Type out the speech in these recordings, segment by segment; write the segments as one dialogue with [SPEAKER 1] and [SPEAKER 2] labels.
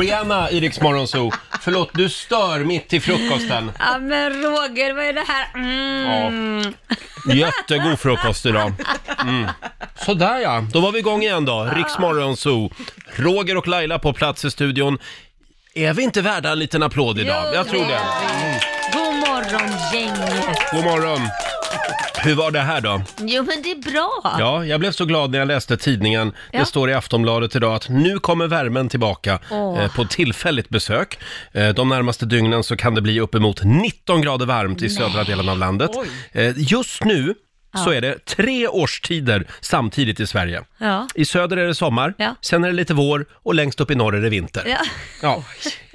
[SPEAKER 1] Rihanna i Rix Morgon Zoo. Förlåt, du stör mitt i frukosten.
[SPEAKER 2] Ja men Roger, vad är det här? Mm.
[SPEAKER 1] Jättegod frukost idag. Mm. Sådär ja, då var vi igång igen då. Rix Morgon Zoo. Roger och Laila på plats i studion. Är vi inte värda en liten applåd idag?
[SPEAKER 2] Jo,
[SPEAKER 1] Jag tror
[SPEAKER 2] det
[SPEAKER 1] det. Mm.
[SPEAKER 2] är vi. God morgon gänget.
[SPEAKER 1] God morgon. Hur var det här då?
[SPEAKER 2] Jo men det är bra.
[SPEAKER 1] Ja, jag blev så glad när jag läste tidningen.
[SPEAKER 2] Ja.
[SPEAKER 1] Det står i Aftonbladet idag att nu kommer värmen tillbaka
[SPEAKER 2] Åh.
[SPEAKER 1] eh, på tillfälligt besök. Eh, de närmaste dygnen så kan det bli uppemot 19 grader varmt i södra delen av landet. Eh, just nu så är det tre årstider samtidigt i Sverige.
[SPEAKER 2] Ja.
[SPEAKER 1] I söder är det sommar,
[SPEAKER 2] Ja.
[SPEAKER 1] sen är det lite vår och längst upp i norr är det vinter.
[SPEAKER 2] Ja.
[SPEAKER 1] Ja.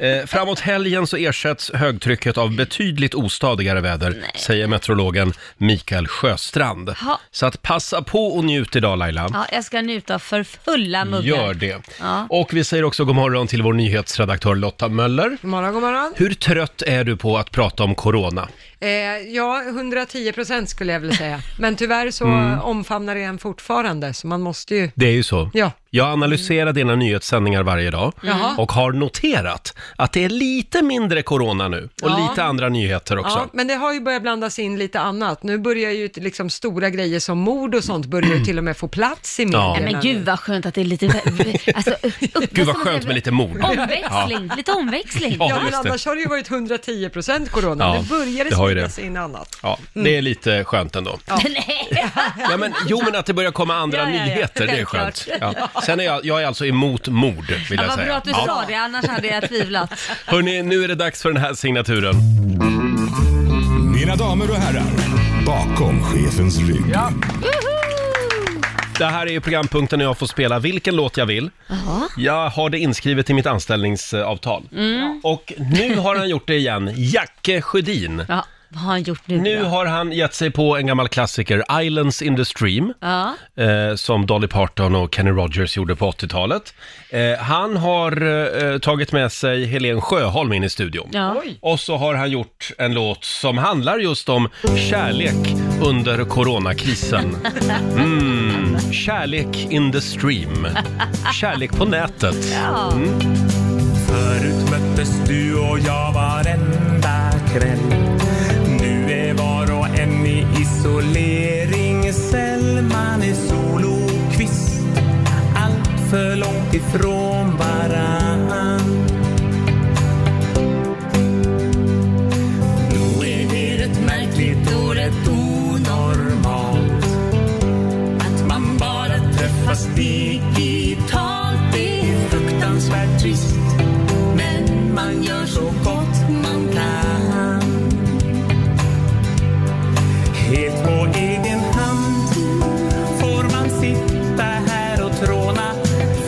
[SPEAKER 1] Eh, framåt helgen så ersätts högtrycket av betydligt ostadigare väder, säger meteorologen Mikael Sjöstrand.
[SPEAKER 2] Ha.
[SPEAKER 1] Så att passa på och njut idag Laila.
[SPEAKER 2] ja, jag ska njuta för fulla muggar.
[SPEAKER 1] Gör det.
[SPEAKER 2] Ja.
[SPEAKER 1] Och vi säger också god morgon till vår nyhetsredaktör Lotta Möller.
[SPEAKER 3] God morgon, god morgon.
[SPEAKER 1] Hur trött är du på att prata om corona?
[SPEAKER 3] Eh, ja, 110 procent skulle jag vilja säga. Men tyvärr så
[SPEAKER 1] Mm.
[SPEAKER 3] omfamnar det en fortfarande, så man måste ju...
[SPEAKER 1] Det är ju så.
[SPEAKER 3] Ja.
[SPEAKER 1] Jag analyserar dina nyhetssändningar varje dag
[SPEAKER 3] Jaha.
[SPEAKER 1] och har noterat att det är lite mindre corona nu och
[SPEAKER 3] Ja.
[SPEAKER 1] lite andra nyheter också.
[SPEAKER 3] Ja, men det har ju börjat blandas in lite annat. Nu börjar ju liksom stora grejer som mord och sånt börjar
[SPEAKER 1] Mm.
[SPEAKER 3] ju till och med få plats i medierna.
[SPEAKER 2] Nej, men gud vad skönt att det är lite... Alltså, upp,
[SPEAKER 1] Gud vad skönt med lite mord.
[SPEAKER 2] Omväxling, lite omväxling.
[SPEAKER 1] Ja.
[SPEAKER 3] Ja, men
[SPEAKER 1] just det.
[SPEAKER 3] annars har det ju varit 110 procent corona.
[SPEAKER 1] Ja,
[SPEAKER 3] nu börjar det
[SPEAKER 1] det har ju
[SPEAKER 3] spridas
[SPEAKER 1] det.
[SPEAKER 3] in annat.
[SPEAKER 1] Ja,
[SPEAKER 2] Mm.
[SPEAKER 1] det är lite skönt ändå.
[SPEAKER 2] Nej.
[SPEAKER 1] Ja, men, jo, men alltså- att det börjar komma andra
[SPEAKER 2] Ja, ja, ja.
[SPEAKER 1] nyheter, det är
[SPEAKER 2] Självklart.
[SPEAKER 1] skönt. Ja. Sen är jag, jag är alltså emot mord, vill
[SPEAKER 2] Ja,
[SPEAKER 1] jag
[SPEAKER 2] vad bra
[SPEAKER 1] säga.
[SPEAKER 2] att du sa det, annars hade jag tvivlat.
[SPEAKER 1] Hörni, nu är det dags för den här signaturen.
[SPEAKER 4] Mina damer och herrar, bakom chefens rygg.
[SPEAKER 1] Det här är ju programpunkten när jag får spela vilken låt jag vill. Jag har det inskrivet i mitt anställningsavtal.
[SPEAKER 2] Mm.
[SPEAKER 1] Och nu har han gjort det igen, Jacke Sjödin.
[SPEAKER 2] Ja, vad har han gjort nu
[SPEAKER 1] Nu
[SPEAKER 2] då?
[SPEAKER 1] har han gett sig på en gammal klassiker, Islands in the Stream.
[SPEAKER 2] Ja.
[SPEAKER 1] eh, som Dolly Parton och Kenny Rogers gjorde på 80-talet. Eh, han har eh, tagit med sig Helen Sjöholm in i studion.
[SPEAKER 2] Ja.
[SPEAKER 1] Och så har han gjort en låt som handlar just om kärlek under coronakrisen. Mm, kärlek in the stream. Kärlek på nätet. Mm.
[SPEAKER 2] Ja.
[SPEAKER 5] Förut möttes du och jag varenda kväll Nu är var och en i isoleringscell Man är solokvist allt för långt ifrån varann Nu är det ett märkligt och rätt onormalt att man bara träffas digitalt Det är fruktansvärt trist Men man gör så gott man kan Helt på egen hand Får man sitta här och tråna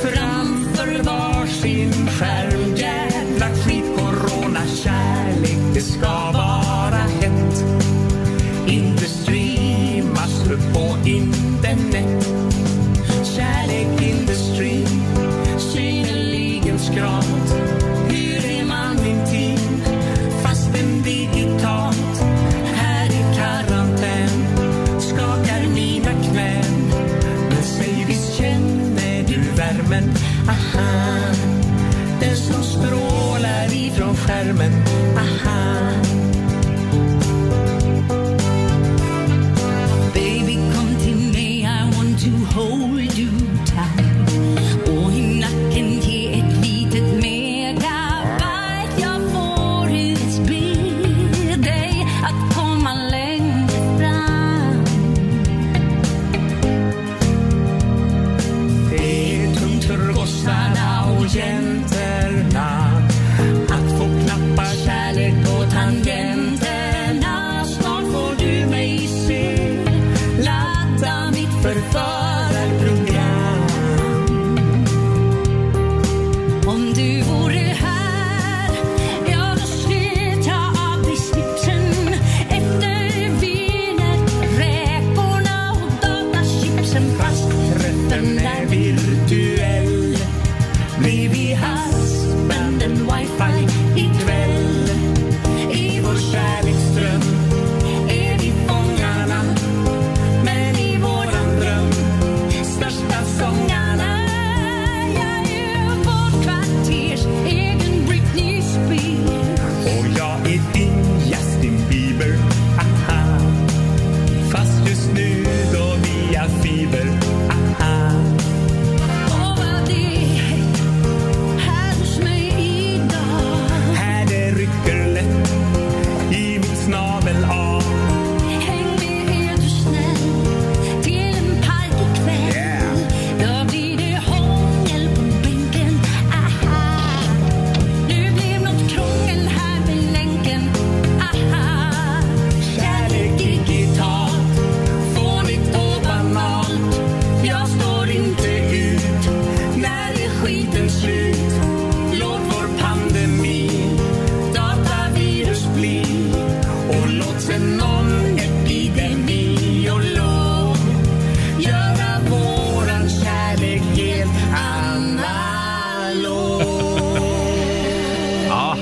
[SPEAKER 5] Framför varsin skärm Jävla skit corona Kärlek det ska vara hett inte streamas upp på internet Kärlek industri, synnerligen skralt Hur är man intim, fastän digitalt Här i karantän, skakar mina knän Men säg visst känner du värmen, aha Den som strålar ifrån skärmen, aha Baby kom till mig, I want to hold you tight Och i nacken ge ett litet megabyte Jag får hus be dig att komma längre fram Det är tungt för gossarna och jäntorna att få knappa kärlek på tangenterna Snart får du mig se ladda mitt förförarprov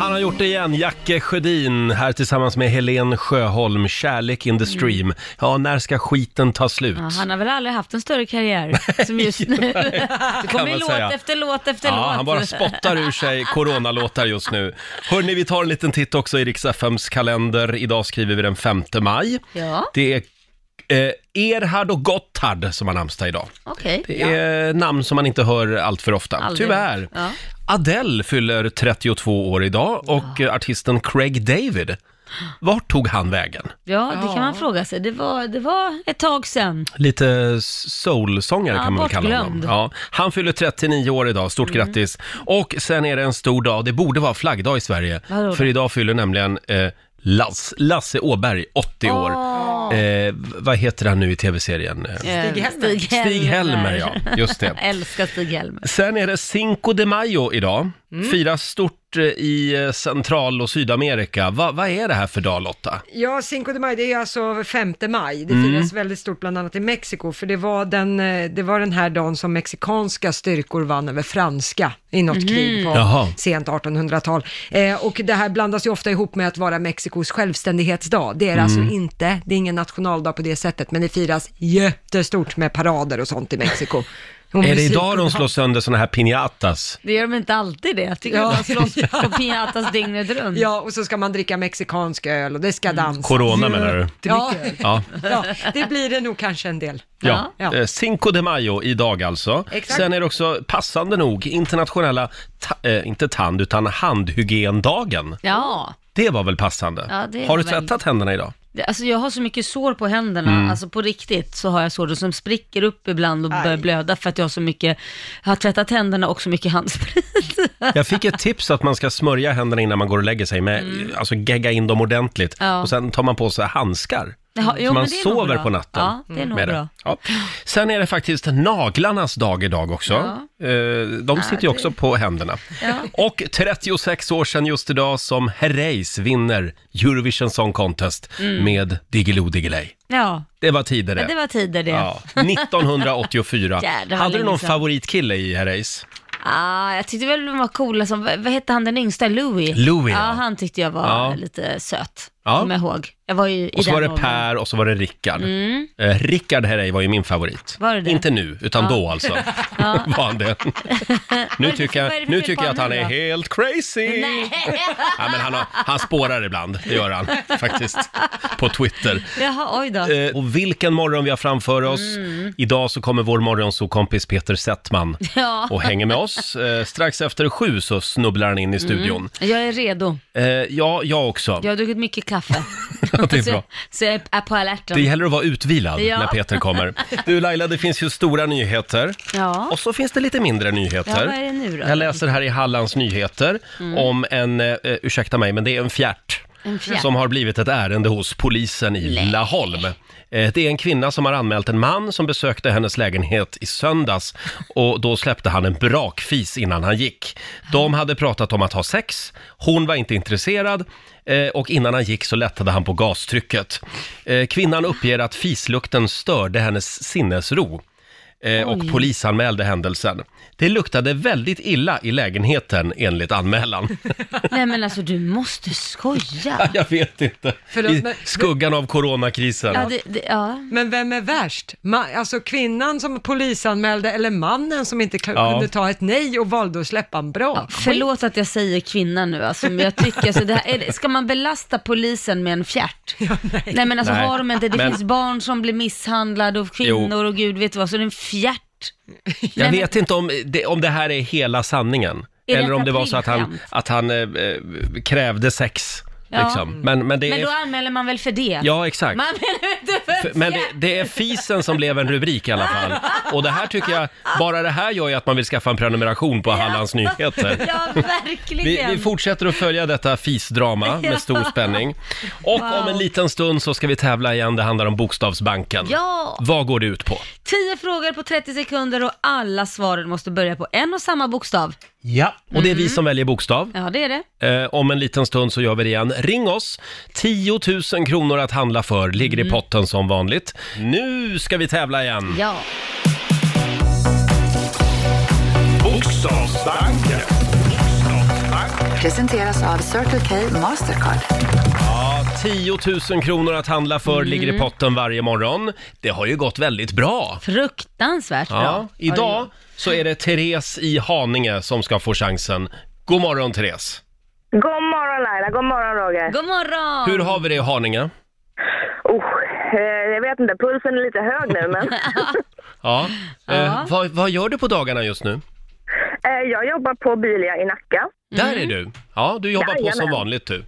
[SPEAKER 1] Hon har gjort det igen, Jacke Sjödin här tillsammans med Helen Sjöholm, Kärlek in the stream. Ja, när ska skiten ta slut?
[SPEAKER 2] Ja, han har väl aldrig haft en större karriär som just nu. Det
[SPEAKER 1] kan man
[SPEAKER 2] kommer låt
[SPEAKER 1] säga.
[SPEAKER 2] efter låt efter låt.
[SPEAKER 1] Ja, han bara spottar ur sig coronalåtar just nu. Hörni, vi tar en liten titt också i Rix FMs kalender. Idag skriver vi den 5 maj.
[SPEAKER 2] Ja,
[SPEAKER 1] Det är eh, Erhard och Gotthard som har namnsdag idag.
[SPEAKER 2] okej.
[SPEAKER 1] Det är namn som man inte hör allt för ofta,
[SPEAKER 2] Aldrig.
[SPEAKER 1] tyvärr.
[SPEAKER 2] Ja.
[SPEAKER 1] Adele fyller 32 år idag och eh, artisten Craig David, vart tog han vägen?
[SPEAKER 2] Ja, det kan man fråga sig. Det var, det var ett tag sedan.
[SPEAKER 1] Lite soulsångare
[SPEAKER 2] Ja,
[SPEAKER 1] kan man väl kalla honom.
[SPEAKER 2] bortglömd. Mm.
[SPEAKER 1] Ja, han fyller 39 år idag, stort grattis. Och sen är det en stor dag, det borde vara flaggdag i Sverige.
[SPEAKER 2] Vadå då?
[SPEAKER 1] För idag fyller nämligen eh, Lass, Lasse Åberg 80 år. Eh, vad heter han nu i tv-serien? Eh,
[SPEAKER 2] Ehm, Stig
[SPEAKER 3] Helmer.
[SPEAKER 1] Stig Helmer, ja. Just det.
[SPEAKER 2] Älskar Stig Helmer.
[SPEAKER 1] Sen är det Cinco de Mayo idag.
[SPEAKER 2] Mm.
[SPEAKER 1] Firas stort eh, i eh, Central och Sydamerika. Va, vad är det här för dag Lotta?
[SPEAKER 3] Ja, Cinco de Mayo, det är alltså 5 maj. Det
[SPEAKER 1] Mm.
[SPEAKER 3] firas väldigt stort bland annat i Mexiko, för det var, den, eh, det var den här dagen som mexikanska styrkor vann över franska i något krig på
[SPEAKER 1] Mhm. Jaha.
[SPEAKER 3] sent 1800-tal. Eh, och det här blandas ju ofta ihop med att vara Mexikos självständighetsdag. Det är det
[SPEAKER 1] Mm.
[SPEAKER 3] alltså inte, det är ingen nationaldag på det sättet, men det firas jättestort med parader och sånt i Mexiko. Och
[SPEAKER 1] Är det
[SPEAKER 3] musik-
[SPEAKER 1] idag de slår sönder såna här piñatas?
[SPEAKER 2] Det gör de inte alltid det. Jag tycker
[SPEAKER 3] Ja.
[SPEAKER 2] ja. de slåss på pinatas dygnet runt.
[SPEAKER 3] Ja, och så ska man dricka mexikansk öl och det ska dansas.
[SPEAKER 1] Mm. Corona menar du?
[SPEAKER 3] Ja,
[SPEAKER 1] Ja.
[SPEAKER 3] ja, det blir det nog kanske en del.
[SPEAKER 1] Ja,
[SPEAKER 3] Ja.
[SPEAKER 1] Eh, Cinco de Mayo idag alltså.
[SPEAKER 3] Exakt.
[SPEAKER 1] Sen är det också passande nog internationella, ta- eh, inte tand, utan handhygiendagen.
[SPEAKER 2] Ja,
[SPEAKER 1] Det var väl passande?
[SPEAKER 2] Ja, det
[SPEAKER 1] har du
[SPEAKER 2] var väl-
[SPEAKER 1] tvättat händerna idag?
[SPEAKER 2] Det- alltså jag har så mycket sår på händerna,
[SPEAKER 1] Mm.
[SPEAKER 2] alltså på riktigt så har jag sår som spricker upp ibland och börjar blöda för att jag har så mycket, jag har tvättat händerna och så mycket handsprit.
[SPEAKER 1] Jag fick ett tips att man ska smörja händerna innan man går och lägger sig med, alltså gegga in dem ordentligt
[SPEAKER 2] Mm. Ja.
[SPEAKER 1] och sen tar man på sig handskar.
[SPEAKER 2] Jaha, jo,
[SPEAKER 1] så man
[SPEAKER 2] men det är nog
[SPEAKER 1] sover
[SPEAKER 2] bra.
[SPEAKER 1] på natten. Mm.
[SPEAKER 2] Ja, det är nog
[SPEAKER 1] med
[SPEAKER 2] bra.
[SPEAKER 1] Ja. Sen är det faktiskt naglarnas dag idag också. Eh, De sitter ju också på händerna. Och 36 år sedan just idag som Herreys vinner Eurovision Song Contest med Diggiloo Diggiley.
[SPEAKER 2] Mm. Ja,
[SPEAKER 1] Det var tider det.
[SPEAKER 2] det var tider det.
[SPEAKER 1] Ja, 1984.
[SPEAKER 2] Jädrar, vad
[SPEAKER 1] Hade du
[SPEAKER 2] länge
[SPEAKER 1] någon
[SPEAKER 2] sedan.
[SPEAKER 1] favoritkille i Herreys?
[SPEAKER 2] Ah, jag tyckte väl de var coola som, vad vad hette han den yngsta, Louis?
[SPEAKER 1] Louis,
[SPEAKER 2] ja.
[SPEAKER 1] ja.
[SPEAKER 2] han tyckte jag var
[SPEAKER 1] Ja.
[SPEAKER 2] lite söt,
[SPEAKER 1] Ja.
[SPEAKER 2] kommer jag ihåg. Jag var ju i
[SPEAKER 1] Och så
[SPEAKER 2] den
[SPEAKER 1] var det
[SPEAKER 2] åldern. Mm.
[SPEAKER 1] Per och så var det Rickard. Eh, Rickard Herrey var ju min favorit.
[SPEAKER 2] Var det det?
[SPEAKER 1] Inte nu, utan då alltså. var han det. nu
[SPEAKER 2] det
[SPEAKER 1] tycker,
[SPEAKER 2] för- vad är det
[SPEAKER 1] jag,
[SPEAKER 2] för
[SPEAKER 1] nu
[SPEAKER 2] fel
[SPEAKER 1] tycker
[SPEAKER 2] på
[SPEAKER 1] jag att han
[SPEAKER 2] honom
[SPEAKER 1] är
[SPEAKER 2] då?
[SPEAKER 1] helt crazy. Ja, men han, har, han spårar ibland, det gör han faktiskt, på Twitter.
[SPEAKER 2] Jaha, oj då.
[SPEAKER 1] Eh, Och vilken morgon vi har framför oss.
[SPEAKER 2] Mm.
[SPEAKER 1] Idag så kommer vår morgonsokompis Peter Settman
[SPEAKER 2] Ja.
[SPEAKER 1] och hänger med oss. Eh, Strax efter sju så snubblar han
[SPEAKER 2] Mm.
[SPEAKER 1] in i studion.
[SPEAKER 2] Jag är redo.
[SPEAKER 1] Eh, Ja, jag också.
[SPEAKER 2] Jag har druckit mycket kaffe.
[SPEAKER 1] Det är bra.
[SPEAKER 2] Så, så jag är på alerten.
[SPEAKER 1] Det gäller att vara utvilad
[SPEAKER 2] Ja.
[SPEAKER 1] när Peter kommer. Du Laila, det finns ju stora nyheter.
[SPEAKER 2] Ja.
[SPEAKER 1] Och så finns det lite mindre nyheter.
[SPEAKER 2] Ja, vad är det nu då? Mm.
[SPEAKER 1] Jag läser här i Hallands Nyheter om en, eh, ursäkta mig, men det är en fjärt.
[SPEAKER 2] En fjärt.
[SPEAKER 1] Som har blivit ett ärende hos polisen i Laholm. Eh, Det är en kvinna som har anmält en man som besökte hennes lägenhet i söndags och då släppte han en brakfis innan han gick. De hade pratat om att ha sex, hon var inte intresserad eh, och innan han gick så lättade han på gastrycket. Eh, Kvinnan uppger att fislukten störde hennes sinnesro eh, och polisanmälde händelsen. Det luktade väldigt illa i lägenheten enligt anmälan.
[SPEAKER 2] Nej men alltså du måste skoja.
[SPEAKER 1] Jag vet inte.
[SPEAKER 3] Förlåt,
[SPEAKER 1] I
[SPEAKER 3] men-
[SPEAKER 1] skuggan av coronakrisen.
[SPEAKER 2] Ja, det, det, ja.
[SPEAKER 3] Men vem är värst? Ma- alltså kvinnan som polisanmälde eller mannen som inte k-
[SPEAKER 1] Ja.
[SPEAKER 3] kunde ta ett nej och valde att släppa en bra?
[SPEAKER 2] Förlåt att jag säger kvinna nu alltså, men jag tycker så det här, är, det- ska man belasta polisen med en fjärt? nej. men alltså
[SPEAKER 1] Nej.
[SPEAKER 2] har de inte, det
[SPEAKER 1] Men-
[SPEAKER 2] finns barn som blir misshandlade och kvinnor och gud vet vad, så det är en fjärt.
[SPEAKER 1] Jag
[SPEAKER 2] Nej, men-
[SPEAKER 1] vet inte om det, om det här är hela sanningen.
[SPEAKER 2] Är det
[SPEAKER 1] Eller om
[SPEAKER 2] ett
[SPEAKER 1] det var så att han,
[SPEAKER 2] aprilskämt?
[SPEAKER 1] att han eh, eh, krävde sex.
[SPEAKER 2] Ja. Mm.
[SPEAKER 1] Liksom. Men, men det
[SPEAKER 2] Men
[SPEAKER 1] är...
[SPEAKER 2] då anmäler man väl för det?
[SPEAKER 1] Ja, exakt.
[SPEAKER 2] Man anmäler inte för
[SPEAKER 1] F- Men det,
[SPEAKER 2] fjärt.
[SPEAKER 1] det är fisen som blev en rubrik i alla fall. Och det här tycker jag, bara det här gör ju att man vill skaffa en prenumeration på Hallands Nyheter.
[SPEAKER 2] Ja,
[SPEAKER 1] Vi,
[SPEAKER 2] verkligen.
[SPEAKER 1] vi fortsätter att följa detta fisdrama med stor spänning. Och om en liten stund så ska vi tävla igen. Det handlar om Bokstavsbanken.
[SPEAKER 2] Ja.
[SPEAKER 1] Vad går det ut på?
[SPEAKER 2] 10 frågor på 30 sekunder och alla svaren måste börja på en och samma bokstav.
[SPEAKER 1] Ja. Och det är
[SPEAKER 2] Mm.
[SPEAKER 1] vi som väljer bokstav.
[SPEAKER 2] Ja, det är det.
[SPEAKER 1] Eh, om en liten stund så gör vi det igen. Ring oss! 10 000 kronor att handla för ligger i potten som vanligt. Nu ska vi tävla igen.
[SPEAKER 2] Mm. Ja.
[SPEAKER 4] Bokstavsbanken. Bokstavsbanken.
[SPEAKER 6] presenteras av Circle K Mastercard.
[SPEAKER 1] Ja, 10 000 kronor att handla för ligger
[SPEAKER 2] Mm.
[SPEAKER 1] i potten varje morgon. Det har ju gått väldigt bra.
[SPEAKER 2] Fruktansvärt bra.
[SPEAKER 1] Ja,
[SPEAKER 2] Har det
[SPEAKER 1] idag
[SPEAKER 2] gjort.
[SPEAKER 1] så är det Therese i Haninge som ska få chansen. God morgon Therese!
[SPEAKER 7] God morgon Laila, god morgon Roger.
[SPEAKER 2] God morgon!
[SPEAKER 1] Hur har vi det i Haninge?
[SPEAKER 7] Oh, eh, jag vet inte, pulsen är lite hög nu men
[SPEAKER 1] Ja. Eh,
[SPEAKER 2] Ja.
[SPEAKER 1] vad, vad gör du på dagarna just nu?
[SPEAKER 7] eh, jag jobbar på Bilia i Nacka.
[SPEAKER 1] Där är du! Ja, du jobbar på som
[SPEAKER 7] Mm. Jajamän.
[SPEAKER 1] vanligt du.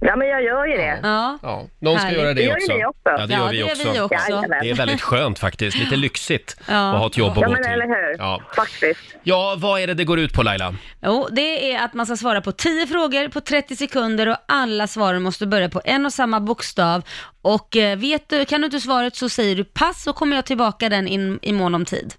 [SPEAKER 7] Ja men jag gör ju det.
[SPEAKER 2] Ja.
[SPEAKER 1] Ja, någon ska
[SPEAKER 2] Härligt.
[SPEAKER 1] göra
[SPEAKER 7] Vi
[SPEAKER 1] det
[SPEAKER 7] gör ju
[SPEAKER 1] också.
[SPEAKER 7] det också.
[SPEAKER 1] Ja, det gör
[SPEAKER 2] Ja,
[SPEAKER 1] vi
[SPEAKER 2] det gör
[SPEAKER 1] också.
[SPEAKER 2] vi också.
[SPEAKER 7] Jajamän.
[SPEAKER 1] Det är väldigt skönt faktiskt, lite lyxigt
[SPEAKER 2] Ja.
[SPEAKER 1] att ha ett jobb att
[SPEAKER 7] Ja
[SPEAKER 1] gå
[SPEAKER 7] men eller
[SPEAKER 1] till.
[SPEAKER 7] hur,
[SPEAKER 1] Ja.
[SPEAKER 7] faktiskt.
[SPEAKER 1] ja, vad är det det går ut på Laila?
[SPEAKER 2] Jo, det är att man ska svara på 10 frågor på 30 sekunder och alla svaren måste börja på en och samma bokstav. Och eh, vet du, kan du inte svaret så säger du pass så kommer jag tillbaka den in, i mån om tid.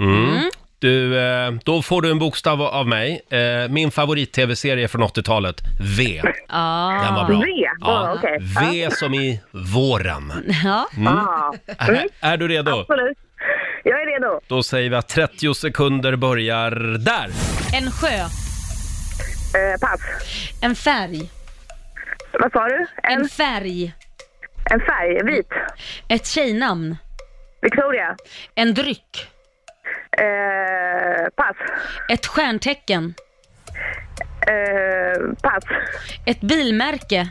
[SPEAKER 1] Mm. Du, eh, då får du en bokstav av mig. Eh, Min favorit-tv-serie från 80-talet, V.
[SPEAKER 2] Ja.
[SPEAKER 1] Den var bra.
[SPEAKER 7] V? Ja, okej.
[SPEAKER 1] V som i våren. Mm.
[SPEAKER 2] Ja.
[SPEAKER 7] Ja,
[SPEAKER 1] Är, är du redo?
[SPEAKER 7] absolut. Jag är redo.
[SPEAKER 1] Då säger vi att 30 sekunder börjar där.
[SPEAKER 2] En sjö,
[SPEAKER 7] Eh, pass.
[SPEAKER 2] en färg,
[SPEAKER 7] Vad sa du? En,
[SPEAKER 2] en färg,
[SPEAKER 7] en färg, vit.
[SPEAKER 2] ett tjejnamn,
[SPEAKER 7] Victoria.
[SPEAKER 2] en dryck,
[SPEAKER 7] Eh, pass.
[SPEAKER 2] ett stjärntecken,
[SPEAKER 7] Eh, pass.
[SPEAKER 2] ett bilmärke,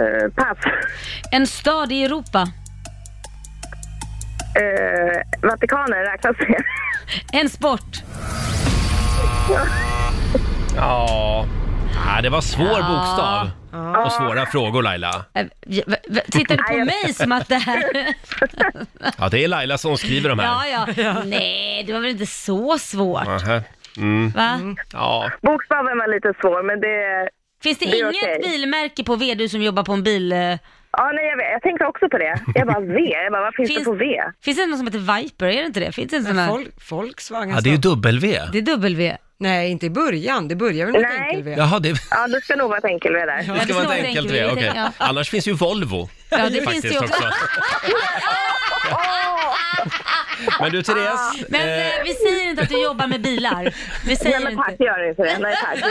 [SPEAKER 7] Eh, pass.
[SPEAKER 2] en stad i Europa,
[SPEAKER 7] Eh, Vatikanen räknas det?
[SPEAKER 2] en sport.
[SPEAKER 1] Ja, ah, det var svår bokstav. Och svåra frågor Laila.
[SPEAKER 2] Eh, v- v- Tittar du på mig som att det här...
[SPEAKER 1] Ja, det är Laila som skriver de
[SPEAKER 2] Ja,
[SPEAKER 1] här.
[SPEAKER 2] ja. Nej, det var väl inte så svårt,
[SPEAKER 1] Aha. Mm.
[SPEAKER 2] va?
[SPEAKER 1] Ja,
[SPEAKER 7] Bokstaven Mm. var lite svår men det...
[SPEAKER 2] Finns det,
[SPEAKER 7] Det är
[SPEAKER 2] inget
[SPEAKER 7] okej.
[SPEAKER 2] bilmärke på V, du som jobbar på en bil? eh,
[SPEAKER 7] Ja, nej, jag, vet. jag tänkte också på det. Jag bara V, jag bara, vad finns,
[SPEAKER 2] Finns-
[SPEAKER 7] det på V?
[SPEAKER 2] Finns det något som heter Viper? Är det inte det? Finns det en sån här?
[SPEAKER 3] Folk, Volkswagen
[SPEAKER 1] ja det är ju W.
[SPEAKER 2] Det är W.
[SPEAKER 3] Nej, inte i början. Det börjar väl med ett
[SPEAKER 7] Nej.
[SPEAKER 3] enkel-V.
[SPEAKER 1] Jaha, det...
[SPEAKER 7] Ja, det ska nog vara ett enkel V där.
[SPEAKER 1] Det
[SPEAKER 2] det
[SPEAKER 1] ska vara
[SPEAKER 2] står
[SPEAKER 1] ett
[SPEAKER 2] ett
[SPEAKER 1] enkelt
[SPEAKER 2] enkelt
[SPEAKER 1] V,
[SPEAKER 2] V,
[SPEAKER 1] okej.
[SPEAKER 2] ja.
[SPEAKER 1] Annars finns ju Volvo.
[SPEAKER 2] Ja, det finns
[SPEAKER 1] faktiskt
[SPEAKER 2] det också.
[SPEAKER 1] Men du Therese,
[SPEAKER 2] Men eh, vi säger inte att du jobbar med bilar. Vi säger
[SPEAKER 7] Nej men tack,
[SPEAKER 2] inte.
[SPEAKER 7] gör inte det. Nej tack.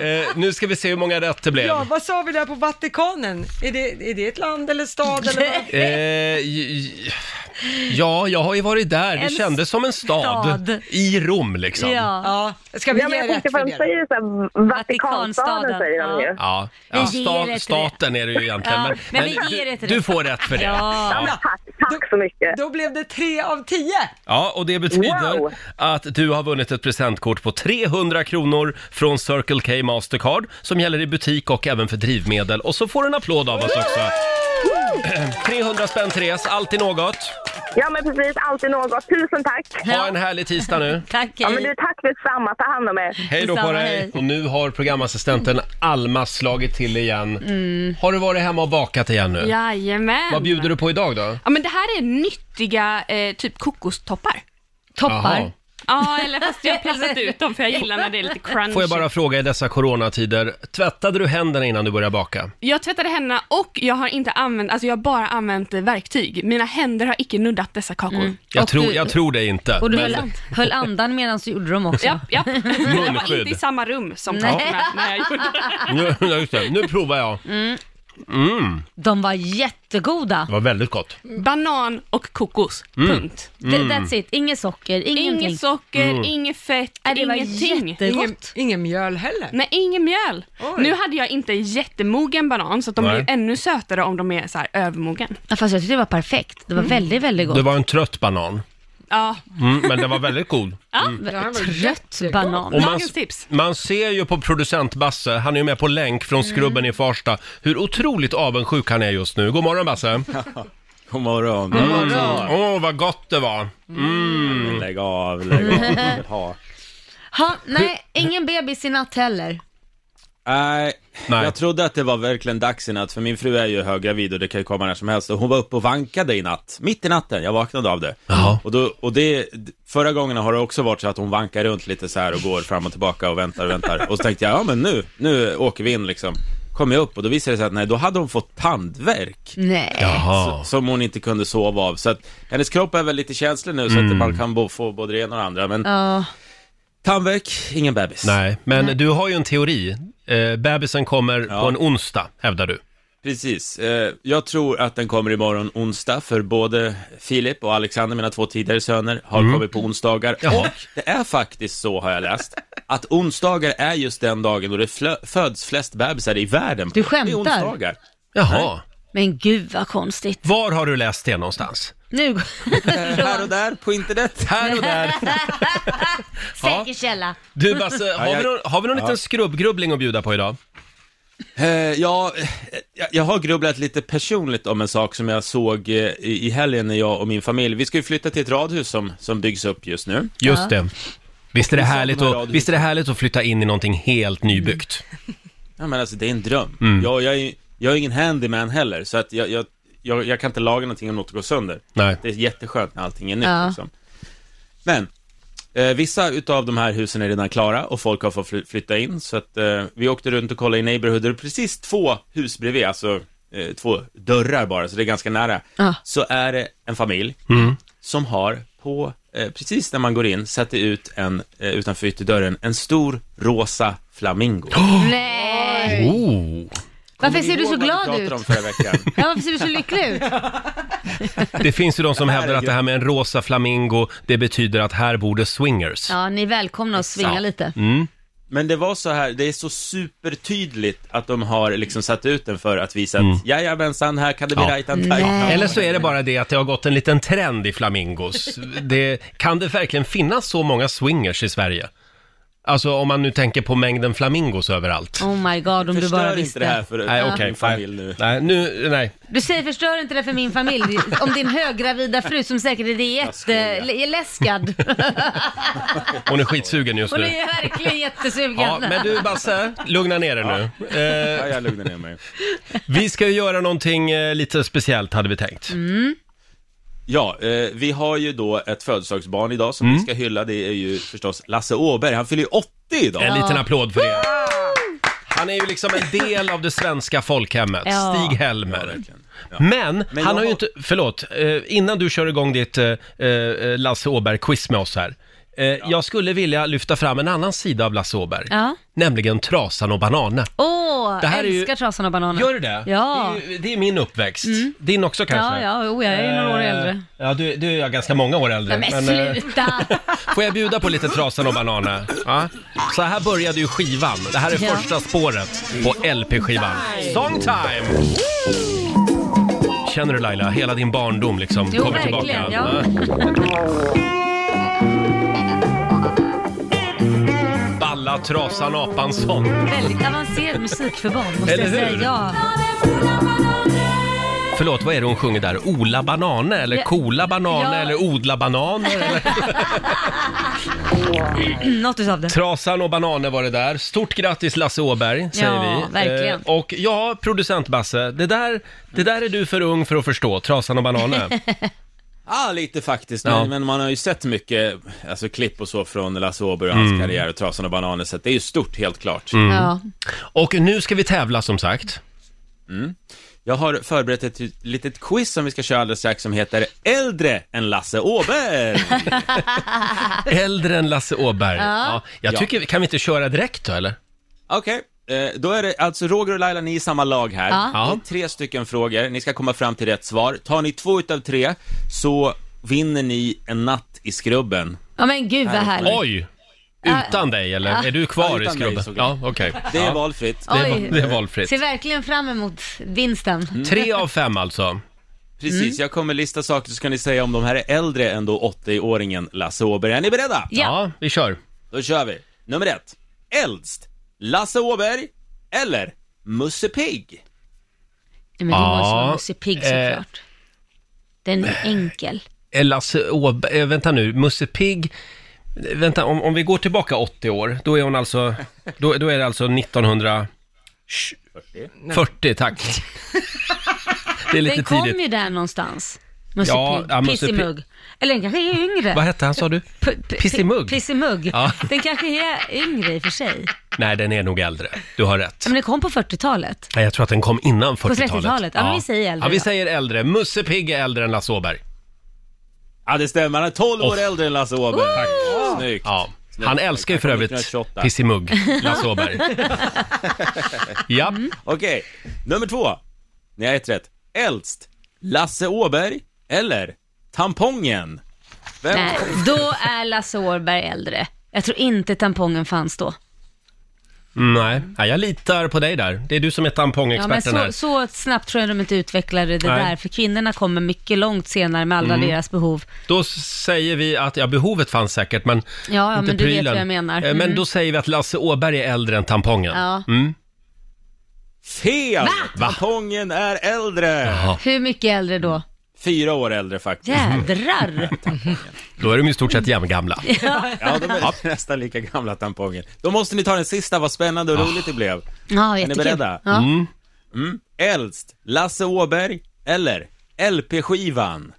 [SPEAKER 7] Vi-
[SPEAKER 1] eh, nu ska vi se hur många rätt det blev.
[SPEAKER 3] Ja, vad sa vi där på Vatikanen? Är det, är det ett land eller stad eller vad?
[SPEAKER 1] Eh, j- j- ja, jag har ju varit där. Det
[SPEAKER 2] En
[SPEAKER 1] kändes som en stad.
[SPEAKER 2] stad.
[SPEAKER 1] I Rom liksom.
[SPEAKER 2] Ja.
[SPEAKER 3] Ja, ska vi
[SPEAKER 7] Ja, men
[SPEAKER 3] ge
[SPEAKER 7] jag
[SPEAKER 3] rätt
[SPEAKER 7] tänkte
[SPEAKER 3] för
[SPEAKER 7] för de
[SPEAKER 3] det?
[SPEAKER 7] säger ju såhär Vatikanstaden
[SPEAKER 2] Vatikanstaden,
[SPEAKER 7] säger de ju.
[SPEAKER 1] Ja, ja
[SPEAKER 2] Vi ger
[SPEAKER 1] sta,
[SPEAKER 2] ett
[SPEAKER 1] staten är det ju egentligen.
[SPEAKER 2] Ja,
[SPEAKER 1] men
[SPEAKER 2] men vi ger ett
[SPEAKER 1] du,
[SPEAKER 2] rätt.
[SPEAKER 1] du får rätt för det.
[SPEAKER 2] Ja.
[SPEAKER 1] Ja.
[SPEAKER 7] Tack, tack så mycket.
[SPEAKER 3] Då blev det tre av tio.
[SPEAKER 1] Ja, och det betyder
[SPEAKER 7] Wow.
[SPEAKER 1] att du har vunnit ett presentkort på 300 kronor från Circle K Mastercard som gäller i butik och även för drivmedel. Och så får du en applåd av oss också. 300 spänn Therese, alltid något.
[SPEAKER 7] Ja men precis, alltid något. Tusen tack.
[SPEAKER 1] Ha en härlig tisdag nu.
[SPEAKER 2] Tack,
[SPEAKER 7] Ja men du,
[SPEAKER 2] hej.
[SPEAKER 7] tack detsamma. Ta hand om er.
[SPEAKER 1] Hej då på
[SPEAKER 2] Detsamma,
[SPEAKER 1] dig!
[SPEAKER 2] hej.
[SPEAKER 1] Och nu har programassistenten Alma slagit till igen.
[SPEAKER 2] Mm.
[SPEAKER 1] Har du varit hemma och bakat igen nu?
[SPEAKER 8] Jajamän.
[SPEAKER 1] Vad bjuder du på idag då?
[SPEAKER 8] Ja, men det här är nyttiga eh, typ kokostoppar.
[SPEAKER 1] Jaha.
[SPEAKER 2] Toppar.
[SPEAKER 8] Ja, eller fast jag har plockat ut dem för jag gillar när det är lite crunchy.
[SPEAKER 1] Får jag bara fråga i dessa coronatider, tvättade du händerna innan du började baka?
[SPEAKER 8] Jag tvättade händerna och jag har inte använt, alltså jag har bara använt eh, verktyg. Mina händer har icke nuddat dessa kakor.
[SPEAKER 1] Jag,
[SPEAKER 2] Mm. Och
[SPEAKER 1] tror,
[SPEAKER 2] du-
[SPEAKER 1] jag tror det inte.
[SPEAKER 2] Och du
[SPEAKER 1] men-
[SPEAKER 2] höll, höll andan medan du gjorde dem också.
[SPEAKER 8] Ja, ja. Jag var
[SPEAKER 1] Munskydd.
[SPEAKER 8] inte i samma rum som
[SPEAKER 2] Nej.
[SPEAKER 8] kakorna när jag gjorde det.
[SPEAKER 1] Nu, ja, just det. nu provar jag.
[SPEAKER 2] Mm.
[SPEAKER 1] Mm.
[SPEAKER 2] De var jättegoda.
[SPEAKER 1] Det var väldigt gott.
[SPEAKER 8] Banan och kokos,
[SPEAKER 1] Mm.
[SPEAKER 8] punkt.
[SPEAKER 2] Th- That's it, inget socker, ingenting.
[SPEAKER 8] Inget socker, inget fett,
[SPEAKER 2] Nej, det var
[SPEAKER 8] ingenting.
[SPEAKER 3] Ingen,
[SPEAKER 2] jättegott.
[SPEAKER 3] ingen mjöl heller.
[SPEAKER 8] Nej, ingen mjöl.
[SPEAKER 3] Oj.
[SPEAKER 8] Nu hade jag inte jättemogen banan, så att de
[SPEAKER 1] Nej.
[SPEAKER 8] blir ännu sötare om de är så här övermogen.
[SPEAKER 2] Ja, Fast jag tyckte det var perfekt. Det var väldigt, väldigt gott.
[SPEAKER 1] Det var en trött banan,
[SPEAKER 8] Ja,
[SPEAKER 1] mm, men den var väldigt god.
[SPEAKER 3] Det här var
[SPEAKER 2] Mm. Trött
[SPEAKER 3] jättegott.
[SPEAKER 2] banan.
[SPEAKER 1] Och man,
[SPEAKER 8] Dagens tips.
[SPEAKER 1] man ser ju på producent Basse, han är ju med på länk från
[SPEAKER 2] Mm.
[SPEAKER 1] Skrubben i Farsta, hur otroligt avundsjuk han är just nu. God morgon Basse!
[SPEAKER 9] God morgon. Mm.
[SPEAKER 1] Åh, vad gott det var! Mm.
[SPEAKER 9] Lägg av, lägg av. Ja.
[SPEAKER 2] Ha, nej, ingen bebis i natt heller.
[SPEAKER 9] Nej,
[SPEAKER 1] Nej.
[SPEAKER 9] jag trodde att det var verkligen dags i natt, för min fru är ju höggravid och det kan ju komma när som helst. Och hon var uppe och vankade i natt, mitt i natten, jag vaknade av det.
[SPEAKER 1] Jaha.
[SPEAKER 9] Och, då, och det, förra gången har det också varit så att hon vankar runt lite så här och går fram och tillbaka och väntar och väntar. Och så tänkte jag, ja men nu, nu åker vi in liksom. Kom jag upp och då visade det sig att nej, då hade hon fått tandvärk.
[SPEAKER 2] Nej.
[SPEAKER 1] Jaha.
[SPEAKER 9] s- som hon inte kunde sova
[SPEAKER 1] Mm.
[SPEAKER 9] av. Så att hennes kropp är väl lite känslig nu så att man kan bo, få både det ena och det andra. Men
[SPEAKER 2] Ja.
[SPEAKER 9] Tandvärk, ingen bebis.
[SPEAKER 1] Nej, men
[SPEAKER 2] Mm.
[SPEAKER 1] du har ju en teori. Eh, bebisen kommer på en onsdag, hävdar du.
[SPEAKER 9] Precis. Eh, Jag tror att den kommer imorgon onsdag, för både Filip och Alexander, mina två tidigare söner, har kommit på onsdagar.
[SPEAKER 1] Mm. Jaha.
[SPEAKER 9] Och det är faktiskt så, har jag läst, att onsdagar är just den dagen då det flö- föds flest bebisar i världen.
[SPEAKER 2] Du skämtar?
[SPEAKER 9] Det är onsdagar.
[SPEAKER 1] Jaha.
[SPEAKER 2] Men gud vad konstigt.
[SPEAKER 1] Var har du läst det någonstans?
[SPEAKER 2] Nu går
[SPEAKER 9] Här och där på internet.
[SPEAKER 1] Här och där.
[SPEAKER 2] Säker källa.
[SPEAKER 1] Du Basse, har vi någon, har vi någon liten skrubbgrubbling att bjuda på idag?
[SPEAKER 9] Eh, ja, eh, jag, jag har grubblat lite personligt om en sak som jag såg eh, i, i helgen när jag och min familj, vi ska ju flytta till ett radhus som, som byggs upp just nu.
[SPEAKER 1] Just det. Visst är det,
[SPEAKER 9] Och vi
[SPEAKER 1] härligt
[SPEAKER 9] saknar
[SPEAKER 1] att,
[SPEAKER 9] radio.
[SPEAKER 1] visst är det härligt att flytta in i någonting helt nybyggt?
[SPEAKER 9] Ja men alltså det är en dröm. Jag, jag, är, jag är ingen handyman heller, så att jag, jag, jag, jag kan inte laga någonting om något går sönder.
[SPEAKER 1] Nej.
[SPEAKER 9] Det är jätteskönt när allting är nytt
[SPEAKER 2] Ja.
[SPEAKER 9] liksom. Men, eh, vissa utav de här husen är redan klara och folk har fått fly- flytta in, så att eh, vi åkte runt och kollade i neighborhooder, precis två hus bredvid, alltså eh, två dörrar bara, så det är ganska nära.
[SPEAKER 2] Ja.
[SPEAKER 9] Så är det en familj
[SPEAKER 1] Mm.
[SPEAKER 9] som har på, eh, precis när man går in, satt ut en, eh, utanför ytterdörren, en stor rosa flamingo.
[SPEAKER 2] Nej.
[SPEAKER 1] Oh.
[SPEAKER 2] Varför ser du så
[SPEAKER 9] Kommer ihåg vad
[SPEAKER 2] glad
[SPEAKER 9] vi pratade
[SPEAKER 2] ut?
[SPEAKER 9] om förra veckan?
[SPEAKER 2] Ja, varför ser du så lycklig ut?
[SPEAKER 1] Det finns ju de som hävdar att det här med en rosa flamingo, det betyder att här bor det swingers.
[SPEAKER 2] Ja, ni är välkomna att svinga
[SPEAKER 9] Ja.
[SPEAKER 2] lite.
[SPEAKER 1] Mm.
[SPEAKER 9] Men det var så här, det är så supertydligt att de har liksom satt ut den för att visa
[SPEAKER 1] Mm.
[SPEAKER 9] att jajamensan, här kan det bli
[SPEAKER 1] Ja.
[SPEAKER 9] right and tight.
[SPEAKER 2] Nej.
[SPEAKER 1] Mm. Eller så är det bara det att det har gått en liten trend i flamingos. Det, kan det verkligen finnas så många swingers i Sverige? Alltså om man nu tänker på mängden flamingos överallt.
[SPEAKER 2] Oh my god, om du bara
[SPEAKER 9] Förstör
[SPEAKER 2] visste.
[SPEAKER 9] inte det här för
[SPEAKER 1] Nej,
[SPEAKER 9] min
[SPEAKER 1] okej.
[SPEAKER 9] familj nu.
[SPEAKER 1] Nej, nu, nej.
[SPEAKER 2] Du säger förstör inte det för min familj, om din höggravida fru som säkert är jätteläskad.
[SPEAKER 1] Hon är skitsugen just
[SPEAKER 2] Hon
[SPEAKER 1] nu.
[SPEAKER 2] är verkligen jättesugen.
[SPEAKER 1] Ja, men du Basse, lugna ner dig nu. Eh,
[SPEAKER 9] Ja, jag lugnar ner mig.
[SPEAKER 1] vi ska ju göra någonting eh, lite speciellt hade vi tänkt.
[SPEAKER 9] Ja, eh, vi har ju då ett födelsedagsbarn idag som
[SPEAKER 1] Mm.
[SPEAKER 9] vi ska hylla. Det är ju förstås Lasse Åberg. Han fyller ju 80 idag.
[SPEAKER 1] En liten applåd för det. Han är ju liksom en del av det svenska folkhemmet,
[SPEAKER 2] Ja.
[SPEAKER 1] Stig
[SPEAKER 9] Ja,
[SPEAKER 1] Helmer.
[SPEAKER 9] verkligen. Ja.
[SPEAKER 1] Men,
[SPEAKER 9] jag
[SPEAKER 1] han har ju
[SPEAKER 9] har-
[SPEAKER 1] inte, förlåt, eh, innan du kör igång ditt eh, eh, Lasse Åberg-quiz med oss här. Eh, Jag skulle vilja lyfta fram en annan sida av Lasse Åberg,
[SPEAKER 2] Ja.
[SPEAKER 1] nämligen Trasan och bananen.
[SPEAKER 2] Åh,
[SPEAKER 1] Det här är ju-
[SPEAKER 2] älskar trasan och bananen.
[SPEAKER 1] Gör du det?
[SPEAKER 2] Ja. Mm.
[SPEAKER 1] Det är, ju- det är min uppväxt. Din också kanske?
[SPEAKER 2] Ja, ja, oh, jag är ju några år
[SPEAKER 1] Eh,
[SPEAKER 2] äldre.
[SPEAKER 1] Ja, du, du är jag ganska många år äldre.
[SPEAKER 2] Men,
[SPEAKER 1] eh,
[SPEAKER 2] sluta!
[SPEAKER 1] Får jag bjuda på lite Trasan och bananen? Ja. Så här började ju skivan. Det här är
[SPEAKER 2] Ja.
[SPEAKER 1] första spåret på LP-skivan. Songtime! Känner du Laila, hela din barndom liksom
[SPEAKER 2] Jo,
[SPEAKER 1] kommer
[SPEAKER 2] verkligen,
[SPEAKER 1] tillbaka.
[SPEAKER 2] ja.
[SPEAKER 1] Balla Trasan Apansson.
[SPEAKER 2] Väldigt avancerad musik för barn, måste
[SPEAKER 1] Eller
[SPEAKER 2] jag säga.
[SPEAKER 1] hur?
[SPEAKER 2] Ja.
[SPEAKER 1] Förlåt, vad är det hon sjunger där? Ola banane eller
[SPEAKER 2] Ja.
[SPEAKER 1] kola banane
[SPEAKER 2] Ja.
[SPEAKER 1] eller odla bananer? Eller?
[SPEAKER 2] Mm, Något utav det.
[SPEAKER 1] Trasan och bananer var det där. Stort grattis Lasse Åberg, säger
[SPEAKER 2] Ja,
[SPEAKER 1] vi.
[SPEAKER 2] verkligen.
[SPEAKER 1] Eh, och ja, producent Basse, det där, det där är du för ung för att förstå, Trasan och bananer.
[SPEAKER 9] Ja, lite faktiskt.
[SPEAKER 1] Ja.
[SPEAKER 9] Men, men man har ju sett mycket alltså, klipp och så från Lasse Åberg och hans
[SPEAKER 1] Mm.
[SPEAKER 9] karriär och Trasan och Bananen, så att det är ju stort helt klart.
[SPEAKER 2] Ja.
[SPEAKER 1] och nu ska vi tävla som sagt.
[SPEAKER 9] Mm. Jag har förberett ett litet quiz som vi ska köra alldeles strax som heter Äldre än Lasse Åberg.
[SPEAKER 1] Äldre än Lasse Åberg. Ja. jag
[SPEAKER 9] Ja.
[SPEAKER 1] tycker, kan vi inte köra direkt då eller?
[SPEAKER 9] Okej, eh, då är det alltså Roger och Laila, ni är i samma lag här.
[SPEAKER 2] Ja.
[SPEAKER 1] Ja.
[SPEAKER 9] Det är tre stycken frågor, ni ska komma fram till rätt svar. Tar ni två utav tre så vinner ni en natt i Skrubben.
[SPEAKER 2] ja, men gud vad härligt.
[SPEAKER 1] Oj! Utan dig eller? Är du
[SPEAKER 9] Ja,
[SPEAKER 1] kvar i
[SPEAKER 9] utan mig,
[SPEAKER 1] skrubben?
[SPEAKER 9] såklart.
[SPEAKER 1] Ja, okej.
[SPEAKER 9] Det är
[SPEAKER 1] Ja.
[SPEAKER 9] valfritt.
[SPEAKER 1] Det är,
[SPEAKER 2] Oj.
[SPEAKER 1] va- det är valfritt.
[SPEAKER 2] Ser verkligen fram emot vinsten.
[SPEAKER 1] Mm. Tre av fem alltså.
[SPEAKER 9] Precis, jag kommer lista saker så ska ni säga om de här är äldre än då 80-åringen Lasse Åberg. Är ni beredda?
[SPEAKER 1] Ja,
[SPEAKER 2] Ja.
[SPEAKER 1] vi kör.
[SPEAKER 9] Då kör vi. Nummer ett. Äldst, Lasse Åberg eller Musse Pigg?
[SPEAKER 2] Nej, men det
[SPEAKER 1] Ja,
[SPEAKER 2] måste vara Musse Pigg
[SPEAKER 1] eh.
[SPEAKER 2] såklart. Den är enkel.
[SPEAKER 1] Eh, Lasse Åberg, eh, vänta nu, Musse Pigg. Eh, Vänta, om, om vi går tillbaka 80 år, då är hon alltså, då, då är det alltså 1940, tack. Det är lite
[SPEAKER 2] den kom
[SPEAKER 1] tidigt.
[SPEAKER 2] ju där någonstans. Musse
[SPEAKER 1] Ja,
[SPEAKER 2] Pigg,
[SPEAKER 1] ja, Musse
[SPEAKER 2] Pissimugg. Eller den kanske är yngre.
[SPEAKER 1] Vad hette han sa du?
[SPEAKER 2] P- p-
[SPEAKER 1] Pissimugg?
[SPEAKER 2] Pissimugg.
[SPEAKER 1] Ja.
[SPEAKER 2] Den kanske är yngre i och för sig.
[SPEAKER 1] Nej, den är nog äldre. Du har rätt.
[SPEAKER 2] Men den kom på 40-talet.
[SPEAKER 1] Nej, jag tror att den kom innan 40-talet.
[SPEAKER 2] 30-talet. Ja, men vi säger äldre
[SPEAKER 1] Ja, vi
[SPEAKER 2] då.
[SPEAKER 1] säger äldre. Musse Pigg är äldre än Lasse Åberg.
[SPEAKER 9] Ja, det stämmer. Han är 12 år
[SPEAKER 1] Åh.
[SPEAKER 9] äldre än Lasse Åberg. Tack. Snyggt.
[SPEAKER 1] Ja. Han älskar ju för övrigt
[SPEAKER 9] 1928.
[SPEAKER 1] pissimugg, Lasse Åberg. Ja,
[SPEAKER 9] Mm. Okej, nummer två. Ni har ett rätt. Äldst, Lasse Åberg eller Tampongen? Vem?
[SPEAKER 2] Nej, då är Lasse Åberg äldre. Jag tror inte tampongen fanns då.
[SPEAKER 1] Mm, nej. nej, jag litar på dig där. Det är du som är
[SPEAKER 2] Ja, men
[SPEAKER 1] tampongexperten
[SPEAKER 2] så,
[SPEAKER 1] här.
[SPEAKER 2] så snabbt tror jag de inte utvecklade det
[SPEAKER 1] Nej. Mm.
[SPEAKER 2] där, för kvinnorna kommer mycket långt senare med alla deras behov.
[SPEAKER 1] Då säger vi att, ja behovet fanns säkert men
[SPEAKER 2] Ja, ja,
[SPEAKER 1] inte
[SPEAKER 2] men du vet
[SPEAKER 1] prylen.
[SPEAKER 2] vad jag menar.
[SPEAKER 1] Eh, Men
[SPEAKER 2] Mm.
[SPEAKER 1] då säger vi att Lasse Åberg är äldre än tampongen.
[SPEAKER 2] Ja.
[SPEAKER 1] Mm.
[SPEAKER 9] Fel! Tampongen är äldre!
[SPEAKER 2] Hur mycket äldre då?
[SPEAKER 9] Fyra år äldre faktiskt. Mm.
[SPEAKER 2] Jädrar!
[SPEAKER 1] Då är de ju i stort sett jämngamla.
[SPEAKER 9] Ja, de är nästan lika gamla, Tampongen. Då måste ni ta den sista, vad spännande och
[SPEAKER 1] Ah.
[SPEAKER 9] roligt det blev.
[SPEAKER 2] Ja,
[SPEAKER 9] Är ni
[SPEAKER 2] jättekul.
[SPEAKER 9] beredda?
[SPEAKER 2] Ja.
[SPEAKER 9] Mm. Äldst, Lasse Åberg eller LP-skivan?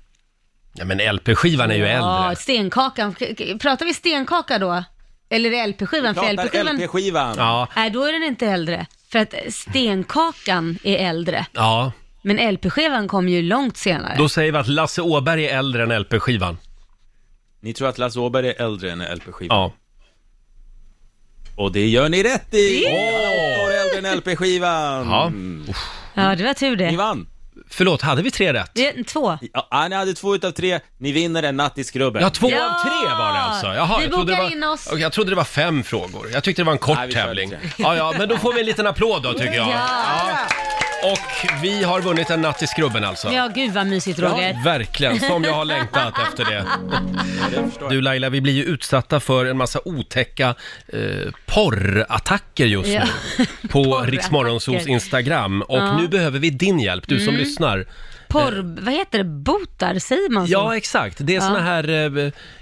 [SPEAKER 1] Ja, men LP-skivan är ju
[SPEAKER 2] Ja,
[SPEAKER 1] äldre.
[SPEAKER 2] stenkakan. Pratar vi stenkaka då? Eller är det LP-skivan? För
[SPEAKER 9] Pratar
[SPEAKER 2] LP-skivan...
[SPEAKER 9] LP-skivan.
[SPEAKER 1] Ja,
[SPEAKER 2] Nej, då är den inte äldre. För att stenkakan är äldre.
[SPEAKER 1] ja.
[SPEAKER 2] Men LP-skivan kom ju långt senare.
[SPEAKER 1] Då säger vi att Lasse Åberg är äldre än LP-skivan.
[SPEAKER 9] Ni tror att Lasse Åberg är äldre än LP-skivan?
[SPEAKER 1] Ja.
[SPEAKER 9] Och det gör ni rätt i! Åtta år äldre än LP-skivan!
[SPEAKER 1] ja.
[SPEAKER 2] Ja, det var tur
[SPEAKER 9] Ni
[SPEAKER 2] det.
[SPEAKER 9] vann!
[SPEAKER 1] Förlåt, hade vi tre rätt?
[SPEAKER 2] det två.
[SPEAKER 9] Ja, ni hade två utav tre, ni vinner en natt i skrubben.
[SPEAKER 1] Ja, två
[SPEAKER 2] Ja!
[SPEAKER 1] av tre var det alltså. Jaha,
[SPEAKER 2] Vi
[SPEAKER 1] jag trodde det
[SPEAKER 2] bokar
[SPEAKER 1] var,
[SPEAKER 2] in oss.
[SPEAKER 1] Okej, Jag trodde det var fem frågor. Jag tyckte det var en kort
[SPEAKER 9] Nej, vi kör
[SPEAKER 1] tävling.
[SPEAKER 9] tre.
[SPEAKER 1] Ja, ja, men då får vi en liten applåd då tycker jag.
[SPEAKER 2] Ja.
[SPEAKER 1] Och vi har vunnit en natt i skrubben alltså.
[SPEAKER 2] Ja, gud vad mysigt Roger.
[SPEAKER 1] Verkligen, som jag har längtat efter det.
[SPEAKER 9] det förstår jag.
[SPEAKER 1] Du Laila, vi blir ju utsatta för en massa otäcka eh, porrattacker just
[SPEAKER 2] Ja.
[SPEAKER 1] nu på Riksmorgonsos Instagram. Och nu behöver vi din hjälp, du som
[SPEAKER 2] Mm.
[SPEAKER 1] lyssnar.
[SPEAKER 2] Porr... Vad heter det? Botar, säger man så?
[SPEAKER 1] Eh. Ja, exakt. Det är såna här... eh, Är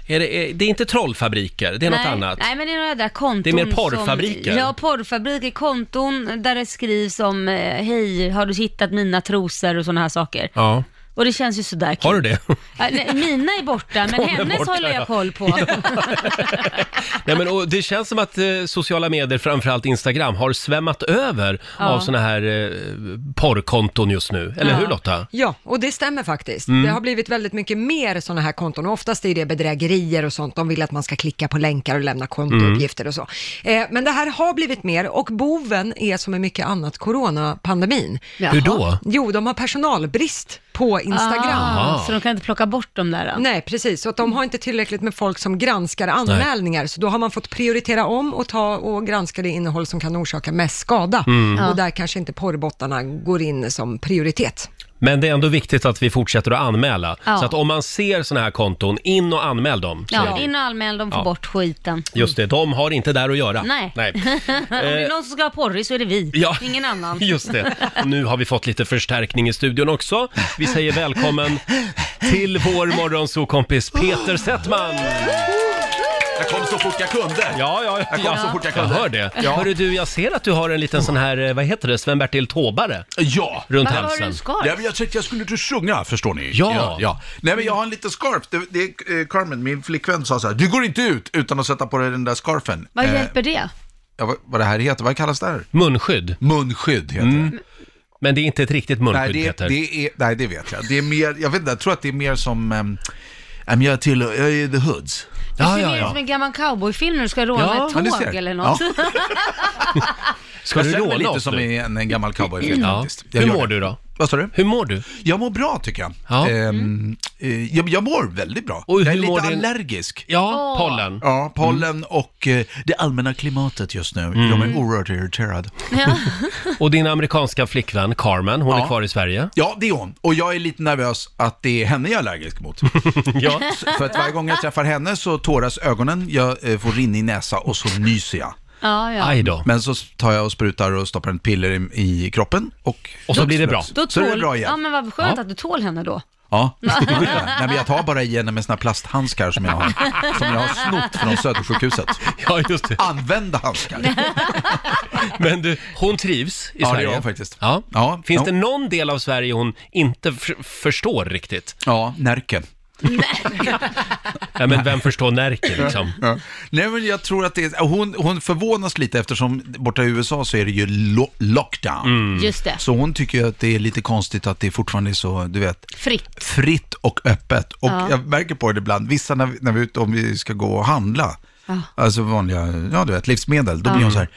[SPEAKER 1] det, är, det är inte trollfabriker, det är något
[SPEAKER 2] nej,
[SPEAKER 1] annat.
[SPEAKER 2] Nej, men det är några där konton
[SPEAKER 1] Det är mer
[SPEAKER 2] som-
[SPEAKER 1] porrfabriker.
[SPEAKER 2] ja, porrfabriker, konton där det skrivs om eh, hej, har du hittat mina trosor och sådana här saker.
[SPEAKER 1] Ja.
[SPEAKER 2] Och det känns ju sådär kul.
[SPEAKER 1] Har du det?
[SPEAKER 2] Ja, nej, mina är borta, men
[SPEAKER 1] De är
[SPEAKER 2] hennes
[SPEAKER 1] borta,
[SPEAKER 2] håller
[SPEAKER 1] ja.
[SPEAKER 2] jag koll på.
[SPEAKER 1] Nej, men, och det känns som att eh, sociala medier, framförallt Instagram, har svämmat över
[SPEAKER 2] Ja.
[SPEAKER 1] av såna här eh, porrkonton just nu. Eller
[SPEAKER 2] Ja.
[SPEAKER 1] hur Lotta? Mm.
[SPEAKER 3] Ja, och det stämmer faktiskt. Det har blivit väldigt mycket mer sådana här konton och oftast är det bedrägerier och sånt. De vill att man ska klicka på länkar och lämna
[SPEAKER 1] Mm.
[SPEAKER 3] kontouppgifter och så. Eh, men det här har blivit mer och boven är som med mycket annat coronapandemin.
[SPEAKER 2] Jaha.
[SPEAKER 1] Hur då?
[SPEAKER 3] Jo, de har personalbrist på Instagram.
[SPEAKER 2] Ah, så de kan inte plocka bort dem där? då?
[SPEAKER 3] Nej, precis. Så att de har inte tillräckligt med folk som granskar anmälningar, så då har man fått prioritera om och ta och granska det innehåll som kan orsaka mest skada.
[SPEAKER 2] Ja.
[SPEAKER 1] Mm.
[SPEAKER 3] Och där kanske inte porrbottarna går in som prioritet.
[SPEAKER 1] Men det är ändå viktigt att vi fortsätter att anmäla.
[SPEAKER 2] Ja.
[SPEAKER 1] Så att om man ser såna här konton, in och anmäl dem. säger
[SPEAKER 2] Ja,
[SPEAKER 1] vi.
[SPEAKER 2] in och anmäl, de får
[SPEAKER 1] Ja.
[SPEAKER 2] bort skiten.
[SPEAKER 1] Just det, de har inte där att göra.
[SPEAKER 2] Nej.
[SPEAKER 1] Nej. Eh.
[SPEAKER 2] Om det är någon som ska ha porrig så är det vi,
[SPEAKER 1] Ja.
[SPEAKER 2] ingen annan.
[SPEAKER 1] Just det. Och nu har vi fått lite förstärkning i studion också. Vi säger välkommen till vår morgonsokompis Peter Settman.
[SPEAKER 10] Jag kom så fort jag kunde.
[SPEAKER 1] Ja, ja, ja.
[SPEAKER 10] Jag kom så fort jag kunde.
[SPEAKER 1] hör det.
[SPEAKER 10] Ja.
[SPEAKER 1] Hörru du, jag ser att du har en liten sån här, eh, vad heter det, Sven-Bertil Taubare
[SPEAKER 10] Ja.
[SPEAKER 1] runt
[SPEAKER 2] Varför har du
[SPEAKER 1] halsen.
[SPEAKER 2] en scarf?
[SPEAKER 10] Ja, men jag tänkte jag skulle inte sjunga, förstår ni.
[SPEAKER 1] Ja.
[SPEAKER 10] ja, Nej, men jag har en liten scarf. Det, det, eh, Carmen, min flickvän, sa så här, du går inte ut utan att sätta på dig den där scarfen.
[SPEAKER 2] Vad
[SPEAKER 10] Eh,
[SPEAKER 2] hjälper det?
[SPEAKER 10] ja, vad, vad det här heter, vad kallas det här?
[SPEAKER 1] Munskydd. Mm.
[SPEAKER 10] Munskydd heter det.
[SPEAKER 1] Men det är inte ett riktigt munskydd
[SPEAKER 10] Nej det,
[SPEAKER 1] Peter.
[SPEAKER 10] det är, nej, det vet jag. Det är mer, jag vet inte, jag tror att det är mer som, ehm, ehm, jag, tillhör, jag är the hoods.
[SPEAKER 1] Ja,
[SPEAKER 2] det ser
[SPEAKER 1] ja,
[SPEAKER 2] mer ut
[SPEAKER 1] ja.
[SPEAKER 2] som en gammal cowboyfilm när du ska råna
[SPEAKER 1] Ja,
[SPEAKER 2] ett
[SPEAKER 10] men du
[SPEAKER 2] tåg
[SPEAKER 10] ser.
[SPEAKER 2] eller något.
[SPEAKER 1] Ska du
[SPEAKER 10] jag känner mig
[SPEAKER 1] råna
[SPEAKER 10] lite
[SPEAKER 1] oss
[SPEAKER 10] som
[SPEAKER 1] nu?
[SPEAKER 10] i en, en gammal cowboyfilm
[SPEAKER 1] Ja.
[SPEAKER 10] faktiskt. Jag
[SPEAKER 1] Hur
[SPEAKER 10] gör
[SPEAKER 1] mår
[SPEAKER 10] det.
[SPEAKER 1] du då?
[SPEAKER 10] Vad sa du?
[SPEAKER 1] Hur mår du?
[SPEAKER 10] Jag mår bra tycker jag.
[SPEAKER 1] Ja.
[SPEAKER 10] Ehm, eh, jag, jag mår väldigt bra.
[SPEAKER 1] Och
[SPEAKER 10] jag är
[SPEAKER 1] hur mår
[SPEAKER 10] lite
[SPEAKER 1] din-
[SPEAKER 10] allergisk.
[SPEAKER 1] Ja, pollen. Mm.
[SPEAKER 10] Ja, pollen och eh, det allmänna klimatet just nu gör mig oerhört irriterad.
[SPEAKER 1] Mm. Och din amerikanska flickvän Carmen, hon är
[SPEAKER 10] Ja.
[SPEAKER 1] kvar i Sverige.
[SPEAKER 10] Ja, det är hon. Och jag är lite nervös att det är henne jag är allergisk mot.
[SPEAKER 1] Ja.
[SPEAKER 10] För att varje gång jag träffar henne så tåras ögonen, jag eh, får rinnig näsa och så nyser jag.
[SPEAKER 2] Ja, ja.
[SPEAKER 1] Aj då.
[SPEAKER 10] Men så tar jag och sprutar och stoppar ett piller i, i kroppen och...
[SPEAKER 1] Och så blir det bra.
[SPEAKER 2] Då
[SPEAKER 10] så är det
[SPEAKER 2] tål-
[SPEAKER 10] bra igen.
[SPEAKER 2] Ja, men vad skönt
[SPEAKER 1] Ja.
[SPEAKER 2] att du tål henne då.
[SPEAKER 10] Ja, nej men jag tar bara i henne med såna här plasthandskar som jag har, som jag har snott från Södersjukhuset.
[SPEAKER 1] Ja, just det.
[SPEAKER 10] Använda handskar.
[SPEAKER 1] Men du, hon trivs i
[SPEAKER 10] Ja, det
[SPEAKER 1] Sverige?
[SPEAKER 10] gör hon faktiskt.
[SPEAKER 1] Ja.
[SPEAKER 10] Ja,
[SPEAKER 1] Finns
[SPEAKER 10] ja.
[SPEAKER 1] det någon del av Sverige hon inte f- förstår riktigt?
[SPEAKER 10] Ja, Närke.
[SPEAKER 1] Ja, men vem förstår Närke liksom?
[SPEAKER 10] Ja. Nej men jag tror att det är, hon, hon förvånas lite eftersom borta i USA så är det ju lo- lockdown.
[SPEAKER 1] Mm.
[SPEAKER 2] Just det.
[SPEAKER 10] Så hon tycker ju att det är lite konstigt att det fortfarande är så, du vet,
[SPEAKER 2] Fritt.
[SPEAKER 10] fritt och öppet. Och
[SPEAKER 2] Ja.
[SPEAKER 10] jag märker på det ibland, vissa när vi, när vi är ute, om vi ska gå och handla,
[SPEAKER 2] Ja.
[SPEAKER 10] Alltså vanliga, ja du vet, livsmedel. Då blir
[SPEAKER 2] Ja.
[SPEAKER 10] hon så här,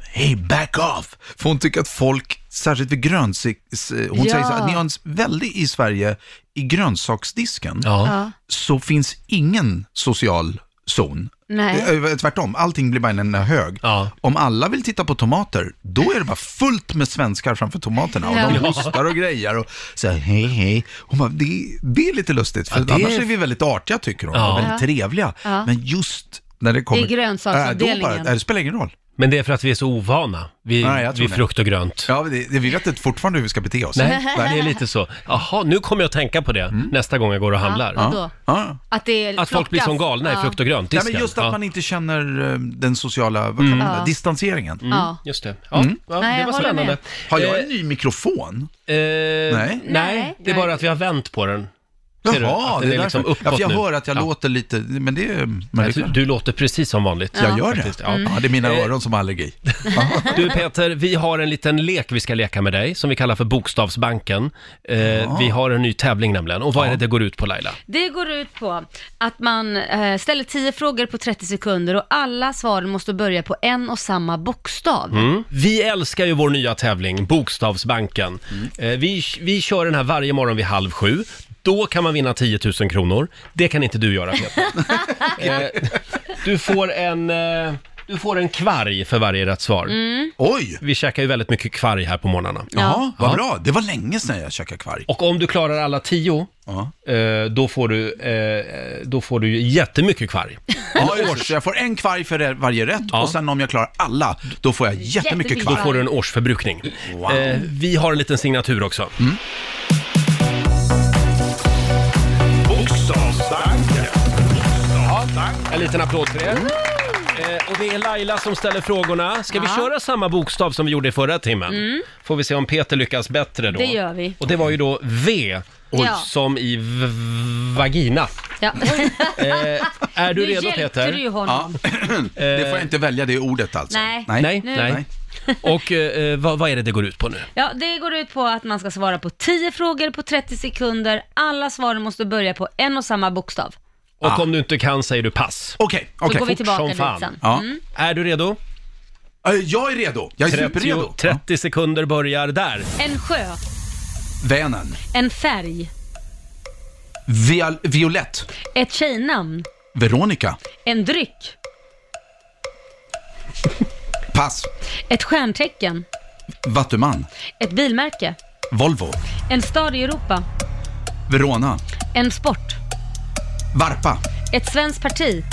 [SPEAKER 10] hey back off! För hon tycker att folk, särskilt vid grönsaker, hon
[SPEAKER 2] Ja.
[SPEAKER 10] säger så här, att ni har en väldigt i Sverige, i grönsaksdisken,
[SPEAKER 2] Ja. Ja.
[SPEAKER 10] så finns ingen social zon.
[SPEAKER 2] Nej.
[SPEAKER 10] Eh, Tvärtom, allting blir bara en enda hög. Om alla vill titta på tomater, då är det bara fullt med svenskar framför tomaterna och de
[SPEAKER 11] Ja.
[SPEAKER 10] hostar och grejar och säger hej hej. Hon bara, det, det är lite lustigt, för
[SPEAKER 11] Ja, det är-
[SPEAKER 10] annars är vi väldigt artiga tycker hon,
[SPEAKER 1] Ja.
[SPEAKER 10] och väldigt trevliga.
[SPEAKER 2] Ja.
[SPEAKER 10] Men just när det kommer...
[SPEAKER 2] I grönsaksavdelningen.
[SPEAKER 10] Äh, då bara, äh, det spelar ingen roll.
[SPEAKER 1] Men det är för att vi är så ovana vid,
[SPEAKER 10] Nej, jag tror
[SPEAKER 1] vid
[SPEAKER 10] det.
[SPEAKER 1] frukt och grönt.
[SPEAKER 10] Ja, det, det, vi vet inte fortfarande hur vi ska bete oss. Mm.
[SPEAKER 1] Nej, det är lite så. Jaha, nu kommer jag att tänka på det nästa gång jag går och handlar.
[SPEAKER 2] Ja, vadå? Att, det
[SPEAKER 1] Att folk blir som galna i frukt och grönt
[SPEAKER 10] Nej, men just att man inte känner eh, den sociala vad kallar man
[SPEAKER 2] Mm.
[SPEAKER 10] det,
[SPEAKER 2] Ja.
[SPEAKER 10] distanseringen.
[SPEAKER 1] Mm, Ja. just det. Ja, ja, Nej, det jag var håller spännande. med.
[SPEAKER 10] Har jag
[SPEAKER 1] Eh,
[SPEAKER 10] en ny mikrofon?
[SPEAKER 1] nej. Eh, nej, det är bara att vi har vänt på den. Ser du?
[SPEAKER 10] Jaha,
[SPEAKER 1] Att
[SPEAKER 10] det
[SPEAKER 1] den
[SPEAKER 10] är
[SPEAKER 1] är liksom
[SPEAKER 10] därför.
[SPEAKER 1] uppåt
[SPEAKER 10] Ja, för jag
[SPEAKER 1] nu.
[SPEAKER 10] hör att jag
[SPEAKER 1] Ja.
[SPEAKER 10] låter lite, men det är... Men
[SPEAKER 1] Nej, du, du låter precis som vanligt.
[SPEAKER 10] Jag gör det.
[SPEAKER 1] Faktiskt,
[SPEAKER 10] Ja. det är mina
[SPEAKER 1] Eh,
[SPEAKER 10] öron som har allergi.
[SPEAKER 1] Du Peter, vi har en liten lek vi ska leka med dig som vi kallar för Bokstavsbanken. Eh, Vi har en ny tävling nämligen. Och vad är det det går ut på Laila?
[SPEAKER 2] Det går ut på att man eh, ställer 10 frågor på 30 sekunder och alla svar måste börja på en och samma bokstav.
[SPEAKER 1] Mm. Vi älskar ju vår nya tävling, Bokstavsbanken.
[SPEAKER 10] Mm.
[SPEAKER 1] Eh, vi, vi kör den här varje morgon vid halv sju. Då kan man vinna 10 000 kronor. Det kan inte du göra Peter. eh, du, får en, eh, du får en kvarg för varje rätt svar.
[SPEAKER 2] Mm.
[SPEAKER 10] Oj!
[SPEAKER 1] Vi käkar ju väldigt mycket kvarg här på morgnarna.
[SPEAKER 10] Jaha, vad bra. Det var länge sedan jag käkade kvarg.
[SPEAKER 1] Och om du klarar alla tio, eh, då, får du, eh, då får du ju jättemycket kvarg.
[SPEAKER 10] Ja, just det. Jag får en kvarg för varje rätt och sen om jag klarar alla, då får jag jättemycket kvarg.
[SPEAKER 1] Då får du en årsförbrukning.
[SPEAKER 10] Wow. Mm.
[SPEAKER 1] Eh, vi har en liten signatur också.
[SPEAKER 11] Bokstavsbanken.
[SPEAKER 1] En liten applåd för er. Eh, och det är Laila som ställer frågorna. Ska vi köra samma bokstav som vi gjorde i förra timmen?
[SPEAKER 2] Mm.
[SPEAKER 1] Får vi se om Peter lyckas bättre då.
[SPEAKER 2] Det gör vi.
[SPEAKER 1] Och det var ju då V,
[SPEAKER 2] Oj.
[SPEAKER 1] som i v- vagina.
[SPEAKER 2] Ja.
[SPEAKER 1] Eh, är du
[SPEAKER 2] Nu
[SPEAKER 1] redo
[SPEAKER 2] hjälpte
[SPEAKER 1] Peter?
[SPEAKER 2] du ju honom.
[SPEAKER 10] Det får jag inte välja det ordet alltså.
[SPEAKER 2] Nej.
[SPEAKER 1] Nej.
[SPEAKER 2] Nu-
[SPEAKER 1] Nej. Och eh, vad, vad är det det går ut på nu?
[SPEAKER 2] Ja, det går ut på att man ska svara på 10 frågor på 30 sekunder. Alla svar måste börja på en och samma bokstav.
[SPEAKER 1] Och om du inte kan säger du pass.
[SPEAKER 10] Ah. Okej,
[SPEAKER 2] Så okej. går vi tillbaka dit sen. Ja. Mm.
[SPEAKER 1] Är du redo?
[SPEAKER 10] Eh, Jag är redo. Jag är superredo.
[SPEAKER 1] 30 sekunder börjar där.
[SPEAKER 2] En sjö,
[SPEAKER 10] Vänern.
[SPEAKER 2] en färg,
[SPEAKER 10] Viol- Violett.
[SPEAKER 2] ett tjejnamn,
[SPEAKER 10] Veronica.
[SPEAKER 2] en dryck,
[SPEAKER 10] Pass.
[SPEAKER 2] ett stjärntecken,
[SPEAKER 10] Vattuman.
[SPEAKER 2] ett bilmärke,
[SPEAKER 10] Volvo.
[SPEAKER 2] en stad i Europa,
[SPEAKER 10] Verona.
[SPEAKER 2] en sport,
[SPEAKER 10] Varpa.
[SPEAKER 2] ett svenskt parti,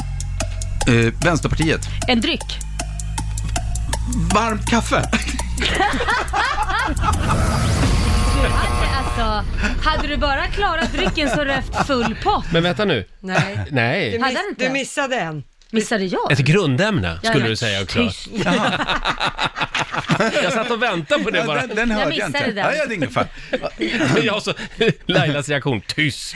[SPEAKER 10] Eh, Vänsterpartiet.
[SPEAKER 2] en dryck.
[SPEAKER 10] Varmt kaffe.
[SPEAKER 2] Alltså, hade du bara klarat drycken så hade du haft full pott.
[SPEAKER 1] Men vänta nu.
[SPEAKER 3] Nej.
[SPEAKER 1] Nej.
[SPEAKER 3] Du, miss, du missade en.
[SPEAKER 2] Missade jag?
[SPEAKER 1] Ett grundämne
[SPEAKER 2] Ja,
[SPEAKER 1] skulle
[SPEAKER 2] ja.
[SPEAKER 1] du säga också.
[SPEAKER 2] Tyst.
[SPEAKER 1] Jag satt och väntade på det bara.
[SPEAKER 10] Den, den
[SPEAKER 2] Jag
[SPEAKER 10] hörde jag
[SPEAKER 2] missade
[SPEAKER 10] inte.
[SPEAKER 2] den.
[SPEAKER 10] Ja, jag hade ingen fall.
[SPEAKER 1] Jag så, Lailas reaktion, tyst.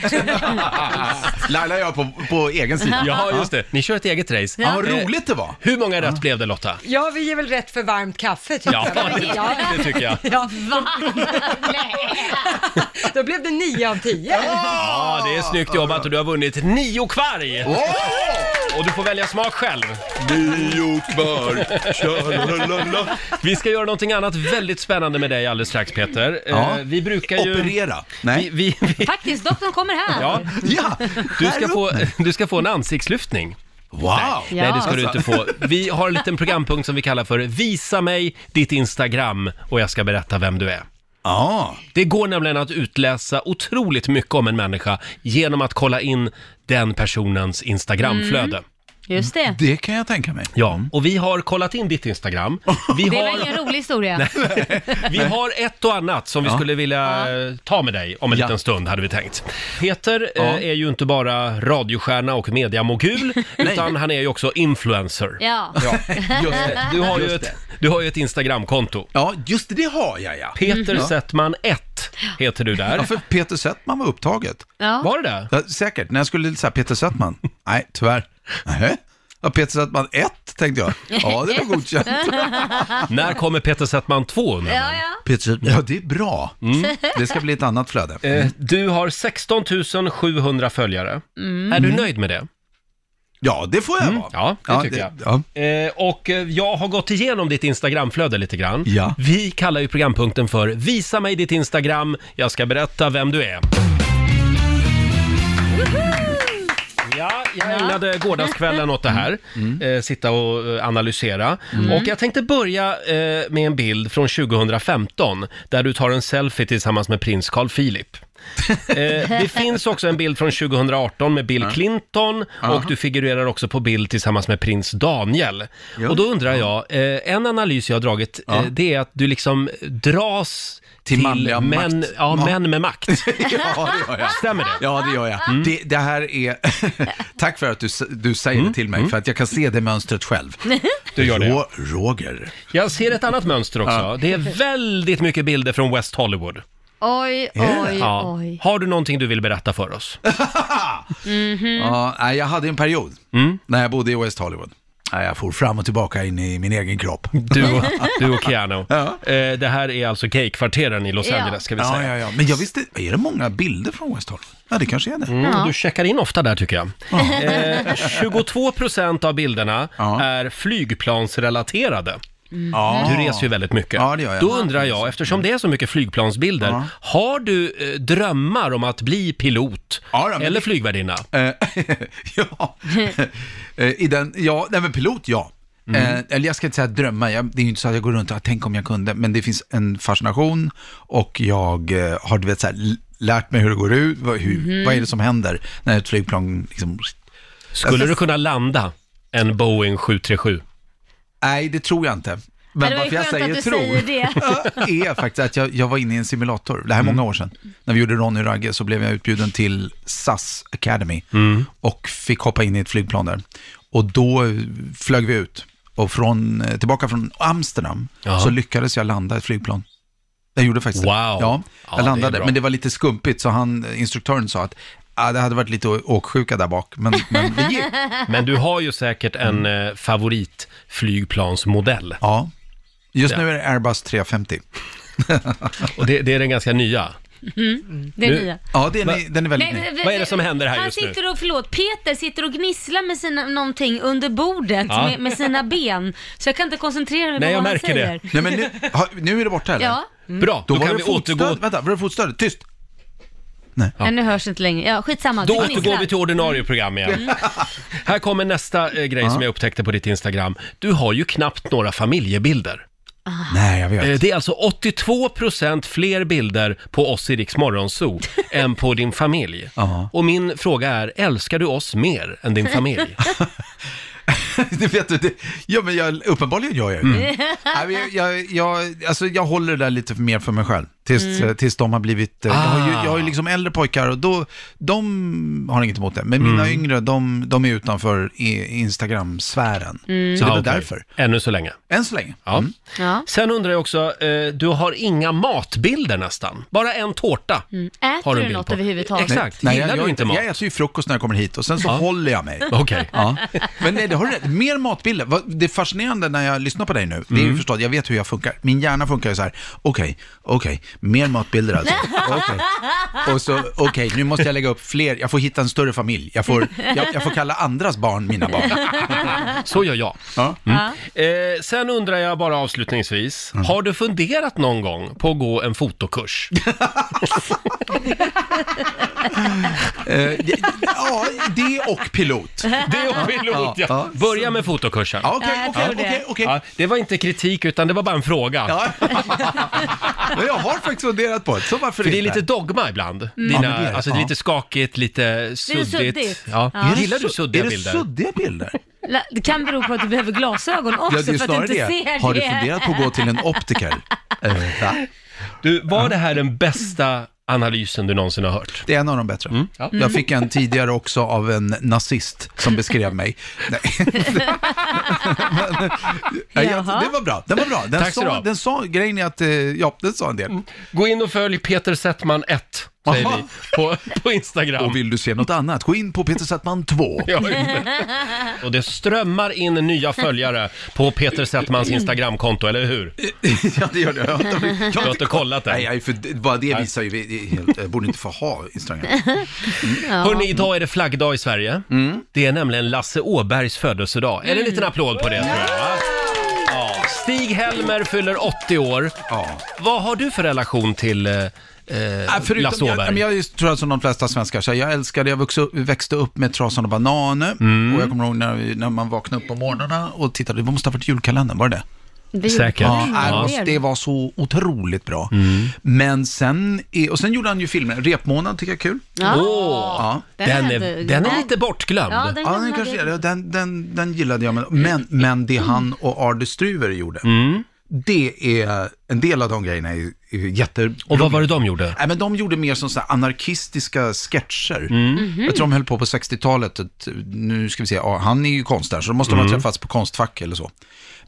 [SPEAKER 10] Laila och jag på, på egen sida.
[SPEAKER 1] Ja, just det. Ni kör ett eget race.
[SPEAKER 10] Ja, vad
[SPEAKER 1] Eh,
[SPEAKER 10] roligt det var.
[SPEAKER 1] Hur många rätt blev det Lotta?
[SPEAKER 3] Ja, vi ger väl rätt för varmt kaffe tycker
[SPEAKER 1] Ja,
[SPEAKER 3] jag.
[SPEAKER 1] det- det tycker jag.
[SPEAKER 3] Ja,
[SPEAKER 2] va?
[SPEAKER 3] Då blev det nio av tio.
[SPEAKER 1] Ja, det är snyggt jobbat och du har vunnit nio kvarg! Och du får välja smak själv.
[SPEAKER 10] Nio kvarg,
[SPEAKER 1] Vi ska göra någonting annat väldigt spännande med dig alldeles strax Peter. Eh,
[SPEAKER 10] Ja.
[SPEAKER 1] Vi brukar ju...
[SPEAKER 10] Operera. Nej.
[SPEAKER 1] Vi, vi, vi,
[SPEAKER 2] Faktiskt, doktorn kommer här.
[SPEAKER 1] ja.
[SPEAKER 10] Ja,
[SPEAKER 1] Du ska, få, du ska få en ansiktslyftning.
[SPEAKER 10] Wow!
[SPEAKER 1] Nej, nej, det ska du inte få. Vi har en liten programpunkt som vi kallar för Visa mig ditt Instagram och jag ska berätta vem du är.
[SPEAKER 10] Ja.
[SPEAKER 1] Det går nämligen att utläsa otroligt mycket om en människa genom att kolla in den personens Instagramflöde.
[SPEAKER 2] Mm, Just det.
[SPEAKER 10] Det kan jag tänka mig. Mm.
[SPEAKER 1] Ja, och vi har kollat in ditt Instagram. Vi
[SPEAKER 2] Det
[SPEAKER 1] har,
[SPEAKER 2] var ingen rolig historia.
[SPEAKER 1] vi har ett och annat som vi skulle vilja eh, ta med dig om en liten stund, hade vi tänkt. Peter eh,
[SPEAKER 10] Ja.
[SPEAKER 1] är ju inte bara radiostjärna och mediamogul, utan han är ju också influencer.
[SPEAKER 2] Ja.
[SPEAKER 10] Ja, just det.
[SPEAKER 1] Du har, ju
[SPEAKER 10] Just
[SPEAKER 1] ett,
[SPEAKER 10] det.
[SPEAKER 1] du har ju ett Instagramkonto.
[SPEAKER 10] Ja, just det, det har jag ja. Mm.
[SPEAKER 1] Peter
[SPEAKER 10] Ja.
[SPEAKER 1] Settman 1 heter du där.
[SPEAKER 10] Ja, för Peter Settman var upptaget.
[SPEAKER 2] ja.
[SPEAKER 1] Var det det?
[SPEAKER 10] Ja, säkert, när jag skulle säga Peter Settman. Nej, tyvärr. Nähä? Ja, Peter Settman 1 tänkte jag. Ja, det var godkänt.
[SPEAKER 1] När kommer Peter Settman 2 undrar
[SPEAKER 2] Ja,
[SPEAKER 1] man?
[SPEAKER 2] ja.
[SPEAKER 10] Peter Settman, ja det är bra.
[SPEAKER 1] Mm.
[SPEAKER 10] Det ska bli ett annat flöde. Mm. Mm.
[SPEAKER 1] Eh, Du har 16 700 följare. Är du nöjd med det?
[SPEAKER 12] Ja, det får jag vara.
[SPEAKER 1] Ja, det
[SPEAKER 12] Ja,
[SPEAKER 1] tycker
[SPEAKER 12] det-
[SPEAKER 1] jag. Eh, och eh, jag har gått igenom ditt Instagramflöde lite grann.
[SPEAKER 12] Ja.
[SPEAKER 1] Vi kallar ju programpunkten för “Visa mig ditt Instagram, jag ska berätta vem du är”. Ja, jag ägnade gårdagskvällen åt det här. Eh, sitta och eh, analysera.
[SPEAKER 10] Mm.
[SPEAKER 1] Och jag tänkte börja eh, med en bild från 2015 där du tar en selfie tillsammans med prins Carl Philip. eh, det finns också en bild från 2018 med Bill Clinton och
[SPEAKER 10] Aha.
[SPEAKER 1] du figurerar också på bild tillsammans med prins Daniel.
[SPEAKER 10] Ja.
[SPEAKER 1] Och då undrar jag, eh, en analys jag har dragit,
[SPEAKER 10] Ja.
[SPEAKER 1] eh, det är att du liksom dras till,
[SPEAKER 10] manliga
[SPEAKER 1] män,
[SPEAKER 10] makt.
[SPEAKER 1] ja,
[SPEAKER 10] Ja.
[SPEAKER 1] män med makt.
[SPEAKER 10] Ja, det gör jag.
[SPEAKER 1] Stämmer det? Mm.
[SPEAKER 10] Ja, det gör jag. Det, det här är... Tack för att du, s- du säger
[SPEAKER 1] Mm.
[SPEAKER 10] det till mig, för att jag kan se det mönstret själv.
[SPEAKER 1] Du gör det, ja.
[SPEAKER 10] Roger.
[SPEAKER 1] Jag ser ett annat mönster också. Det är väldigt mycket bilder från West Hollywood.
[SPEAKER 2] Oj, oj, oj.
[SPEAKER 1] Har du någonting du vill berätta för oss?
[SPEAKER 2] Mhm.
[SPEAKER 1] Mm.
[SPEAKER 10] Ja, nej, jag hade en period när jag bodde i West Hollywood. Nej, jag for fram och tillbaka in i min egen kropp.
[SPEAKER 1] Du och, du och Keanu. Eh, Det här är alltså gaykvarteren i Los
[SPEAKER 10] Ja.
[SPEAKER 1] Angeles, ska vi
[SPEAKER 10] Ja,
[SPEAKER 1] säga.
[SPEAKER 10] ja, ja. Men jag visste, är det många bilder från West Hollywood? Ja, det kanske är det.
[SPEAKER 1] Mm, Du checkar in ofta där tycker jag. Eh, 22 procent av bilderna är flygplansrelaterade.
[SPEAKER 10] Ja.
[SPEAKER 1] Du reser ju väldigt mycket.
[SPEAKER 10] Ja, det gör jag.
[SPEAKER 1] Då undrar jag, eftersom det är så mycket flygplansbilder, har du eh, drömmar om att bli pilot eller flygvärdinna?
[SPEAKER 10] Eh, I den, ja, nej men pilot, ja.
[SPEAKER 1] Mm.
[SPEAKER 10] Eh, eller jag ska inte säga drömma, jag, det är ju inte så att jag går runt och tänker om jag kunde, men det finns en fascination och jag eh, har du vet, så här, l- lärt mig hur det går ut, vad, hur,
[SPEAKER 1] Mhm.
[SPEAKER 10] vad är det som händer när ett flygplan liksom...
[SPEAKER 1] Skulle
[SPEAKER 10] Alltså-
[SPEAKER 1] du kunna landa en Boeing 737?
[SPEAKER 10] Nej, det tror jag inte. Men
[SPEAKER 2] det var ju
[SPEAKER 10] varför jag
[SPEAKER 2] skönt
[SPEAKER 10] säger
[SPEAKER 2] att
[SPEAKER 10] tror
[SPEAKER 2] du säger det.
[SPEAKER 10] är faktiskt att jag, jag var inne i en simulator, det här är många år sedan. När vi gjorde Ronny och Ragge så blev jag utbjuden till SAS Academy
[SPEAKER 1] Mm.
[SPEAKER 10] och fick hoppa in i ett flygplan där. Och då eh, flög vi ut och från, eh, tillbaka från Amsterdam
[SPEAKER 1] Ja.
[SPEAKER 10] så lyckades jag landa ett flygplan. Jag gjorde faktiskt
[SPEAKER 1] Wow.
[SPEAKER 10] det. Ja, jag
[SPEAKER 1] Ja, det är
[SPEAKER 10] landade,
[SPEAKER 1] bra.
[SPEAKER 10] men det var lite skumpigt så han, instruktören sa att ah, det hade varit lite å- åksjuka där bak, men, men det gick.
[SPEAKER 1] Men du har ju säkert en eh, favoritflygplansmodell.
[SPEAKER 10] Ja, just
[SPEAKER 1] Ja.
[SPEAKER 10] nu är det Airbus 350.
[SPEAKER 1] Och det, det är den ganska nya.
[SPEAKER 2] Mm. Det är
[SPEAKER 1] Nu-
[SPEAKER 2] nya.
[SPEAKER 10] Ja, det är
[SPEAKER 1] Va-
[SPEAKER 10] ni, den är väldigt ny.
[SPEAKER 2] v-
[SPEAKER 1] Vad är det som händer här
[SPEAKER 2] han
[SPEAKER 1] just nu?
[SPEAKER 2] sitter och, förlåt, Peter sitter och gnisslar med sina, någonting under bordet
[SPEAKER 10] Ja.
[SPEAKER 2] med, med sina ben. Så jag kan inte koncentrera
[SPEAKER 10] Nej,
[SPEAKER 2] mig på
[SPEAKER 10] jag
[SPEAKER 2] vad
[SPEAKER 10] märker
[SPEAKER 2] han
[SPEAKER 10] det.
[SPEAKER 2] säger.
[SPEAKER 10] Nej, men nu, ha, nu är det borta eller?
[SPEAKER 2] Ja. Mm.
[SPEAKER 1] Bra,
[SPEAKER 10] då,
[SPEAKER 1] då
[SPEAKER 10] var
[SPEAKER 1] kan
[SPEAKER 10] det
[SPEAKER 1] vi återgå-
[SPEAKER 10] fotstöd. Vänta, var det fotstödet? Tyst!
[SPEAKER 2] Nej, nu hörs det inte längre. Ja, skitsamma.
[SPEAKER 1] Då
[SPEAKER 2] du
[SPEAKER 1] återgår
[SPEAKER 2] gnisslar.
[SPEAKER 1] vi till ordinarie program igen. Här kommer nästa eh, grej som jag upptäckte på ditt Instagram. Du har ju knappt några familjebilder.
[SPEAKER 10] Nej, jag vet.
[SPEAKER 1] Eh, Det är alltså 82% fler bilder på oss i Riks Morgonzoo än på din familj. Och min fråga är, älskar du oss mer än din
[SPEAKER 2] Mm.
[SPEAKER 1] familj?
[SPEAKER 10] det vet du, det, ja, men jag, uppenbarligen gör jag ju
[SPEAKER 1] Mm.
[SPEAKER 10] det. Nej, men jag, jag, jag, alltså, jag håller det där lite mer för mig själv, tills,
[SPEAKER 1] Mm.
[SPEAKER 10] eh, tills de har blivit... eh, Jag, har ju,
[SPEAKER 1] Ah.
[SPEAKER 10] jag har ju liksom äldre pojkar och då, de har inget emot det. Men mina
[SPEAKER 1] Mm.
[SPEAKER 10] yngre, de, de är utanför i- Instagram-sfären. Så det är
[SPEAKER 1] Ja,
[SPEAKER 10] väl
[SPEAKER 1] Ah, okej.
[SPEAKER 10] därför. Mm.
[SPEAKER 1] Ännu så länge.
[SPEAKER 10] Än så länge.
[SPEAKER 1] Mm. Ja. Sen undrar jag också, eh, du har inga matbilder nästan. Bara en tårta.
[SPEAKER 2] Äter
[SPEAKER 1] Har du en
[SPEAKER 2] du
[SPEAKER 1] bild
[SPEAKER 2] något
[SPEAKER 1] på?
[SPEAKER 2] överhuvudtaget?
[SPEAKER 1] Exakt.
[SPEAKER 10] Nej,
[SPEAKER 1] Gillar
[SPEAKER 10] jag,
[SPEAKER 1] du
[SPEAKER 10] gör
[SPEAKER 1] inte
[SPEAKER 10] inte
[SPEAKER 1] mat?
[SPEAKER 10] jag äter ju frukost när jag kommer hit och sen så
[SPEAKER 1] Ja.
[SPEAKER 10] håller jag mig.
[SPEAKER 1] Okej.
[SPEAKER 10] Ja. Men nej, det har du rätt. Mer matbilder. Vad- Det är fascinerande när jag lyssnar på dig nu, det är ju
[SPEAKER 1] Mm.
[SPEAKER 10] förstås, jag vet hur jag funkar. Min hjärna funkar ju så här, okej, okej, mer matbilder alltså. Okej. Och så, okej, nu måste jag lägga upp fler, jag får hitta en större familj. Jag får, jag, jag får kalla andras barn mina barn.
[SPEAKER 1] Så gör jag.
[SPEAKER 10] Ja. Mm.
[SPEAKER 1] Eh, sen undrar jag bara avslutningsvis, har du funderat någon gång på att gå en fotokurs?
[SPEAKER 10] Eh, det- ja, det och pilot.
[SPEAKER 1] Det och pilot, ja. Börja med fotokursen.
[SPEAKER 10] Ja, okej, Ja, jag okej, tror det. okej, okej.
[SPEAKER 1] Ja, det var inte kritik, utan det var bara en fråga.
[SPEAKER 10] Men jag har faktiskt funderat på det, så varför
[SPEAKER 1] För det är
[SPEAKER 10] inte?
[SPEAKER 1] lite dogma ibland.
[SPEAKER 10] Mm.
[SPEAKER 1] Dina,
[SPEAKER 10] Ja, men det är det.
[SPEAKER 1] alltså det är
[SPEAKER 10] Ja.
[SPEAKER 1] lite skakigt, lite suddigt.
[SPEAKER 2] suddigt.
[SPEAKER 1] Ja.
[SPEAKER 2] Ja. Är det
[SPEAKER 1] Gillar du
[SPEAKER 2] su-
[SPEAKER 1] suddiga
[SPEAKER 10] är det
[SPEAKER 1] bilder?
[SPEAKER 10] suddiga bilder?
[SPEAKER 2] La- Det kan bero på att du behöver glasögon också Alltså, för att du inte ser
[SPEAKER 10] Har du
[SPEAKER 2] det.
[SPEAKER 10] funderat på att gå till en optiker? Eh, va?
[SPEAKER 1] Du, var det här den bästa analysen du någonsin har hört? Mm.
[SPEAKER 10] Det är en av de bättre.
[SPEAKER 1] Ja.
[SPEAKER 10] Jag fick en tidigare också av en nazist som beskrev mig. Nej. Men, jag,
[SPEAKER 1] Jaha.
[SPEAKER 10] det var bra, den var bra. Den,
[SPEAKER 1] Tack så
[SPEAKER 10] sa,
[SPEAKER 1] bra. Mm.
[SPEAKER 10] den sa, grejen är att, eh, ja, den sa en del.
[SPEAKER 1] Gå in och följ Peter Settman 1 säger vi på, på Instagram.
[SPEAKER 10] Och vill du se något annat, gå in på Peter Settman 2.
[SPEAKER 1] Ja, Och det strömmar in nya följare på Peter Settmans Instagramkonto, eller hur?
[SPEAKER 10] ja, det gör det. Jag har inte- jag har
[SPEAKER 1] Du har inte kollat det?
[SPEAKER 10] Nej, nej, för det- bara det visar ju, vi- det är helt- jag borde inte få ha Instagram. Mm.
[SPEAKER 1] Hörni, idag är det flaggdag i Sverige. Det är nämligen Lasse Åbergs födelsedag. Är det en liten applåd på det tror jag? va? Ja. Stig Helmer fyller 80 år. Vad har du för relation till eh, eh,
[SPEAKER 10] Ja, förutom-
[SPEAKER 1] Lasse
[SPEAKER 10] jag,
[SPEAKER 1] Åberg?
[SPEAKER 10] men jag är ju, tror jag som de flesta svenskar, så här, jag älskade, jag vuxo, växte upp med Trasan och Bananer.
[SPEAKER 1] Mm.
[SPEAKER 10] Och jag kommer ihåg när, vi- när man vaknade upp på morgnarna och tittade, det måste ha varit julkalendern, var det
[SPEAKER 1] Det-
[SPEAKER 10] det?
[SPEAKER 1] Säkert. Mm.
[SPEAKER 10] Ja,
[SPEAKER 1] Ja.
[SPEAKER 10] alltså, det var så otroligt bra. Men sen, är- och sen gjorde han ju filmer, Repmånad tycker jag är kul.
[SPEAKER 1] Ja. Åh, Den den är- hade- den är den- lite bortglömd.
[SPEAKER 10] Ja, den, kanske är det. Den, den, den gillade jag. Men, men, men det han och Arde Struver gjorde,
[SPEAKER 1] Mm.
[SPEAKER 10] det är, en del av de grejerna är, är jätte...
[SPEAKER 1] Och vad var det de gjorde?
[SPEAKER 10] Nej, men de gjorde mer som så här anarkistiska sketcher.
[SPEAKER 1] Mhm.
[SPEAKER 10] Jag tror de höll på på 60-talet. att, Nu ska vi se, ja, han är ju konstnär, så då måste de
[SPEAKER 1] Mm.
[SPEAKER 10] ha träffats på Konstfack eller så.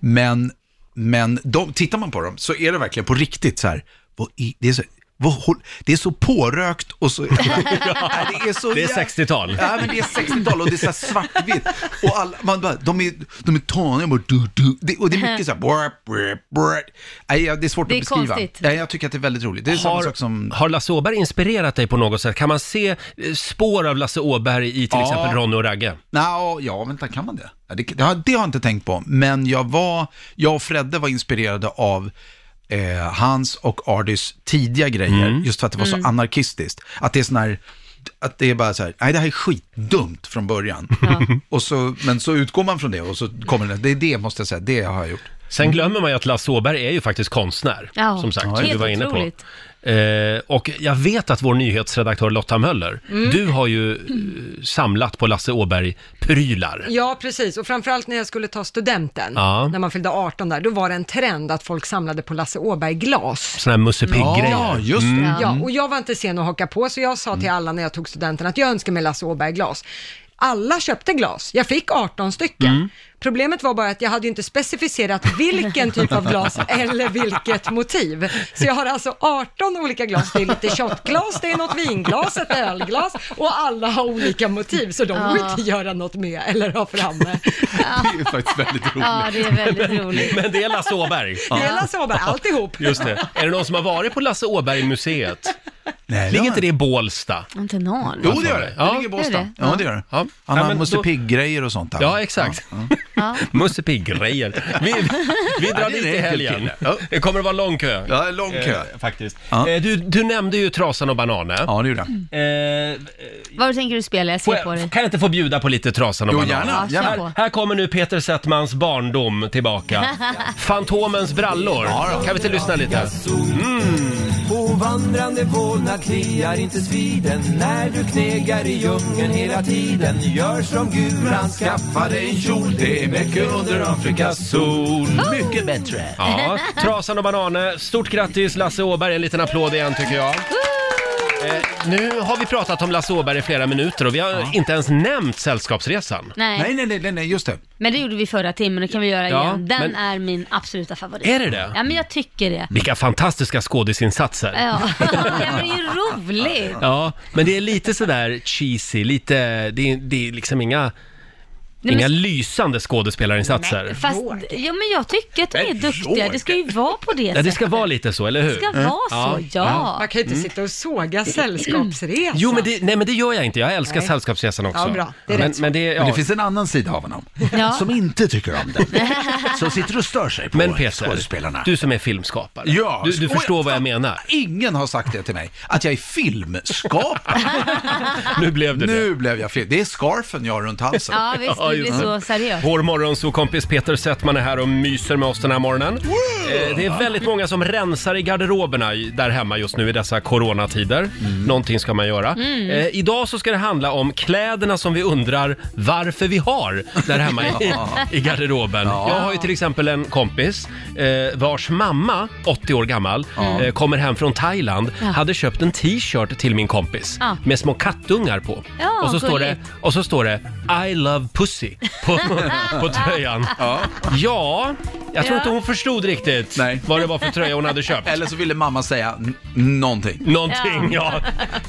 [SPEAKER 10] Men, men de, tittar man på dem så är det verkligen på riktigt så här, vad i, det är så, vad, håll- det är så pårökt och så... Nej, det är, så
[SPEAKER 1] Det är
[SPEAKER 10] jä-
[SPEAKER 1] 60-tal.
[SPEAKER 10] Ja, men det är 60-tal och det är så här svartvitt. Och alla, man bara, de är, de är taniga bara, du, du. Det, och det är mycket så här, brr, brr, brr. Nej, ja, det är svårt
[SPEAKER 1] Det är
[SPEAKER 10] att beskriva.
[SPEAKER 1] konstigt.
[SPEAKER 10] Nej, jag tycker att det är väldigt roligt. Det är samma
[SPEAKER 1] Har,
[SPEAKER 10] sak som...
[SPEAKER 1] har Lasse Åberg inspirerat dig på något sätt? Kan man se eh, spår av Lasse Åberg i till
[SPEAKER 10] Ja.
[SPEAKER 1] exempel Ronny och Ragge?
[SPEAKER 10] Nå, ja, vänta, kan man det? Ja, det, det, har, det har jag inte tänkt på, men jag var, jag och Fredde var inspirerade av eh, hans och Ardys tidiga grejer, just för att det var
[SPEAKER 13] Mm.
[SPEAKER 10] så anarkistiskt. Att det är sån här, att det är bara så här, nej det här är skitdumt från början. Och så, men så utgår man från det och så kommer det, det är det måste jag säga, det har jag gjort.
[SPEAKER 1] Sen glömmer man ju att Lasse Åberg är ju faktiskt konstnär,
[SPEAKER 10] Ja,
[SPEAKER 1] som sagt,
[SPEAKER 10] ja,
[SPEAKER 1] som
[SPEAKER 10] helt
[SPEAKER 1] du var inne på.
[SPEAKER 10] otroligt.
[SPEAKER 1] Eh, och jag vet att vår nyhetsredaktör Lotta Möller,
[SPEAKER 3] Mm.
[SPEAKER 1] du har ju eh, samlat på Lasse Åberg-prylar.
[SPEAKER 3] Ja, precis. Och framförallt när jag skulle ta studenten,
[SPEAKER 1] Ja.
[SPEAKER 3] när man fyllde 18 där, då var det en trend att folk samlade på Lasse Åberg-glas.
[SPEAKER 1] Såna här Musse Pigg-grejer.
[SPEAKER 3] Ja,
[SPEAKER 10] just det. Mm.
[SPEAKER 3] Ja, och jag var inte sen att haka på, så jag
[SPEAKER 1] Mm.
[SPEAKER 3] sa till alla när jag tog studenten att jag önskar mig Lasse Åberg-glas. Alla köpte glas, jag fick 18 stycken.
[SPEAKER 5] Mm.
[SPEAKER 3] Problemet var bara att jag hade ju inte specificerat vilken typ av glas eller vilket motiv. Så jag har alltså 18 olika glas, det är lite shotglas, det är något vinglas, ett ölglas och alla har olika motiv, så de går
[SPEAKER 5] Ja.
[SPEAKER 3] inte göra något med eller ha framme.
[SPEAKER 10] Det är faktiskt väldigt roligt.
[SPEAKER 5] Ja, det är väldigt
[SPEAKER 1] Men-
[SPEAKER 5] roligt.
[SPEAKER 1] Men det är Lasse Åberg.
[SPEAKER 3] Det är Lasse Åberg, alltihop.
[SPEAKER 1] Just det. Är det någon som har varit på Lasse Åberg-museet?
[SPEAKER 10] Nej,
[SPEAKER 1] Ligger inte det i Bålsta?
[SPEAKER 2] Inte en aning.
[SPEAKER 1] Jo, det gör det. Ja. Det ligger i Båstad.
[SPEAKER 2] Är det?
[SPEAKER 10] Ja, det gör det.
[SPEAKER 1] Ja.
[SPEAKER 10] Han
[SPEAKER 1] Ja,
[SPEAKER 10] har
[SPEAKER 1] men
[SPEAKER 10] Musse
[SPEAKER 1] då-
[SPEAKER 10] Pigg-grejer och sånt. där.
[SPEAKER 1] Ja, exakt. Musse Pigg-grejer. Vi, vi drar
[SPEAKER 10] Ja, det är
[SPEAKER 1] dit
[SPEAKER 10] en
[SPEAKER 1] i
[SPEAKER 10] enkel
[SPEAKER 1] helgen.
[SPEAKER 10] kille.
[SPEAKER 1] Det kommer att vara lång kö.
[SPEAKER 10] Ja, lång kö.
[SPEAKER 1] Eh, faktiskt. Eh, Du, du nämnde ju Trasan och Bananen.
[SPEAKER 10] Ja, det gjorde Eh,
[SPEAKER 2] Vad tänker du spela? Jag ser på dig.
[SPEAKER 1] Kan jag inte få bjuda på lite Trasan och
[SPEAKER 2] Jo,
[SPEAKER 1] Bananen?
[SPEAKER 2] gärna, Ja, gärna. kör på.
[SPEAKER 1] Här, här kommer nu Peter Settmans barndom tillbaka. Fantomens brallor. kan vi inte lyssna lite?
[SPEAKER 10] Mm.
[SPEAKER 14] På vandrande vålnad kliar inte sviden När du knegar i djungeln hela tiden Gör som guran, skaffa dig en kjol Det är mycket under Afrikas sol
[SPEAKER 2] Oh,
[SPEAKER 14] Mycket bättre!
[SPEAKER 1] Ja, Trasan och Banane. Stort grattis Lasse Åberg, en liten applåd igen tycker jag. Eh, nu har vi pratat om Lasse Åberg i flera minuter och vi har inte ens nämnt Sällskapsresan.
[SPEAKER 2] Nej. Nej,
[SPEAKER 10] nej, nej, nej, just det.
[SPEAKER 2] Men det gjorde vi förra timmen, det kan vi göra
[SPEAKER 1] Ja,
[SPEAKER 2] igen. Den
[SPEAKER 1] men-
[SPEAKER 2] är min absoluta favorit.
[SPEAKER 1] Är det det?
[SPEAKER 2] Ja, men jag tycker det.
[SPEAKER 1] Vilka fantastiska skådisinsatser.
[SPEAKER 2] Ja, det var ju roligt.
[SPEAKER 1] Ja, men det är lite sådär cheesy, lite, det är, det är liksom inga,
[SPEAKER 2] men-
[SPEAKER 1] inga lysande skådespelarinsatser.
[SPEAKER 2] Fast, ja, men jag tycker att de är duktiga. Det ska ju vara på det
[SPEAKER 1] Ja, det
[SPEAKER 2] sättet.
[SPEAKER 1] ska vara lite så, eller hur?
[SPEAKER 2] Det ska vara så, ja.
[SPEAKER 3] Man kan ju inte
[SPEAKER 1] Mm.
[SPEAKER 3] sitta och såga sällskapsresan.
[SPEAKER 1] Jo, men det, nej, men det gör jag inte. Jag älskar
[SPEAKER 3] Nej.
[SPEAKER 1] Sällskapsresan också.
[SPEAKER 3] Ja, bra. Det är
[SPEAKER 1] men,
[SPEAKER 3] rätt
[SPEAKER 1] men, det, ja.
[SPEAKER 10] Men det finns en annan sida av honom
[SPEAKER 1] Ja.
[SPEAKER 10] som inte tycker om den. Som sitter och stör sig på
[SPEAKER 1] Men Peter,
[SPEAKER 10] skådespelarna.
[SPEAKER 1] du som är filmskapare.
[SPEAKER 10] Ja,
[SPEAKER 1] du, du
[SPEAKER 10] och jag-
[SPEAKER 1] förstår vad jag menar.
[SPEAKER 10] Ingen har sagt det till mig, att jag är filmskapare.
[SPEAKER 1] nu blev
[SPEAKER 10] du Nu blev jag film. Det är scarfen jag har runt halsen.
[SPEAKER 2] Ja, visst, det blir så seriöst.
[SPEAKER 1] Vår morgonsåkompis Peter Settman är här och myser med oss den här morgonen. Eh, Det är väldigt många som rensar i garderoberna i- där hemma just nu i dessa coronatider. Någonting ska man göra.
[SPEAKER 2] Mm.
[SPEAKER 1] Eh, Idag så ska det handla om kläderna som vi undrar varför vi har där hemma i,
[SPEAKER 2] Ja.
[SPEAKER 1] i garderoben.
[SPEAKER 2] Ja.
[SPEAKER 1] Jag har ju till exempel en kompis eh, vars mamma, 80 år gammal,
[SPEAKER 2] Ja.
[SPEAKER 1] eh, kommer hem från Thailand,
[SPEAKER 2] Ja.
[SPEAKER 1] hade köpt en t-shirt till min kompis
[SPEAKER 2] Ja.
[SPEAKER 1] med små kattungar på.
[SPEAKER 2] Ja,
[SPEAKER 1] och, så står det,
[SPEAKER 2] gulligt.
[SPEAKER 1] och så står det I love pussy City på, på tröjan. Ja. jag tror
[SPEAKER 10] Ja.
[SPEAKER 1] inte hon förstod riktigt vad det var för tröja hon hade köpt. Eller så ville mamma säga någonting. Någonting, ja.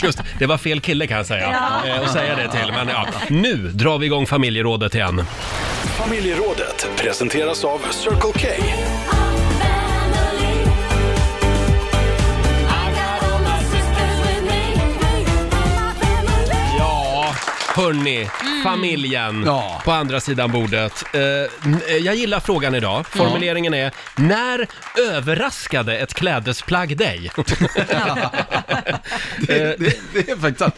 [SPEAKER 1] Just det. det, var fel kille kan jag säga.
[SPEAKER 4] Ja.
[SPEAKER 1] Eh, och säga det till. Men ja, nu drar vi igång familjerådet igen.
[SPEAKER 4] Familjerådet presenteras av Circle K.
[SPEAKER 1] Ja, hörni, familjen på andra sidan bordet. Eh, n- eh, jag gillar frågan idag. Formuleringen är “När överraskade ett klädesplagg dig?” det, är faktiskt sant.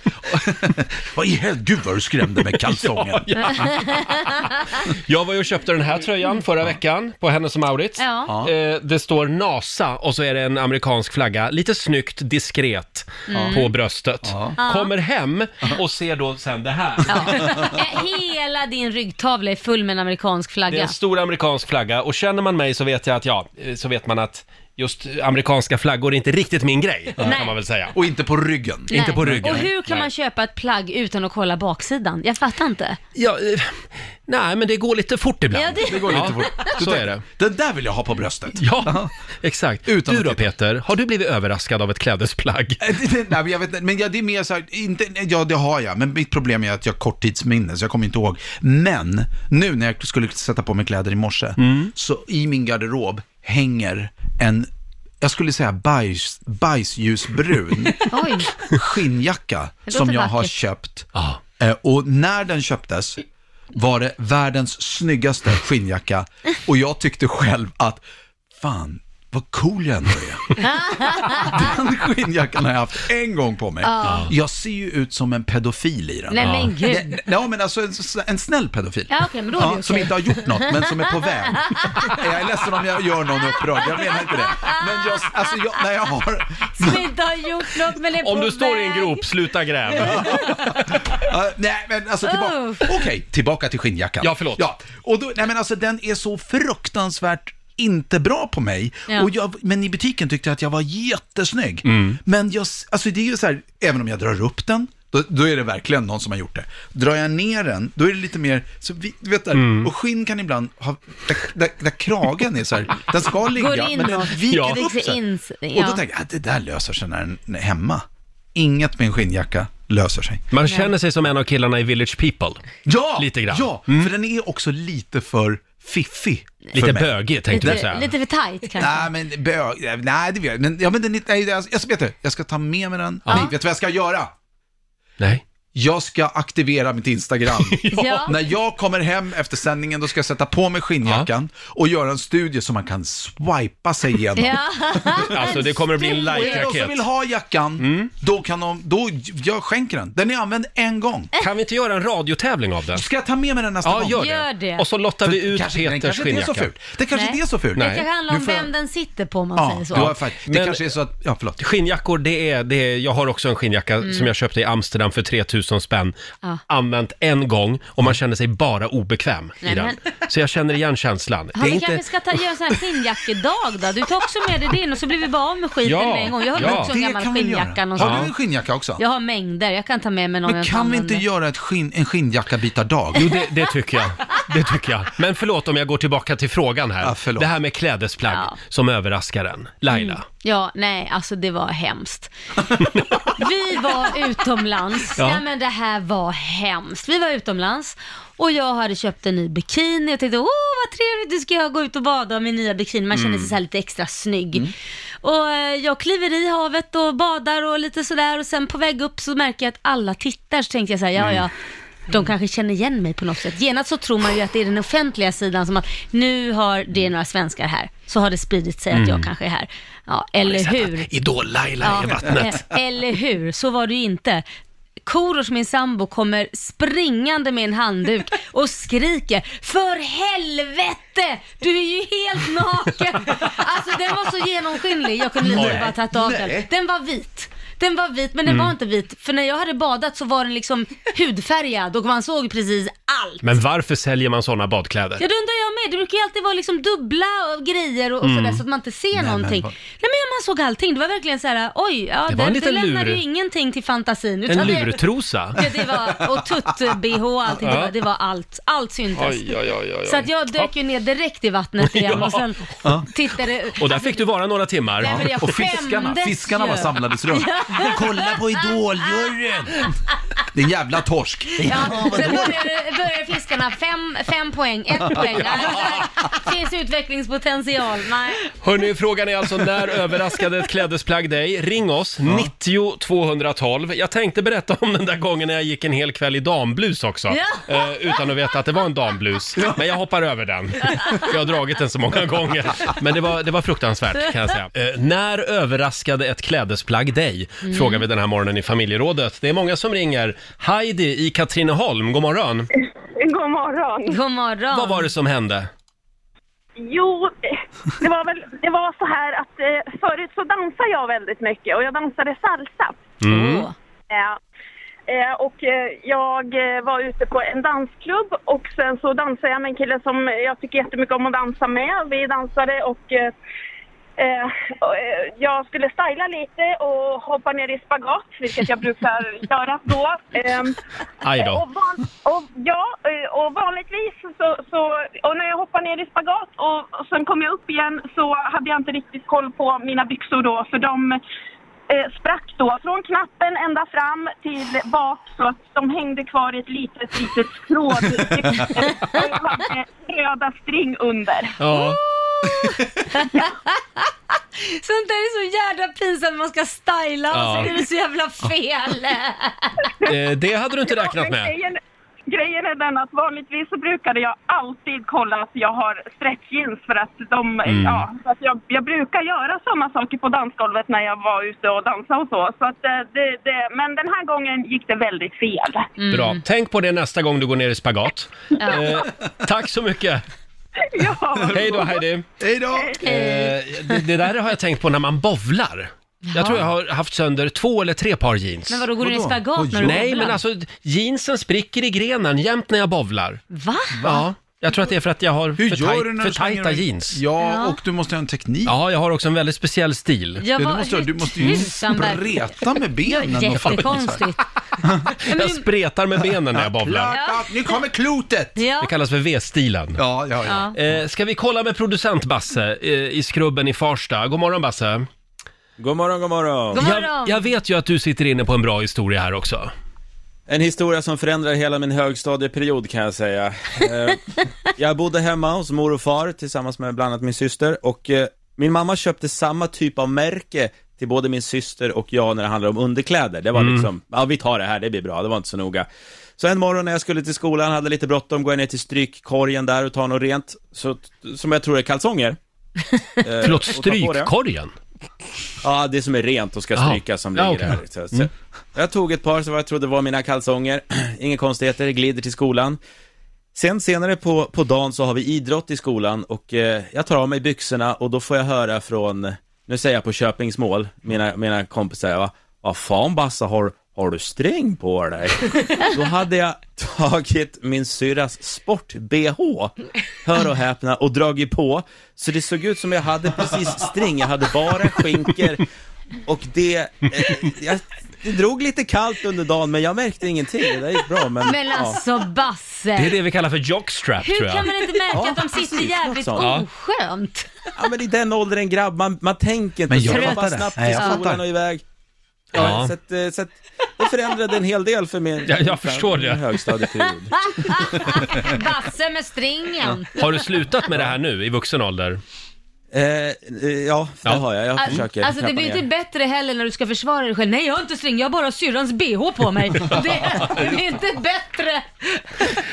[SPEAKER 1] Vad i helvete, gud vad du skrämde med kalsongen. ja, ja. Jag var ju och köpte den här tröjan förra veckan på Hennes och Mauritz.
[SPEAKER 2] Ja.
[SPEAKER 1] Eh, det står NASA och så är det en amerikansk flagga, lite snyggt diskret
[SPEAKER 2] Mm.
[SPEAKER 1] på bröstet.
[SPEAKER 2] Ja.
[SPEAKER 1] Kommer hem och ser då sen det här.
[SPEAKER 2] Eh, Hela din ryggtavla är full med en amerikansk
[SPEAKER 1] Det är
[SPEAKER 2] flagga.
[SPEAKER 1] en stor amerikansk flagga och känner man mig så vet jag att ja, eh, så vet man att just amerikanska flaggor är inte riktigt min grej,
[SPEAKER 2] Nej.
[SPEAKER 1] kan man väl säga. Och inte på ryggen.
[SPEAKER 2] Nej.
[SPEAKER 1] Inte på ryggen.
[SPEAKER 2] Och hur kan
[SPEAKER 1] Nej.
[SPEAKER 2] man köpa ett plagg utan att kolla baksidan? Jag fattar inte.
[SPEAKER 1] Ja, eh, nej, men det går lite fort ibland.
[SPEAKER 2] Ja, det- Det går lite fort.
[SPEAKER 1] Så
[SPEAKER 2] Du tänker,
[SPEAKER 1] är det. Den där vill jag ha på bröstet. Ja, exakt. du då Peter, har du blivit överraskad av ett klädesplagg?
[SPEAKER 10] Nej, men jag vet inte. Men ja, Eh, det är mer så här, inte, ja det har jag, men mitt problem är att jag har korttidsminne, så jag kommer inte ihåg. Men nu när jag skulle sätta på mig kläder i morse,
[SPEAKER 1] Mm.
[SPEAKER 10] så i min garderob hänger en, jag skulle säga bajs, bajsljusbrun
[SPEAKER 2] Oj.
[SPEAKER 10] skinnjacka
[SPEAKER 2] Det
[SPEAKER 10] som
[SPEAKER 2] låter
[SPEAKER 10] jag har
[SPEAKER 2] vackert.
[SPEAKER 10] köpt. Eh, Och när den köptes var det världens snyggaste skinnjacka och jag tyckte själv att, fan, vad cool jag ändå är. Den skinnjackan har jag haft en gång på mig.
[SPEAKER 5] Ja.
[SPEAKER 10] Jag ser ju ut som en pedofil i den.
[SPEAKER 5] Nej, men Ja. gud.
[SPEAKER 10] Nej, Ja, men alltså en, en snäll pedofil.
[SPEAKER 5] Ja, okej, men då är det okej.
[SPEAKER 10] Som inte har gjort något, men som är på väg. Jag är ledsen om jag gör någon upprörd, jag menar inte det. Men jag, alltså jag, när jag har...
[SPEAKER 2] Som inte har gjort något men är
[SPEAKER 1] Om
[SPEAKER 2] på
[SPEAKER 1] du står i en
[SPEAKER 2] väg.
[SPEAKER 1] grop, sluta gräv.
[SPEAKER 10] Ja, nej, men alltså tillbaka... Okej, tillbaka till skinnjackan. Ja, förlåt. Ja, och då, nej men alltså den är så fruktansvärt inte bra på mig.
[SPEAKER 5] Ja.
[SPEAKER 10] Och jag, men i butiken tyckte jag att jag var jättesnygg.
[SPEAKER 1] Mm.
[SPEAKER 10] Men jag, s- alltså det är ju så här, även om jag drar upp den, då, då är det verkligen någon som har gjort det. Drar jag ner den, då är det lite mer, så vi, du vet där,
[SPEAKER 1] Mm.
[SPEAKER 10] och skinn kan ibland ha, där, där, där kragen är så här, den ska ligga,
[SPEAKER 2] Går
[SPEAKER 10] men den
[SPEAKER 2] inåt.
[SPEAKER 10] viker
[SPEAKER 2] Ja.
[SPEAKER 10] upp sig.
[SPEAKER 2] In, ja.
[SPEAKER 10] Och då tänker jag, att det där löser sig när den är hemma. Inget med en skinnjacka löser sig.
[SPEAKER 1] Man känner sig som en av killarna i Village People.
[SPEAKER 10] Ja,
[SPEAKER 1] lite grann. Mm.
[SPEAKER 10] ja för den är också lite för fiffig.
[SPEAKER 1] Lite
[SPEAKER 10] för mig.
[SPEAKER 1] bögig, tänkte
[SPEAKER 2] lite, lite för tight kanske.
[SPEAKER 10] Nej, men bög, nej det vet jag men, ja, men den, är- nej, jag, jag, vet du, jag ska ta med mig den. Nej, vet du vad jag ska göra?
[SPEAKER 1] Nej.
[SPEAKER 10] Jag ska aktivera mitt Instagram.
[SPEAKER 5] Ja.
[SPEAKER 10] När jag kommer hem efter sändningen, då ska jag sätta på mig skinnjackan och göra en studie som man kan swipa sig igenom.
[SPEAKER 1] Alltså det kommer att bli en Mm.
[SPEAKER 10] Och är det någon som
[SPEAKER 1] like-raket.
[SPEAKER 10] vill ha jackan, då kan de, då, jag skänker den. Den är använd en gång.
[SPEAKER 1] Kan vi inte göra en radiotävling av den?
[SPEAKER 10] Ska jag ta med mig den nästa
[SPEAKER 1] Ja,
[SPEAKER 10] gång?
[SPEAKER 1] gör det. Gör det. Och så lottar
[SPEAKER 10] För
[SPEAKER 1] vi ut
[SPEAKER 10] kanske, Den
[SPEAKER 1] Peters
[SPEAKER 10] kanske inte är så
[SPEAKER 1] skinnjacka.
[SPEAKER 10] ful. Det kanske
[SPEAKER 2] Nej.
[SPEAKER 10] inte är så ful.
[SPEAKER 2] Det kanske handlar om
[SPEAKER 10] Nu får jag-
[SPEAKER 2] vem den sitter på om man
[SPEAKER 10] Ja,
[SPEAKER 2] säger så.
[SPEAKER 10] du har fakt- det kanske är så att, ja förlåt.
[SPEAKER 1] Skinnjackor, det är, det är, jag har också en skinnjacka
[SPEAKER 2] Mm.
[SPEAKER 1] som jag köpte i Amsterdam för 3000 spänn.
[SPEAKER 2] Ja.
[SPEAKER 1] Använt en gång och man känner sig bara obekväm i
[SPEAKER 2] Nej,
[SPEAKER 1] den.
[SPEAKER 2] men-
[SPEAKER 1] Så jag känner igen känslan.
[SPEAKER 2] Ja, vi kanske ska ta, göra en sån här skinnjackedag då. Du tar också med dig din och så blir vi bara av med skiten
[SPEAKER 10] Ja,
[SPEAKER 2] med en gång. Jag har
[SPEAKER 10] ja.
[SPEAKER 2] också en
[SPEAKER 10] Det
[SPEAKER 2] gammal
[SPEAKER 10] kan vi göra.
[SPEAKER 2] skinnjacka
[SPEAKER 10] Har du en skinnjacka också?
[SPEAKER 2] Jag har mängder, jag kan ta med mig någon
[SPEAKER 10] Men
[SPEAKER 2] jag
[SPEAKER 10] kan vi inte
[SPEAKER 2] använder.
[SPEAKER 10] göra ett skinn, en skinnjacka byta dag?
[SPEAKER 1] Jo, det, det tycker jag. Det tycker jag. Men förlåt om jag går tillbaka till frågan här. det här med klädesplagg som överraskar en. Laila.
[SPEAKER 2] Mm. Ja, nej, alltså det var hemskt. Vi var utomlands.
[SPEAKER 1] Ja.
[SPEAKER 2] Ja. men det här var hemskt. Vi var utomlands och jag hade köpt en ny bikini och tänkte, åh vad trevligt, nu ska jag gå ut och bada i min nya bikini. Man känner
[SPEAKER 5] Mm.
[SPEAKER 2] sig så här lite extra snygg. Och eh, jag kliver i havet och badar och lite sådär och sen på väg upp så märker jag att alla tittar så tänkte jag så här, ja ja. De kanske känner igen mig på något sätt. Genast så tror man ju att det är den offentliga sidan som att nu har det några svenskar här. Så har det spridit sig att
[SPEAKER 1] Mm.
[SPEAKER 2] jag kanske är här. Ja, eller hur?
[SPEAKER 1] Idol-Laila är i vattnet.
[SPEAKER 2] eh, Eller hur? Så var det ju inte. Korosh, min sambo, kommer springande med en handduk och skriker För helvete! Du är ju helt naken! Alltså den var så genomskinlig, jag kunde lika
[SPEAKER 5] Nej.
[SPEAKER 2] gärna bara tagit av den.
[SPEAKER 5] Nej.
[SPEAKER 2] Den var vit. Den var vit, men den
[SPEAKER 1] Mm.
[SPEAKER 2] var inte vit. För när jag hade badat så var den liksom hudfärgad och man såg precis allt.
[SPEAKER 1] Men varför säljer man sådana badkläder?
[SPEAKER 2] Ja, det undrar jag med. Det brukar ju alltid vara liksom dubbla och grejer och, och
[SPEAKER 1] Mm.
[SPEAKER 2] sådär så att man inte ser
[SPEAKER 1] men
[SPEAKER 2] någonting.
[SPEAKER 1] vad-
[SPEAKER 2] Nej, men man såg allting. Det var verkligen så här, oj, ja,
[SPEAKER 1] Det
[SPEAKER 2] det,
[SPEAKER 1] var en
[SPEAKER 2] det,
[SPEAKER 1] liten
[SPEAKER 2] lämnade
[SPEAKER 1] lur.
[SPEAKER 2] ju ingenting till fantasin.
[SPEAKER 1] En
[SPEAKER 2] utan det-
[SPEAKER 1] lurtrosa.
[SPEAKER 2] Ja, det var, och tutt-bh och allting. Det,
[SPEAKER 1] Ja.
[SPEAKER 2] var, det var allt. Allt syntes.
[SPEAKER 1] Oj, oj, oj, oj.
[SPEAKER 2] Så att jag dök ju ner direkt i vattnet igen och sen
[SPEAKER 1] Ja.
[SPEAKER 2] tittade...
[SPEAKER 1] Och där fick du vara några timmar.
[SPEAKER 2] Nej, men jag Och fiskarna- skämdes fiskarna ju. var samlades runt.
[SPEAKER 10] Kolla på Idoljuryn! Det är en jävla torsk.
[SPEAKER 2] Ja, sen började, började fiskarna fem, fem poäng, ett poäng. Nej, där finns utvecklingspotential. Nej.
[SPEAKER 1] Hörni, frågan är alltså när överraskade ett klädesplagg dig? Ring oss, 90 212. Jag tänkte berätta om den där gången när jag gick en hel kväll i damblus också.
[SPEAKER 2] Ja.
[SPEAKER 1] Eh, utan att veta att det var en damblus. Men jag hoppar över den. Jag har dragit den så många gånger. Men det var, det var fruktansvärt kan jag säga. Eh, när överraskade ett klädesplagg dig?
[SPEAKER 13] Mm.
[SPEAKER 1] Frågar vi den här morgonen i familjerådet. Det är många som ringer. Heidi i Katrineholm, god morgon.
[SPEAKER 7] God morgon.
[SPEAKER 2] God morgon.
[SPEAKER 1] Vad var det som hände?
[SPEAKER 7] Jo, det var väl det var så här att eh, förut så dansade jag väldigt mycket och jag dansade salsa.
[SPEAKER 1] Mm.
[SPEAKER 7] Ja. Eh, Och eh, jag eh, var ute på en dansklubb och sen så dansade jag med en kille som jag tycker jättemycket om att dansa med. Vi dansade och eh, eh, och, eh, jag skulle styla lite och hoppa ner i spagat, vilket jag brukar göra då. Eh,
[SPEAKER 1] Aj då.
[SPEAKER 7] Och, van, och, ja, eh, och vanligtvis så, så, och när jag hoppar ner i spagat och, och sen kom jag upp igen så hade jag inte riktigt koll på mina byxor då för de eh, sprack då från knappen ända fram till bak så att de hängde kvar i ett litet, litet strå. Och jag hade röda string under.
[SPEAKER 1] Ja.
[SPEAKER 2] Sånt där är så jävla pinsamt. Man ska styla och
[SPEAKER 1] Ja.
[SPEAKER 2] så blir det så jävla fel.
[SPEAKER 1] Eh, det hade du inte räknat med.
[SPEAKER 7] Grejen, grejen är den att vanligtvis så brukade jag alltid kolla att jag har stretchjeans för att de,
[SPEAKER 1] Mm.
[SPEAKER 7] ja, så att jag, jag brukar göra sådana saker på dansgolvet när jag var ute och dansade och så. så att eh, det, det, men den här gången gick det väldigt fel.
[SPEAKER 2] Mm.
[SPEAKER 1] Bra. Tänk på det nästa gång du går ner i spagat.
[SPEAKER 7] Ja.
[SPEAKER 1] Eh, tack så mycket. Hej då Heidi.
[SPEAKER 12] Hej då.
[SPEAKER 1] Eh, det, det där har jag tänkt på när man bovlar. Jag tror jag har haft sönder två eller tre par jeans.
[SPEAKER 2] Men vadå, går du ner i Vadå? spagat Oj. när du
[SPEAKER 1] Nej,
[SPEAKER 2] bovlar?
[SPEAKER 1] men alltså jeansen spricker i grenen jämt när jag bovlar.
[SPEAKER 2] Va?
[SPEAKER 1] Ja, jag tror att det är för att jag har
[SPEAKER 10] Hur
[SPEAKER 1] för,
[SPEAKER 10] gör
[SPEAKER 1] tajt,
[SPEAKER 10] du när
[SPEAKER 1] för
[SPEAKER 10] du slänger
[SPEAKER 1] tajta
[SPEAKER 10] dig?
[SPEAKER 1] jeans.
[SPEAKER 10] Ja,
[SPEAKER 2] Ja. och
[SPEAKER 10] du måste ha en teknik.
[SPEAKER 1] Ja, jag har också en väldigt speciell stil.
[SPEAKER 2] Ja, Det vad- måste du- du hur måste ju tusan verkar- spreta med benen och jättekonstigt. fatta
[SPEAKER 1] jag spretar med benen när jag bovlar.
[SPEAKER 10] Nu kommer klotet!
[SPEAKER 2] Ja.
[SPEAKER 1] Det kallas för V-stilen.
[SPEAKER 10] Ja,
[SPEAKER 2] ja.
[SPEAKER 1] Eh, ska vi kolla med producent Basse eh, i Skrubben i Farsta? God morgon Basse.
[SPEAKER 9] God morgon, god morgon.
[SPEAKER 2] God morgon.
[SPEAKER 1] Jag, jag vet ju att du sitter inne på en bra historia här också.
[SPEAKER 9] En historia som förändrar hela min högstadieperiod kan jag säga. Eh, jag bodde hemma hos mor och far tillsammans med bland annat min syster och eh, min mamma köpte samma typ av märke till både min syster och jag när det handlade om underkläder. Det var
[SPEAKER 15] Mm.
[SPEAKER 9] liksom, ja vi tar det här, det blir bra, det var inte så noga. Så en morgon när jag skulle till skolan, hade lite bråttom, går jag ner till strykkorgen där och tar något rent, så, som jag tror är kalsonger. Eh,
[SPEAKER 1] Förlåt,
[SPEAKER 9] och tar på det.
[SPEAKER 1] strykkorgen?
[SPEAKER 9] Ja, det som är rent och ska
[SPEAKER 1] Jaha.
[SPEAKER 9] strykas som
[SPEAKER 1] Ja,
[SPEAKER 9] ligger
[SPEAKER 1] okej.
[SPEAKER 9] där. Så, så.
[SPEAKER 1] Mm.
[SPEAKER 9] Jag tog ett par som jag trodde var mina kalsonger, inga konstigheter, glider till skolan. Sen senare på, på dagen så har vi idrott i skolan och eh, jag tar av mig byxorna och då får jag höra från, nu säger jag på Köpingsmål, mina, mina kompisar, va? Vad fan Bassa, har, har du sträng på dig? Då hade jag tagit min syrras sport-bh, hör och häpna, och dragit på. Så det såg ut som jag hade precis string, jag hade bara skinker och det, eh, jag, det drog lite kallt under dagen men jag märkte ingenting, det där gick bra men...
[SPEAKER 2] Men alltså Basse.
[SPEAKER 1] Det är det vi kallar för jockstrap tror
[SPEAKER 2] Hur
[SPEAKER 1] jag.
[SPEAKER 2] kan man inte märka
[SPEAKER 9] Ja,
[SPEAKER 2] att de sitter
[SPEAKER 9] precis, något
[SPEAKER 2] jävligt
[SPEAKER 9] sånt. Ja.
[SPEAKER 2] oskönt?
[SPEAKER 9] Ja men i den åldern grabb, man, man tänker inte
[SPEAKER 10] Men
[SPEAKER 9] så.
[SPEAKER 10] jag
[SPEAKER 9] Man
[SPEAKER 10] fattar
[SPEAKER 9] bara
[SPEAKER 10] det.
[SPEAKER 9] snabbt
[SPEAKER 10] Nej,
[SPEAKER 9] till
[SPEAKER 10] jag
[SPEAKER 9] skolan
[SPEAKER 10] fattar.
[SPEAKER 9] och iväg. Ja.
[SPEAKER 10] Ja.
[SPEAKER 9] Så, att, eh, så att det förändrade en hel del för min,
[SPEAKER 1] Ja, jag förstår
[SPEAKER 9] min
[SPEAKER 1] det.
[SPEAKER 9] högstadieperiod.
[SPEAKER 2] Basse med stringen.
[SPEAKER 1] Har du slutat med det här nu i vuxen ålder?
[SPEAKER 9] Eh, ja, det har jag. Jag
[SPEAKER 2] Alltså det blir inte bättre heller när du ska försvara dig själv. Nej jag har inte string, jag har bara syrrans bh på mig. Det, det blir inte bättre.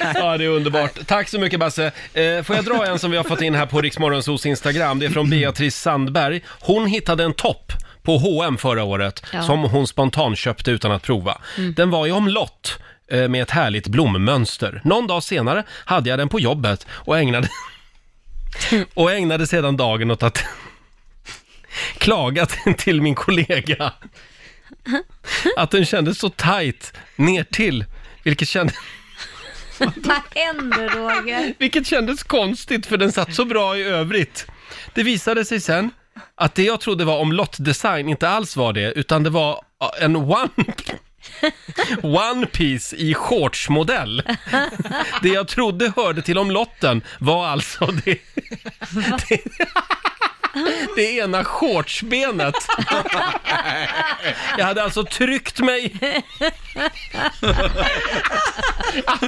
[SPEAKER 1] Ja, det är underbart. Tack så mycket Basse. Eh, får jag dra en som vi har fått in här på Riksmorgonsos Instagram? Det är från Beatrice Sandberg. Hon hittade en topp på H&M förra året
[SPEAKER 13] Ja.
[SPEAKER 1] som hon spontant köpte utan att prova. Den var ju omlott eh, med ett härligt blommönster. Någon dag senare hade jag den på jobbet och ägnade, och ägnade sedan dagen åt att klaga till min kollega att den kändes så tajt ner till vilket kändes
[SPEAKER 2] Vad händer Roger?
[SPEAKER 1] vilket kändes konstigt för den satt så bra i övrigt. Det visade sig sen att det jag trodde var om lottdesign inte alls var det, utan det var eh, en one... One Piece i shortsmodell. Det jag trodde hörde till om lotten var alltså det, det, det ena shortsbenet. Jag hade alltså tryckt mig...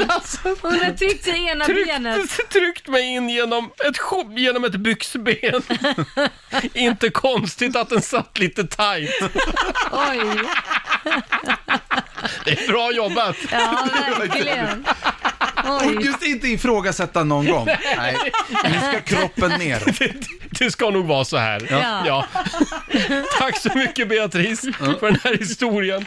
[SPEAKER 1] Alltså,
[SPEAKER 2] Hon har tryckt sig i ena benet.
[SPEAKER 1] tryckt mig in genom ett, sk- genom ett byxben. Inte konstigt att den satt lite tajt.
[SPEAKER 2] Oj.
[SPEAKER 1] Det är bra jobbat.
[SPEAKER 2] Ja, verkligen. Oj.
[SPEAKER 10] Just inte ifrågasätta någon gång. Nej, nu ska kroppen ner.
[SPEAKER 1] Det, det ska nog vara så här.
[SPEAKER 10] Ja.
[SPEAKER 1] Tack så mycket Beatrice för den här historien.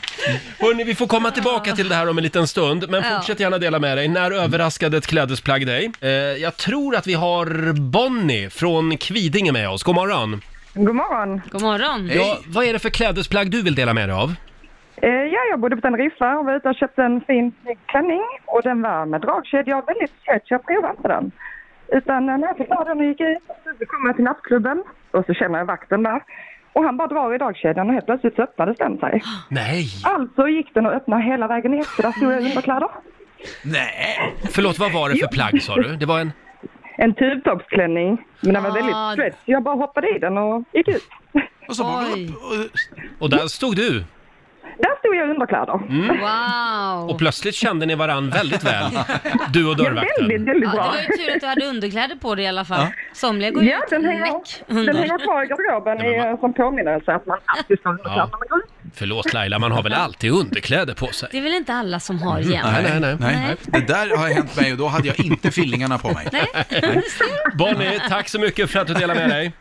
[SPEAKER 1] Hörrni, vi får komma tillbaka till det här om en liten stund, men
[SPEAKER 2] Ja.
[SPEAKER 1] fortsätt gärna dela med dig. När överraskade ett klädesplagg dig? Eh, jag tror att vi har Bonnie från Kvidinge med oss. God morgon.
[SPEAKER 13] God morgon.
[SPEAKER 2] God morgon.
[SPEAKER 1] Ja, vad är det för klädesplagg du vill dela med dig av?
[SPEAKER 13] Eh, Ja, jag bodde på Teneriffa och var ute och köpte en fin snygg klänning och den var med dragkedja och väldigt söt så jag provade inte den. Utan eh, när jag fick ta den och gick ut så kom jag till nattklubben och så känner jag vakten där och han bara drar i dragkedjan och helt plötsligt så öppnades den sig.
[SPEAKER 1] Nej!
[SPEAKER 13] Alltså gick den och öppnade hela vägen ner så där stod jag i underkläder.
[SPEAKER 1] Nej! Förlåt, vad var det för plagg sa du? Det var en...
[SPEAKER 13] En tubtoppsklänning, men den var
[SPEAKER 1] Ah.
[SPEAKER 13] väldigt stretch. Jag bara hoppade i den och gick ut.
[SPEAKER 10] Och så bara,
[SPEAKER 1] Och där stod du.
[SPEAKER 13] Där stod jag i underkläder.
[SPEAKER 1] Mm.
[SPEAKER 2] Wow.
[SPEAKER 1] Och plötsligt kände ni varann väldigt väl, du och dörrvakten.
[SPEAKER 2] Ja, det var ju tur att du hade underkläder på dig i alla fall. Somliga går ju
[SPEAKER 13] Ja,
[SPEAKER 2] ut
[SPEAKER 13] den hänger,
[SPEAKER 2] näck under.
[SPEAKER 13] den hänger kvar i garderoben i, som påminnelse att man alltid ska ha
[SPEAKER 1] Ja.
[SPEAKER 13] underkläder när man går ut.
[SPEAKER 1] Förlåt Laila, man har väl alltid underkläder på sig?
[SPEAKER 2] Det är väl inte alla som har
[SPEAKER 1] Mm.
[SPEAKER 2] jämt?
[SPEAKER 1] Nej, nej, nej.
[SPEAKER 10] Nej, det där har hänt mig och då hade jag inte fillingarna på mig.
[SPEAKER 1] Bonnie, tack så mycket för att du delade med dig.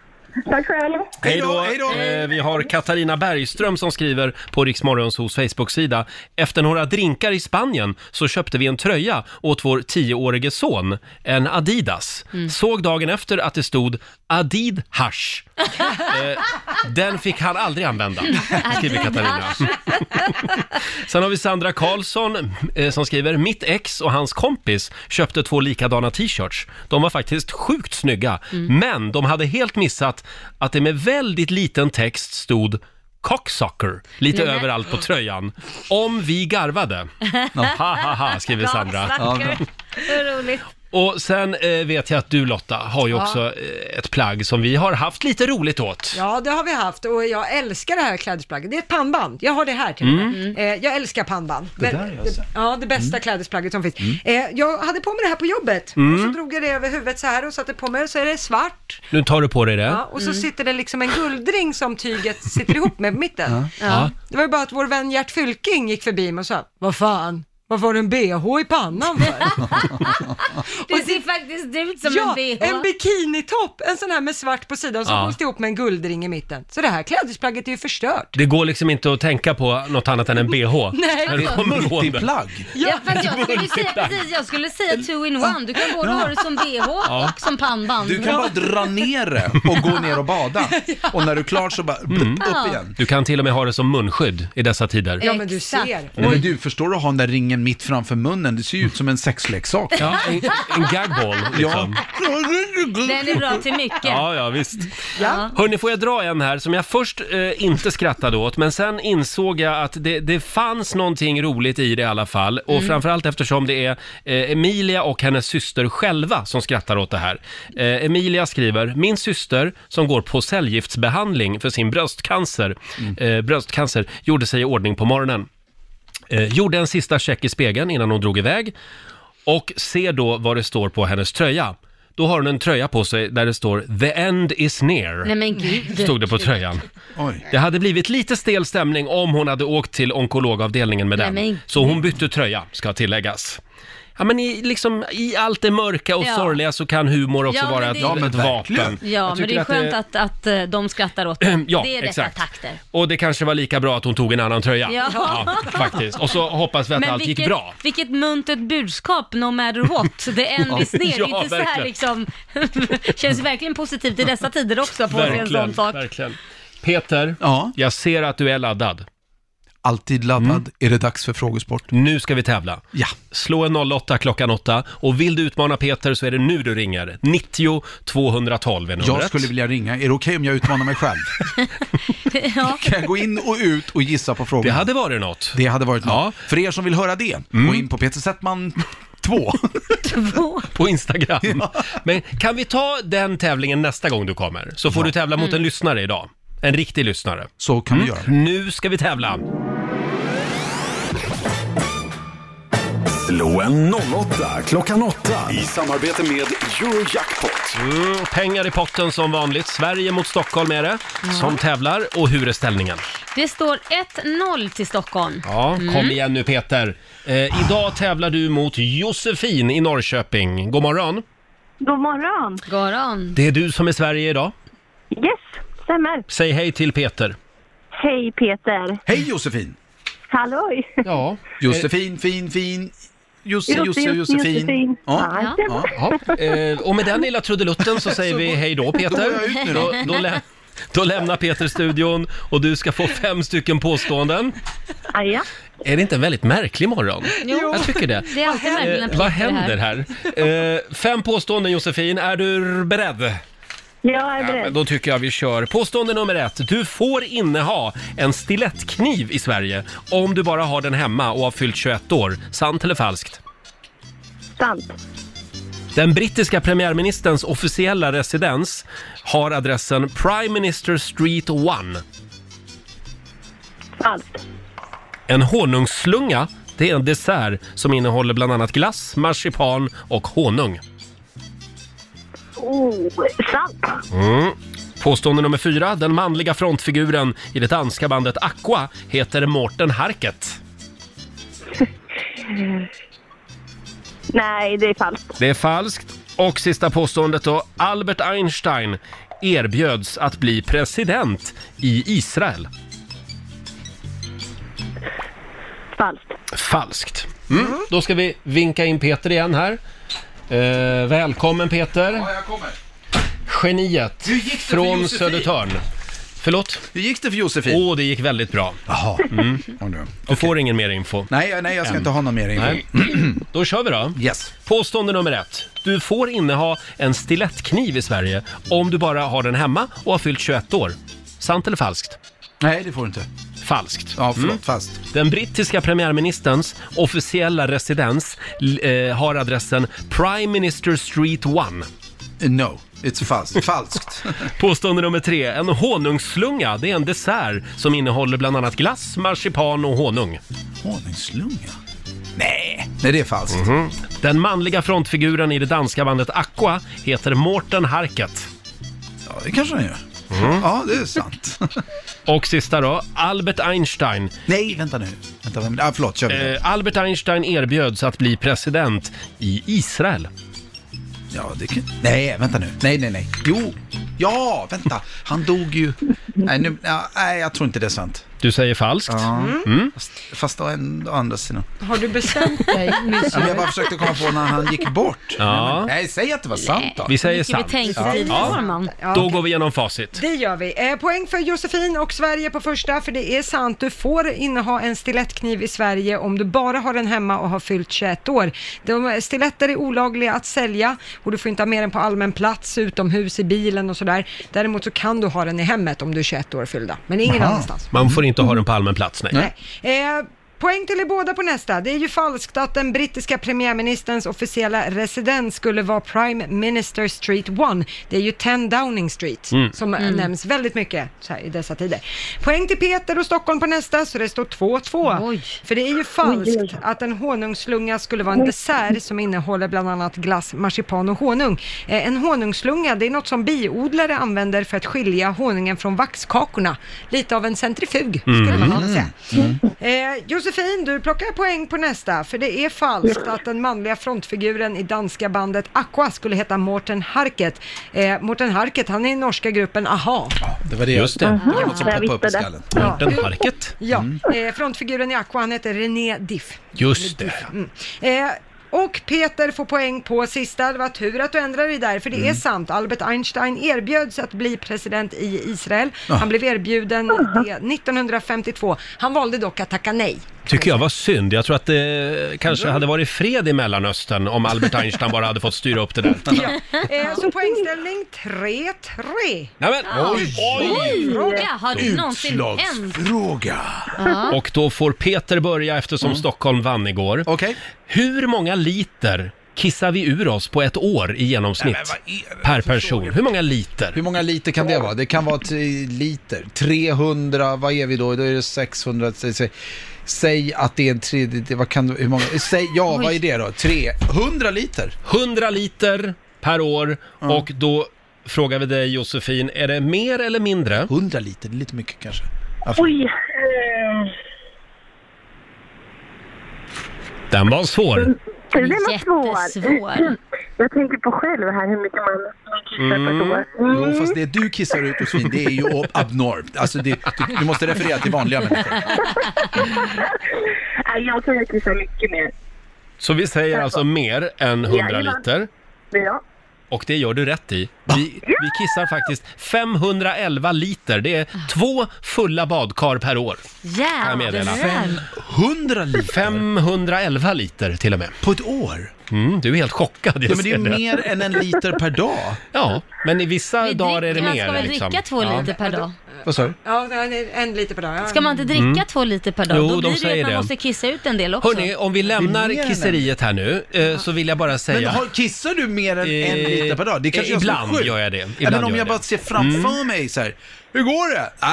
[SPEAKER 13] Tack själv.
[SPEAKER 1] Hej då! Eh, vi har Katarina Bergström som skriver på Riksmorgonsos Facebook-sida. Efter några drinkar i Spanien så köpte vi en tröja åt vår tioårige son, en Adidas. Såg dagen efter att det stod Adid Hash. Eh, den fick han aldrig använda, skriver Katarina. Sen har vi Sandra Karlsson eh, som skriver “Mitt ex och hans kompis köpte två likadana t-shirts. De var faktiskt sjukt snygga,
[SPEAKER 3] Mm.
[SPEAKER 1] men de hade helt missat att det med väldigt liten text stod Cocksucker, lite
[SPEAKER 2] Nej, men-
[SPEAKER 1] överallt på tröjan. Om vi garvade. Ha ha ha, skriver Sandra.
[SPEAKER 2] Cocksucker. Hur roligt.
[SPEAKER 1] Och sen eh, vet jag att du Lotta har ju
[SPEAKER 3] Ja.
[SPEAKER 1] också eh, ett plagg som vi har haft lite roligt åt.
[SPEAKER 3] Ja, det har vi haft och jag älskar det här klädesplagget. Det är ett pannband. Jag har det här till och med.
[SPEAKER 1] Mm.
[SPEAKER 3] Eh, jag älskar pannband.
[SPEAKER 1] Det
[SPEAKER 3] Men-
[SPEAKER 1] där, alltså.
[SPEAKER 3] Ja, det bästa klädesplagget som finns. Eh, jag hade på mig det här på jobbet.
[SPEAKER 1] Mm.
[SPEAKER 3] Och så drog jag det över huvudet så här och satte på mig och så är det svart.
[SPEAKER 1] Nu tar du på dig det.
[SPEAKER 3] Ja, och
[SPEAKER 2] Mm.
[SPEAKER 3] så sitter det liksom en guldring som tyget sitter ihop med på mitten.
[SPEAKER 1] Ja. Ja.
[SPEAKER 3] Det var ju bara att vår vän Gert Fylking gick förbi mig och sa, vad fan, varför har du en bh i pannan för?
[SPEAKER 2] Det ser faktiskt ut som
[SPEAKER 3] ja,
[SPEAKER 2] en bh.
[SPEAKER 3] en bikinitopp, en sån här med svart på sidan som
[SPEAKER 1] Ja.
[SPEAKER 3] hålls ihop med en guldring i mitten. Så det här klädesplagget är ju förstört.
[SPEAKER 1] Det går liksom inte att tänka på något annat än en bh.
[SPEAKER 3] Nej.
[SPEAKER 1] När du kommer ihåg det.
[SPEAKER 2] Ja, fast jag skulle säga precis, jag skulle säga two in one. Du kan både ha det som bh
[SPEAKER 10] Ja.
[SPEAKER 2] och som pannband.
[SPEAKER 10] Du kan bara dra ner det och gå ner och bada. Och när du är klar så bara mm.
[SPEAKER 2] Ja.
[SPEAKER 10] upp igen.
[SPEAKER 1] Du kan till och med ha det som munskydd i dessa tider.
[SPEAKER 3] Ja, men du
[SPEAKER 2] Exakt.
[SPEAKER 3] ser.
[SPEAKER 10] Nej, men du, förstår du att ha den där ringen mitt framför munnen? Det ser ju ut som en sexleksak.
[SPEAKER 1] Ja, en, en gagball liksom.
[SPEAKER 2] Den är bra till mycket.
[SPEAKER 1] Ja, ja, visst. Hörni, får jag dra en här som jag först eh, inte skrattade åt, men sen insåg jag att det, det fanns någonting roligt i det i alla fall. Och
[SPEAKER 15] Mm.
[SPEAKER 1] framförallt eftersom det är eh, Emilia och hennes syster själva som skrattar åt det här. Eh, Emilia skriver, min syster som går på cellgiftsbehandling för sin bröstcancer, eh, bröstcancer gjorde sig i ordning på morgonen. Eh, gjorde en sista check i spegeln innan hon drog iväg och ser då vad det står på hennes tröja. Då har hon en tröja på sig där det står “The end is near”.
[SPEAKER 2] Nej men gud.
[SPEAKER 1] Stod det på tröjan. Det hade blivit lite stel stämning om hon hade åkt till onkologavdelningen med
[SPEAKER 2] Nej,
[SPEAKER 1] den.
[SPEAKER 2] men-
[SPEAKER 1] Så hon bytte tröja, ska tilläggas. Ja men i, liksom, i allt det mörka och
[SPEAKER 2] Ja.
[SPEAKER 1] sorgliga så kan humor också
[SPEAKER 2] Ja,
[SPEAKER 1] vara
[SPEAKER 2] men
[SPEAKER 1] ett,
[SPEAKER 2] det- Ja, men
[SPEAKER 1] ett vapen.
[SPEAKER 2] Ja,
[SPEAKER 1] Jag
[SPEAKER 2] men det
[SPEAKER 1] tycker
[SPEAKER 2] är
[SPEAKER 1] att
[SPEAKER 2] skönt att, att, eh, de skrattar åt det.
[SPEAKER 1] Ja,
[SPEAKER 2] det är
[SPEAKER 1] exakt.
[SPEAKER 2] dessa takter.
[SPEAKER 1] Och det kanske var lika bra att hon tog en annan tröja.
[SPEAKER 2] Ja.
[SPEAKER 1] faktiskt. Och så hoppas vi att
[SPEAKER 2] Men
[SPEAKER 1] allt
[SPEAKER 2] vilket,
[SPEAKER 1] gick bra.
[SPEAKER 2] vilket muntert budskap, no matter what. Det är en
[SPEAKER 1] Ja.
[SPEAKER 2] viss ner.
[SPEAKER 1] Ja,
[SPEAKER 2] inte så här
[SPEAKER 1] verkligen.
[SPEAKER 2] liksom, känns verkligen positivt i dessa tider också att få sig en
[SPEAKER 1] Verkligen,
[SPEAKER 2] sån sak.
[SPEAKER 1] verkligen. Peter, jag ser att du är laddad. Mm.
[SPEAKER 10] alltid laddad. Är det dags för frågesport?
[SPEAKER 1] Nu ska vi tävla. Ja. Slå en 08 klockan 8 och vill du utmana Peter så är det nu du ringer. 90 212 är numret.
[SPEAKER 10] Jag skulle vilja ringa. Är det okej om jag utmanar mig själv?
[SPEAKER 2] Ja.
[SPEAKER 10] Kan jag gå in och ut och gissa på frågan? Det hade
[SPEAKER 1] varit något. Mm.
[SPEAKER 10] Det hade varit något. För er som vill höra det, gå in på Peter Settman 2.
[SPEAKER 1] På Instagram. Men kan vi ta den tävlingen nästa gång du kommer? Så får
[SPEAKER 10] Ja.
[SPEAKER 1] du tävla mot en
[SPEAKER 10] Mm.
[SPEAKER 1] lyssnare idag. En riktig lyssnare.
[SPEAKER 10] Så kan vi
[SPEAKER 1] göra. Nu ska vi tävla.
[SPEAKER 4] Loen 08, klockan 8. I samarbete med Eurojackpot.
[SPEAKER 1] Mm, pengar i potten som vanligt. Sverige mot Stockholm är det som tävlar. Och hur är ställningen?
[SPEAKER 2] Det står 1-0 till Stockholm.
[SPEAKER 1] Ja,
[SPEAKER 2] Mm.
[SPEAKER 1] kom igen nu Peter. Eh, idag tävlar du mot Josefin i Norrköping. God morgon.
[SPEAKER 15] God morgon.
[SPEAKER 2] God morgon.
[SPEAKER 1] Det är du som är Sverige idag.
[SPEAKER 15] Yes, stämmer.
[SPEAKER 1] Säg hej till Peter.
[SPEAKER 15] Hej Peter.
[SPEAKER 10] Hej Josefin!
[SPEAKER 15] Halloj.
[SPEAKER 1] Ja.
[SPEAKER 10] Josefin, fin, fin. Josse,
[SPEAKER 15] Josse,
[SPEAKER 10] Josse,
[SPEAKER 15] Josse,
[SPEAKER 10] Josefin.
[SPEAKER 15] Josefin.
[SPEAKER 10] Ja.
[SPEAKER 15] Ja.
[SPEAKER 10] Ja.
[SPEAKER 1] Eh, och med den lilla trudelutten så säger
[SPEAKER 10] Så
[SPEAKER 1] vi
[SPEAKER 10] går-
[SPEAKER 1] hej då
[SPEAKER 10] då
[SPEAKER 1] Peter.
[SPEAKER 10] går jag ut nu då.
[SPEAKER 1] då, lä- då lämnar Peter studion och du ska få fem stycken påståenden.
[SPEAKER 15] Aja.
[SPEAKER 1] Är det inte en väldigt märklig morgon?
[SPEAKER 2] Jo.
[SPEAKER 1] Jag tycker det.
[SPEAKER 2] Det är alltid märkligt när
[SPEAKER 1] Eh, vad
[SPEAKER 2] Peter är
[SPEAKER 1] händer här? Eh, fem påståenden Josefin, är du beredd?
[SPEAKER 15] Jag är
[SPEAKER 1] Ja, men
[SPEAKER 15] beredd.
[SPEAKER 1] då tycker jag vi kör. Påstående nummer ett. Du får inneha en stilettkniv i Sverige om du bara har den hemma och har fyllt 21 år. Sant eller falskt?
[SPEAKER 15] Sant.
[SPEAKER 1] Den brittiska premiärministerns officiella residens har adressen Prime Minister Street 1.
[SPEAKER 15] Falskt.
[SPEAKER 1] En honungsslunga, det är en dessert som innehåller bland annat glass, marsipan och honung.
[SPEAKER 15] Oh, sant.
[SPEAKER 1] Mm. Påstående nummer fyra. Den manliga frontfiguren i det danska bandet Aqua heter Morten Harket.
[SPEAKER 15] Eh, Nej, det är falskt.
[SPEAKER 1] Det är falskt. Och sista påståendet då. Albert Einstein erbjöds att bli president i Israel.
[SPEAKER 15] Falskt.
[SPEAKER 1] Falskt. Mm. Då ska vi vinka in Peter igen här. Eh, välkommen Peter. Ja,
[SPEAKER 10] jag kommer.
[SPEAKER 1] Geniet
[SPEAKER 10] Hur gick det för
[SPEAKER 1] från
[SPEAKER 10] Josefin?
[SPEAKER 1] Södertörn. Förlåt?
[SPEAKER 10] Hur gick det för Josefin?
[SPEAKER 1] Åh, det gick väldigt bra.
[SPEAKER 10] Jaha.
[SPEAKER 1] Mm. Du får ingen mer info.
[SPEAKER 10] Nej, nej, jag ska
[SPEAKER 1] Än.
[SPEAKER 10] inte ha någon mer info.
[SPEAKER 1] Nej. Då kör vi då.
[SPEAKER 10] Yes.
[SPEAKER 1] Påstående nummer ett. Du får inneha en stilettkniv i Sverige om du bara har den hemma och har fyllt 21 år. Sant eller falskt?
[SPEAKER 10] Nej, det får du inte.
[SPEAKER 1] Falskt. Mm.
[SPEAKER 10] Ja, förlåt, fast.
[SPEAKER 1] Den brittiska premiärministerns officiella residens l- eh, har adressen Prime Minister Street 1.
[SPEAKER 10] No, it's falskt. falskt.
[SPEAKER 1] Påstående nummer tre. En honungsslunga, det är en dessert som innehåller bland annat glass, marsipan och honung.
[SPEAKER 10] Honungslunga? Nej. Nej, det är falskt.
[SPEAKER 1] Mhm. Den manliga frontfiguren i det danska bandet Aqua heter Morten Harket.
[SPEAKER 10] Ja, det kanske den gör.
[SPEAKER 1] Mm.
[SPEAKER 10] Ja, det är sant.
[SPEAKER 1] Och sista då, Albert Einstein.
[SPEAKER 10] Nej, vänta nu. Vänta, vem... ah, förlåt, kör vi.
[SPEAKER 1] Eh, Albert Einstein erbjöds att bli president i Israel.
[SPEAKER 10] Ja, det kan... Nej, vänta nu. Nej, nej, nej. Jo. Ja, vänta. Han dog ju... Nej, nu... ja, nej jag tror inte det är sant.
[SPEAKER 1] Du säger falskt.
[SPEAKER 10] Ja.
[SPEAKER 3] Mm.
[SPEAKER 10] Fast, fast då en, å andra sidan.
[SPEAKER 3] Har du bestämt dig?
[SPEAKER 10] Ja, men jag bara försökte komma på när han gick bort.
[SPEAKER 1] Ja.
[SPEAKER 10] Nej, säg att det var sant då.
[SPEAKER 1] Vi säger sant.
[SPEAKER 3] Ja.
[SPEAKER 1] Då går vi igenom facit.
[SPEAKER 3] Det gör vi. Eh, poäng för Josefin och Sverige på första, för det är sant. Du får inneha en stilettkniv i Sverige om du bara har den hemma och har fyllt 21 år. De, eh, stiletter är olagliga att sälja och du får inte ha med den på allmän plats, utomhus, i bilen och sådär. Däremot så kan du ha den i hemmet om du är 21 år fyllda, men ingen annanstans.
[SPEAKER 1] Man får inte ha den på allmän plats, nej.
[SPEAKER 3] Nej. Eh, Poäng till er båda på nästa. Det är ju falskt att den brittiska premiärministerns officiella residens skulle vara Prime Minister Street 1. Det är ju 10 Downing Street
[SPEAKER 16] Mm.
[SPEAKER 3] som eh,
[SPEAKER 16] Mm.
[SPEAKER 3] nämns väldigt mycket så här, i dessa tider. Poäng till Peter och Stockholm på nästa, så det står 2-2. För det är ju falskt att en honungsslunga skulle vara en dessert som innehåller bland annat glass, marsipan och honung. Eh, en honungsslunga, det är något som biodlare använder för att skilja honungen från vaxkakorna. Lite av en centrifug, skulle man kunna säga. Eh, Josefin, du plockar poäng på nästa, för det är falskt att den manliga frontfiguren i danska bandet Aqua skulle heta Morten Harket. Eh, Morten Harket, han är i norska gruppen AHA.
[SPEAKER 10] Det var det.
[SPEAKER 1] Just det.
[SPEAKER 10] Det var något som
[SPEAKER 3] Aha, jag
[SPEAKER 10] poppade upp i
[SPEAKER 3] visste det.
[SPEAKER 10] skallen.
[SPEAKER 3] Ja.
[SPEAKER 1] Morten Harket.
[SPEAKER 3] Ja, eh, frontfiguren i Aqua, han heter René Diff.
[SPEAKER 1] Just det.
[SPEAKER 3] Mm. Eh, Och Peter får poäng på sista. Det var tur att du ändrade dig där, för det är sant. Albert Einstein erbjöds att bli president i Israel.
[SPEAKER 1] Ah.
[SPEAKER 3] Han blev erbjuden det 1952. Han valde dock att tacka nej.
[SPEAKER 1] Tycker jag var synd. Jag tror att det kanske hade varit fred i Mellanöstern om Albert Einstein bara hade fått styra upp det där.
[SPEAKER 3] Ja. Eh, så poängställning 3-3.
[SPEAKER 1] Nämen!
[SPEAKER 3] Oj! Oj! Fråga. Har det någonsin hänt?
[SPEAKER 1] Utslagsfråga!
[SPEAKER 3] Ja.
[SPEAKER 1] Och då får Peter börja eftersom
[SPEAKER 10] Mm.
[SPEAKER 1] Stockholm vann igår.
[SPEAKER 10] Okay.
[SPEAKER 1] Hur många liter kissar vi ur oss på ett år i genomsnitt? Per person. Hur många liter?
[SPEAKER 10] Hur många liter kan det vara? Det kan vara tre liter. 300, vad är vi då? Då är det 600. Säg, säg, säg att det är en tredjedel, vad kan det- hur många? Säg, ja, vad är det då? 300 liter?
[SPEAKER 1] 100 liter per år och då frågar vi dig Josefin, är det mer eller mindre?
[SPEAKER 10] 100 liter, det är lite mycket kanske.
[SPEAKER 15] Oj.
[SPEAKER 5] 아,
[SPEAKER 15] ehm,
[SPEAKER 1] Den var svår.
[SPEAKER 15] Det där var svår. Jag tänker på själv här hur mycket man
[SPEAKER 10] Mm. Jo, fast det du kissar ut hos svin, det är ju abnormt. Alltså, det, du, du måste referera till vanliga människor.
[SPEAKER 15] Nej, jag tror jag kissar mycket mer.
[SPEAKER 1] Så vi säger alltså mer än 100
[SPEAKER 15] Jajamän.
[SPEAKER 1] liter.
[SPEAKER 15] Men ja.
[SPEAKER 1] Och det gör du rätt i. Vi, vi kissar faktiskt 511 liter. Det är två fulla badkar per år. kan jag meddela.
[SPEAKER 2] Jädrar!
[SPEAKER 10] 100 liter?
[SPEAKER 1] 511 liter till och med.
[SPEAKER 10] På ett år?
[SPEAKER 1] Mm, du är helt chockad. jag
[SPEAKER 10] Ja, men det är ju
[SPEAKER 1] ser
[SPEAKER 10] mer än en liter per dag.
[SPEAKER 1] Ja, men i vissa dagar är det
[SPEAKER 2] Man
[SPEAKER 1] mer.
[SPEAKER 2] ska väl
[SPEAKER 1] liksom.
[SPEAKER 2] dricka två
[SPEAKER 1] Ja.
[SPEAKER 2] liter per dag?
[SPEAKER 10] Vad sa du?
[SPEAKER 3] Ja, nej, en liter per dag. ja.
[SPEAKER 2] Ska man inte dricka
[SPEAKER 1] Mm.
[SPEAKER 2] två liter per dag?
[SPEAKER 1] Jo,
[SPEAKER 2] Då
[SPEAKER 1] de
[SPEAKER 2] blir det ju
[SPEAKER 1] säger
[SPEAKER 2] att man
[SPEAKER 1] det.
[SPEAKER 2] måste kissa ut en del också.
[SPEAKER 1] Hörni, om vi
[SPEAKER 2] Det är mer
[SPEAKER 1] lämnar
[SPEAKER 2] än
[SPEAKER 1] kisseriet här nu eh, så vill jag bara säga...
[SPEAKER 10] Men har, kissar du mer än en
[SPEAKER 1] Eh,
[SPEAKER 10] liter per dag? Det kanske
[SPEAKER 1] eh,
[SPEAKER 10] jag som är
[SPEAKER 1] ibland
[SPEAKER 10] sjuk.
[SPEAKER 1] gör jag det. Ibland
[SPEAKER 10] Eller om
[SPEAKER 1] gör
[SPEAKER 10] jag
[SPEAKER 1] jag
[SPEAKER 10] bara
[SPEAKER 1] det.
[SPEAKER 10] ser framför
[SPEAKER 1] Mm.
[SPEAKER 10] mig så här. Hur går det? Äh,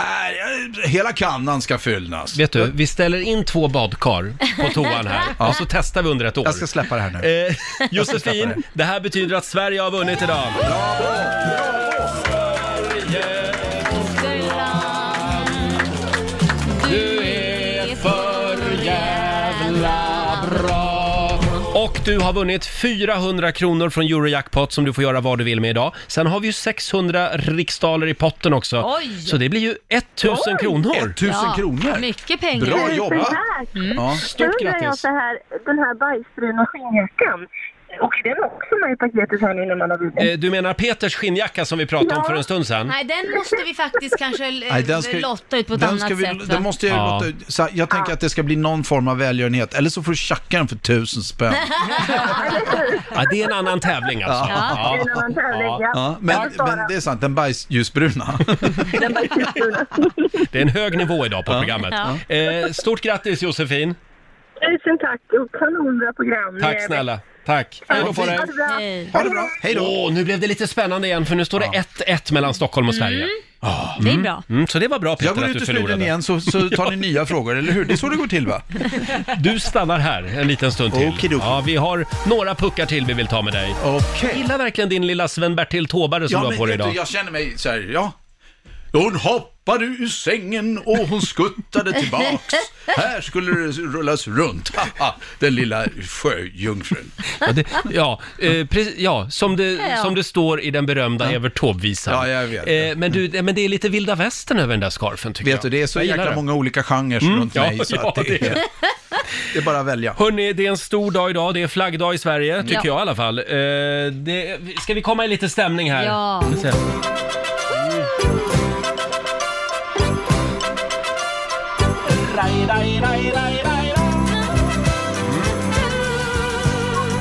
[SPEAKER 10] jag- hela kannan ska fyllnas.
[SPEAKER 1] Vet du, vi ställer in två badkar på toan här
[SPEAKER 10] Ja.
[SPEAKER 1] och så testar vi under ett år.
[SPEAKER 10] Jag ska släppa det här nu.
[SPEAKER 1] Eh, Josefin, det här betyder att Sverige har vunnit idag.
[SPEAKER 5] Du är för jävla bra.
[SPEAKER 1] Och du har vunnit 400 kronor från Eurojackpot som du får göra vad du vill med idag. Sen har vi ju 600 riksdaler i potten också.
[SPEAKER 2] Oj!
[SPEAKER 1] Så det blir ju 1000
[SPEAKER 15] Oj!
[SPEAKER 1] kronor.
[SPEAKER 2] Ja, Mycket pengar. Mm.
[SPEAKER 1] Ja,
[SPEAKER 15] Då
[SPEAKER 1] stort
[SPEAKER 15] undrar jag
[SPEAKER 1] grattis.
[SPEAKER 15] så här, den här bajsbruna skinnjackan, åker den också med i paketet här nu när man har vunnit?
[SPEAKER 1] Eh, Du menar Peters skinnjacka som vi pratade om för en stund sedan?
[SPEAKER 2] Nej, den måste vi faktiskt kanske eh,
[SPEAKER 10] Nej, den ska-
[SPEAKER 2] lotta ut på ett
[SPEAKER 10] den
[SPEAKER 2] annat
[SPEAKER 10] ska vi,
[SPEAKER 2] sätt. va?
[SPEAKER 10] Den måste jag ju
[SPEAKER 1] Ja.
[SPEAKER 10] låta ut. Så här, jag tänker att det ska bli någon form av välgörenhet. Eller så får du tjacka den för tusen spänn.
[SPEAKER 1] Ja, det är en annan tävling alltså.
[SPEAKER 10] Ja.
[SPEAKER 1] Ja.
[SPEAKER 10] Ja, men, men det är sant, den bajsljusbruna.
[SPEAKER 5] 네.
[SPEAKER 1] Det är en hög nivå idag på programmet.
[SPEAKER 15] Ja.
[SPEAKER 1] Eh, stort grattis Josefin!
[SPEAKER 10] Eh.
[SPEAKER 15] Tusen tack och kanonbra program.
[SPEAKER 1] Tack snälla! Tack! Hej då på dig!
[SPEAKER 10] Ha Alltså, det bra! Hej då!
[SPEAKER 1] Åh, nu blev det lite spännande igen för nu står det 1-1 mellan Stockholm och Sverige. Ah,
[SPEAKER 2] Det är
[SPEAKER 1] mm.
[SPEAKER 2] bra.
[SPEAKER 1] Mm, så det var bra Peter
[SPEAKER 10] Jag går
[SPEAKER 1] att
[SPEAKER 10] ut
[SPEAKER 1] du
[SPEAKER 10] ur studion
[SPEAKER 1] förlorade.
[SPEAKER 10] igen så, så tar ni nya frågor, eller hur? Det är så det går till va?
[SPEAKER 1] Du stannar här en liten stund till. Ja, vi har några puckar till vi vill ta med dig. Jag gillar verkligen din lilla Sven-Bertil Taubare som
[SPEAKER 10] Ja,
[SPEAKER 1] du har
[SPEAKER 10] men
[SPEAKER 1] på dig
[SPEAKER 10] vet du,
[SPEAKER 1] idag.
[SPEAKER 10] jag känner mig så här, ja. Hon hoppade ur sängen och hon skuttade tillbaks. Här skulle det rullas runt. Haha, Den lilla sjöjungfrun.
[SPEAKER 1] Ja, det, ja, eh, precis- ja, som, det,
[SPEAKER 10] Ja.
[SPEAKER 1] som det står i den berömda Evert Taube-visan.
[SPEAKER 10] Ja, jag vet. Mm.
[SPEAKER 1] Eh, men, du, eh, men det är lite vilda västern över den där scarfen tycker jag.
[SPEAKER 10] Vet du, det är så
[SPEAKER 1] jag gillar
[SPEAKER 10] jäkla
[SPEAKER 1] det.
[SPEAKER 10] många olika genrer
[SPEAKER 1] Mm,
[SPEAKER 10] runt
[SPEAKER 1] ja,
[SPEAKER 10] mig så
[SPEAKER 1] ja,
[SPEAKER 10] att det,
[SPEAKER 1] det är
[SPEAKER 10] är, det är bara att välja.
[SPEAKER 1] Hörni, det är en stor dag idag. Det är flaggdag i Sverige, tycker
[SPEAKER 2] Ja.
[SPEAKER 1] jag i alla fall. Eh, det, ska vi komma i lite stämning här?
[SPEAKER 2] Ja.
[SPEAKER 1] Ska vi se.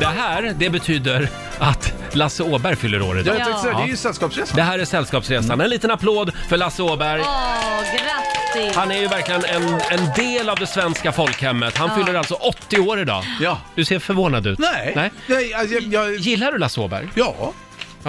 [SPEAKER 1] Det här, det betyder att Lasse Åberg fyller år idag.
[SPEAKER 10] Jag tänkte säga, det är ju Sällskapsresan.
[SPEAKER 1] Det här är Sällskapsresan. En liten applåd för Lasse Åberg.
[SPEAKER 2] Åh, grattis!
[SPEAKER 1] Han är ju verkligen en, en del av det svenska folkhemmet. Han
[SPEAKER 2] Ja.
[SPEAKER 1] fyller alltså 80 år idag.
[SPEAKER 10] Ja.
[SPEAKER 1] Du ser förvånad ut.
[SPEAKER 10] Nej. Nej, alltså, jag, jag,
[SPEAKER 1] Gillar du Lasse Åberg?
[SPEAKER 10] Ja.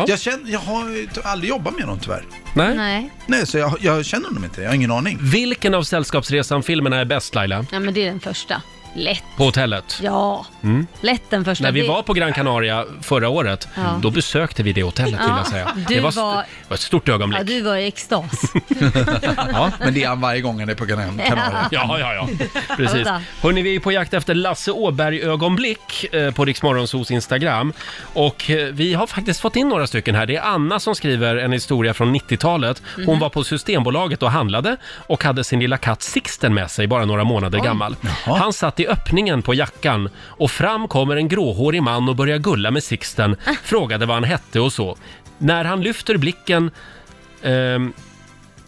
[SPEAKER 10] Jag, känner, jag har aldrig jobbat med honom tyvärr.
[SPEAKER 1] Nej.
[SPEAKER 2] Nej.
[SPEAKER 10] Nej, så jag, jag känner honom inte. Jag har ingen aning.
[SPEAKER 1] Vilken av Sällskapsresan-filmerna är bäst Laila?
[SPEAKER 2] Ja, men det är den första. Lätt.
[SPEAKER 1] På hotellet?
[SPEAKER 2] Ja,
[SPEAKER 1] Mm.
[SPEAKER 2] lätt den första.
[SPEAKER 1] När vi
[SPEAKER 2] Det-
[SPEAKER 1] var på Gran Canaria förra året,
[SPEAKER 2] Ja.
[SPEAKER 1] då besökte vi det hotellet vill
[SPEAKER 2] Ja,
[SPEAKER 1] jag säga.
[SPEAKER 2] du
[SPEAKER 1] Det var, st-
[SPEAKER 2] var-
[SPEAKER 1] var ett stort ögonblick.
[SPEAKER 2] Ja, du var i extas.
[SPEAKER 10] ja. Men det är han varje gång han är på Gran- Kanarien.
[SPEAKER 1] Ja, ja, ja. Precis.
[SPEAKER 2] Vänta.
[SPEAKER 1] Hörni, vi är på jakt efter Lasse Åberg-ögonblick eh, på Riksmorgonsos Instagram. Och eh, vi har faktiskt fått in några stycken här. Det är Anna som skriver en historia från 90-talet. Hon
[SPEAKER 2] Mhm.
[SPEAKER 1] var på Systembolaget och handlade och hade sin lilla katt Sixten med sig, bara några månader gammal. Han satt i öppningen på jackan och fram kommer en gråhårig man och börjar gulla med Sixten,
[SPEAKER 2] Ah.
[SPEAKER 1] frågade vad han hette och så. När han lyfter blicken... ehm,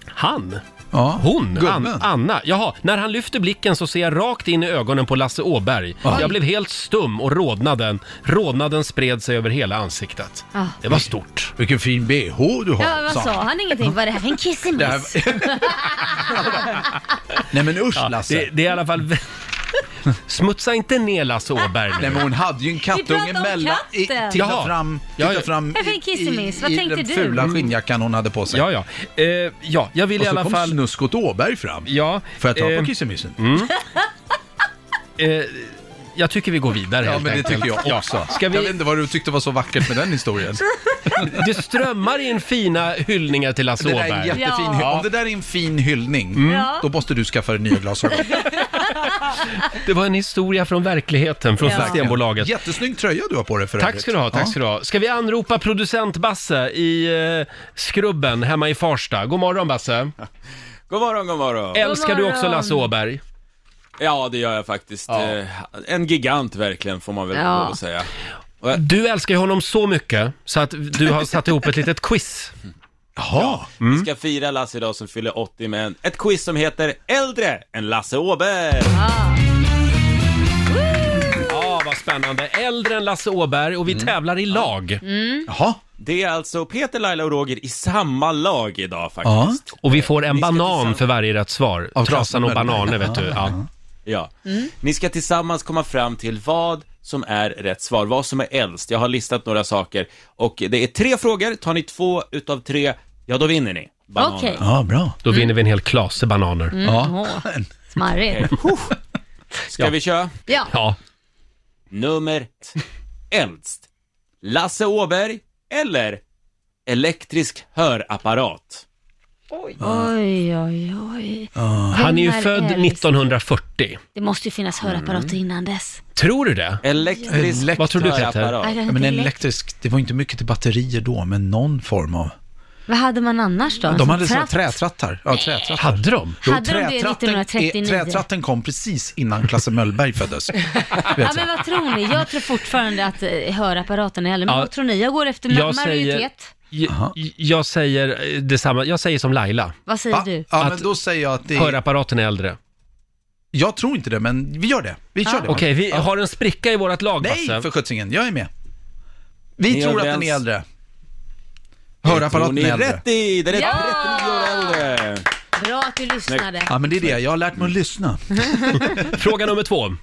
[SPEAKER 1] han? Hon?
[SPEAKER 10] gubben.
[SPEAKER 1] An- Anna? Jaha, när han lyfter blicken så ser jag rakt in i ögonen på Lasse Åberg.
[SPEAKER 10] Oj.
[SPEAKER 1] Jag blev helt stum och rodnaden, rodnaden spred sig över hela ansiktet.
[SPEAKER 2] Ah.
[SPEAKER 1] Det var stort.
[SPEAKER 10] Vilken fin bh du
[SPEAKER 2] Ja, vad sa han ingenting? Vad är det här för en
[SPEAKER 10] Det
[SPEAKER 2] kissemiss?
[SPEAKER 10] Nej men usch Lasse.
[SPEAKER 1] det, det är i alla fall... Smutsa inte ner Lasse Åberg
[SPEAKER 10] Nej men hon hade ju en kattunge
[SPEAKER 2] pratar om
[SPEAKER 10] mellan... I,
[SPEAKER 2] katten.
[SPEAKER 10] titta
[SPEAKER 1] Jaha.
[SPEAKER 10] fram, titta fram
[SPEAKER 2] Jag fick kissemiss, vad
[SPEAKER 10] i
[SPEAKER 2] tänkte
[SPEAKER 10] den
[SPEAKER 2] du?
[SPEAKER 10] fula skinnjackan hon hade på sig.
[SPEAKER 1] Ja, ja. ja, jag vill
[SPEAKER 10] och
[SPEAKER 1] i alla
[SPEAKER 10] så kom
[SPEAKER 1] fall-
[SPEAKER 10] snuskot Åberg fram.
[SPEAKER 1] Ja.
[SPEAKER 10] Får jag ta
[SPEAKER 1] eh,
[SPEAKER 10] på kissemissen?
[SPEAKER 1] Mm. Eh, jag tycker vi går vidare
[SPEAKER 10] Ja,
[SPEAKER 1] helt
[SPEAKER 10] men det
[SPEAKER 1] enkelt.
[SPEAKER 10] tycker jag också.
[SPEAKER 1] Ska
[SPEAKER 10] Jag
[SPEAKER 1] vi...
[SPEAKER 10] vet inte vad du tyckte var så vackert med den historien.
[SPEAKER 1] Det strömmar in fina hyllningar till Lasse
[SPEAKER 10] Det där
[SPEAKER 1] Åberg.
[SPEAKER 10] är en jättefin hy- Om det där är en fin hyllning,
[SPEAKER 1] Ja.
[SPEAKER 10] då måste du skaffa dig nya glasögon.
[SPEAKER 1] Det var en historia från verkligheten från
[SPEAKER 10] Ja.
[SPEAKER 1] Systembolaget.
[SPEAKER 10] Jättesnygg tröja du har på dig för
[SPEAKER 1] Tack
[SPEAKER 10] övrigt.
[SPEAKER 1] ska du ha, tack
[SPEAKER 10] Ja.
[SPEAKER 1] ska du ha. Ska vi anropa producent Basse i eh, Skrubben hemma i Farsta? God morgon Basse!
[SPEAKER 9] God morgon, god morgon.
[SPEAKER 1] Älskar du också Lasse Åberg?
[SPEAKER 9] Ja, det gör jag faktiskt. Eh, En gigant verkligen, får man väl
[SPEAKER 1] Ja.
[SPEAKER 9] lov att säga.
[SPEAKER 1] Du älskar ju honom så mycket så att du har satt ihop ett litet quiz.
[SPEAKER 9] Jaha.
[SPEAKER 1] Mm.
[SPEAKER 9] Vi ska fira Lasse idag som fyller 80 med en- ett quiz som heter Äldre än Lasse Åberg.
[SPEAKER 1] Ja, vad spännande. Äldre än Lasse Åberg och vi tävlar i lag.
[SPEAKER 10] Jaha.
[SPEAKER 9] Mm. Det är alltså Peter, Laila och Roger i samma lag idag faktiskt.
[SPEAKER 1] Ja. Och vi får en banan för varje rätt svar.
[SPEAKER 9] Av
[SPEAKER 1] Trasan och
[SPEAKER 9] trasan.
[SPEAKER 1] bananer vet du. Ja.
[SPEAKER 9] Ja.
[SPEAKER 1] Mm.
[SPEAKER 9] Ni ska tillsammans komma fram till vad som är rätt svar, vad som är äldst. Jag har listat några saker och det är tre frågor. Tar ni två utav tre, ja då vinner ni. Bananer.
[SPEAKER 2] Okej.
[SPEAKER 10] Ja, bra.
[SPEAKER 1] Då vinner vi en hel klase bananer.
[SPEAKER 2] Mm, ja. Smarrigt.
[SPEAKER 9] Ska vi köra?
[SPEAKER 2] Ja.
[SPEAKER 9] Nummer ett. äldst. Lasse Åberg eller elektrisk hörapparat?
[SPEAKER 2] Oj, oj, oj.
[SPEAKER 1] Han är ju
[SPEAKER 2] Vem
[SPEAKER 1] född Mm.
[SPEAKER 2] äldst?
[SPEAKER 1] 1940.
[SPEAKER 2] Det måste ju finnas hörapparater innan dess.
[SPEAKER 1] Tror du det? Eh,
[SPEAKER 9] Elektrisk
[SPEAKER 1] Vad tror du Peter?
[SPEAKER 2] hörapparat.
[SPEAKER 10] Ja, men elektrisk, det var inte mycket till batterier då, men någon form av...
[SPEAKER 2] Vad hade man annars då? Alltså,
[SPEAKER 10] De hade såna
[SPEAKER 2] Tratt?
[SPEAKER 10] trätrattar. Ja, trätrattar.
[SPEAKER 1] Hade de?
[SPEAKER 2] Hade de det 1939?
[SPEAKER 10] Trätratten kom precis innan Klasse Möllberg föddes.
[SPEAKER 2] Ja, men vad tror ni? Jag tror fortfarande att eh, hörapparaten är äldre. Men
[SPEAKER 1] Ja.
[SPEAKER 2] vad tror ni? Jag går efter
[SPEAKER 1] Jag säger,
[SPEAKER 2] majoritet.
[SPEAKER 1] jag, jag säger eh, detsamma. Jag säger som Laila.
[SPEAKER 2] Vad säger du?
[SPEAKER 10] Ja,
[SPEAKER 1] Att
[SPEAKER 10] men då säger jag att det är...
[SPEAKER 1] Hörapparaten är äldre.
[SPEAKER 10] Jag tror inte det, men vi gör det. Vi kör
[SPEAKER 1] Ja.
[SPEAKER 10] det.
[SPEAKER 1] Okej, vi
[SPEAKER 10] Ja.
[SPEAKER 1] har en spricka i vårt lag,
[SPEAKER 10] Nej,
[SPEAKER 1] Basse.
[SPEAKER 10] för sjuttsingen. Jag är med. Vi
[SPEAKER 1] Ni är
[SPEAKER 10] tror att den
[SPEAKER 1] överens.
[SPEAKER 10] är äldre. Hörapparaten
[SPEAKER 9] Det tror
[SPEAKER 10] är
[SPEAKER 9] ni
[SPEAKER 10] äldre.
[SPEAKER 9] rätt i! Den är
[SPEAKER 2] Ja!
[SPEAKER 9] 39 år äldre.
[SPEAKER 2] Bra att du lyssnade.
[SPEAKER 10] Ja, men det är det. Jag har lärt mig att lyssna.
[SPEAKER 1] Fråga nummer två.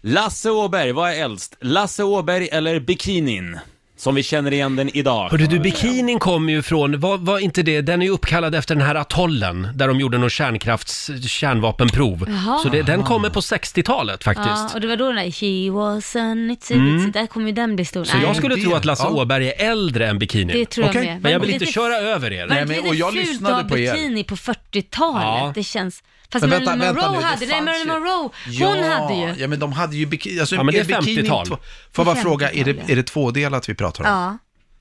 [SPEAKER 9] Lasse Åberg, vad är äldst? Lasse Åberg eller bikinin? Som vi känner igen den idag.
[SPEAKER 1] Hörde du, bikinin kommer ju från, var, var inte det, den är ju uppkallad efter den här atollen där de gjorde någon kärnkrafts, kärnvapenprov.
[SPEAKER 2] Jaha.
[SPEAKER 1] Så det, den kommer på 60-talet faktiskt.
[SPEAKER 2] Ja, och det var då den där She was a nitsy
[SPEAKER 1] Mm.
[SPEAKER 2] nitsy. Där kom ju den bli stor.
[SPEAKER 1] Så
[SPEAKER 2] Nej.
[SPEAKER 1] jag skulle tro att Lasse
[SPEAKER 2] Ja.
[SPEAKER 1] Åberg är äldre än bikinin.
[SPEAKER 2] Det tror jag Okej. med.
[SPEAKER 1] Men jag
[SPEAKER 2] Var
[SPEAKER 1] vill
[SPEAKER 2] det
[SPEAKER 1] inte
[SPEAKER 2] lite-
[SPEAKER 1] köra över er.
[SPEAKER 2] Var det inte lite fult att ha bikini på 40-talet?
[SPEAKER 10] Ja.
[SPEAKER 2] Det känns... Fast
[SPEAKER 10] Men
[SPEAKER 2] Marilyn
[SPEAKER 10] vänta, vänta
[SPEAKER 2] Monroe
[SPEAKER 10] nu, det
[SPEAKER 2] hade... Nej,
[SPEAKER 10] fanns
[SPEAKER 2] Marilyn
[SPEAKER 10] ju.
[SPEAKER 2] Monroe, hon hade ju...
[SPEAKER 10] Ja, men de hade ju bikini. Alltså,
[SPEAKER 1] Ja, men det är
[SPEAKER 10] bikini
[SPEAKER 1] 50-tal.
[SPEAKER 10] två- Får jag
[SPEAKER 2] Det är
[SPEAKER 10] bara fråga, är det,
[SPEAKER 2] 50-tal, ja.
[SPEAKER 10] är det tvådelat vi pratar om?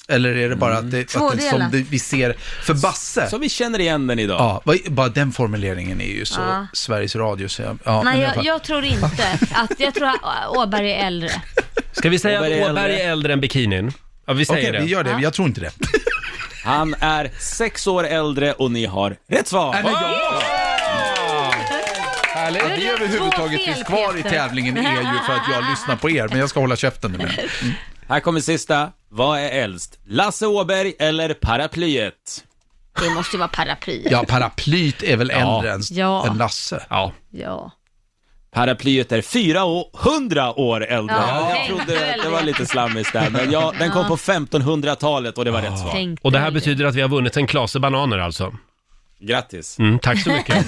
[SPEAKER 2] Ja.
[SPEAKER 10] Eller är det bara att det, att det som
[SPEAKER 2] Tvådelat.
[SPEAKER 10] det, vi ser för Basse?
[SPEAKER 9] Som vi känner igen den idag.
[SPEAKER 10] Ja, vad- bara den formuleringen är ju så
[SPEAKER 2] Ja.
[SPEAKER 10] Sveriges Radio så jag, ja, men
[SPEAKER 2] Nej,
[SPEAKER 10] i alla
[SPEAKER 2] jag,
[SPEAKER 10] fall.
[SPEAKER 2] jag tror inte att... Jag tror att Åberg är äldre.
[SPEAKER 1] Ska vi säga
[SPEAKER 9] Åberg är
[SPEAKER 1] att Åberg
[SPEAKER 9] äldre.
[SPEAKER 1] är äldre än bikinin? Ja, vi säger
[SPEAKER 9] Okej,
[SPEAKER 1] det.
[SPEAKER 9] vi gör det.
[SPEAKER 10] Jag tror inte det.
[SPEAKER 9] Han är sex år äldre och ni har rätt svar!
[SPEAKER 1] Äh,
[SPEAKER 10] Nej, men jag- Härligt. Att vi överhuvudtaget finns kvar i tävlingen är ju för att jag lyssnar på er, men jag ska hålla käften nu. Mm.
[SPEAKER 9] Här kommer sista. Vad är äldst? Lasse Åberg eller paraplyet?
[SPEAKER 2] Det måste ju vara paraplyet.
[SPEAKER 10] Ja, paraplyet är väl äldre än,
[SPEAKER 2] Ja.
[SPEAKER 10] än Lasse?
[SPEAKER 1] Ja.
[SPEAKER 2] Ja.
[SPEAKER 9] Paraplyet är 400 år äldre.
[SPEAKER 2] Ja,
[SPEAKER 9] jag
[SPEAKER 2] tänk
[SPEAKER 9] trodde
[SPEAKER 2] väl
[SPEAKER 9] att det var
[SPEAKER 2] det.
[SPEAKER 9] lite slammigt där, men ja, den kom
[SPEAKER 2] Ja.
[SPEAKER 9] på 1500-talet och det var rätt svar.
[SPEAKER 2] Tänk
[SPEAKER 1] Och det här betyder att vi har vunnit en klase bananer alltså.
[SPEAKER 9] Grattis.
[SPEAKER 1] Mm, tack så mycket.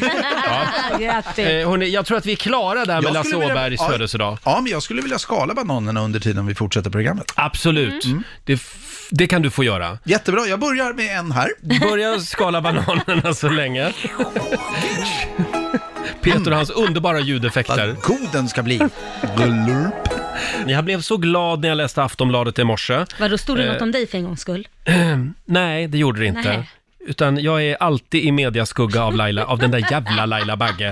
[SPEAKER 2] Grattis.
[SPEAKER 1] Eh, hörni, jag tror att vi är klara där
[SPEAKER 10] Jag
[SPEAKER 1] med Lasse
[SPEAKER 10] skulle vilja-
[SPEAKER 1] Åbergs
[SPEAKER 10] ja.
[SPEAKER 1] födelsedag.
[SPEAKER 10] Ja, men jag skulle vilja skala bananerna under tiden vi fortsätter programmet. Mm.
[SPEAKER 1] Absolut. Det, f- det kan du få göra.
[SPEAKER 10] Jättebra, jag börjar med en här.
[SPEAKER 1] Börja skala bananerna så länge. Peter och hans underbara ljudeffekter. Vad
[SPEAKER 10] god den ska bli.
[SPEAKER 1] Jag blev så glad när jag läste Aftonbladet i morse.
[SPEAKER 2] Vadå, stod det något
[SPEAKER 1] Eh,
[SPEAKER 2] om dig för en gångs skull?
[SPEAKER 1] Nej, det gjorde det inte.
[SPEAKER 2] Nej.
[SPEAKER 1] Utan jag är alltid i mediaskugga av Laila, av den där jävla Laila Bagge.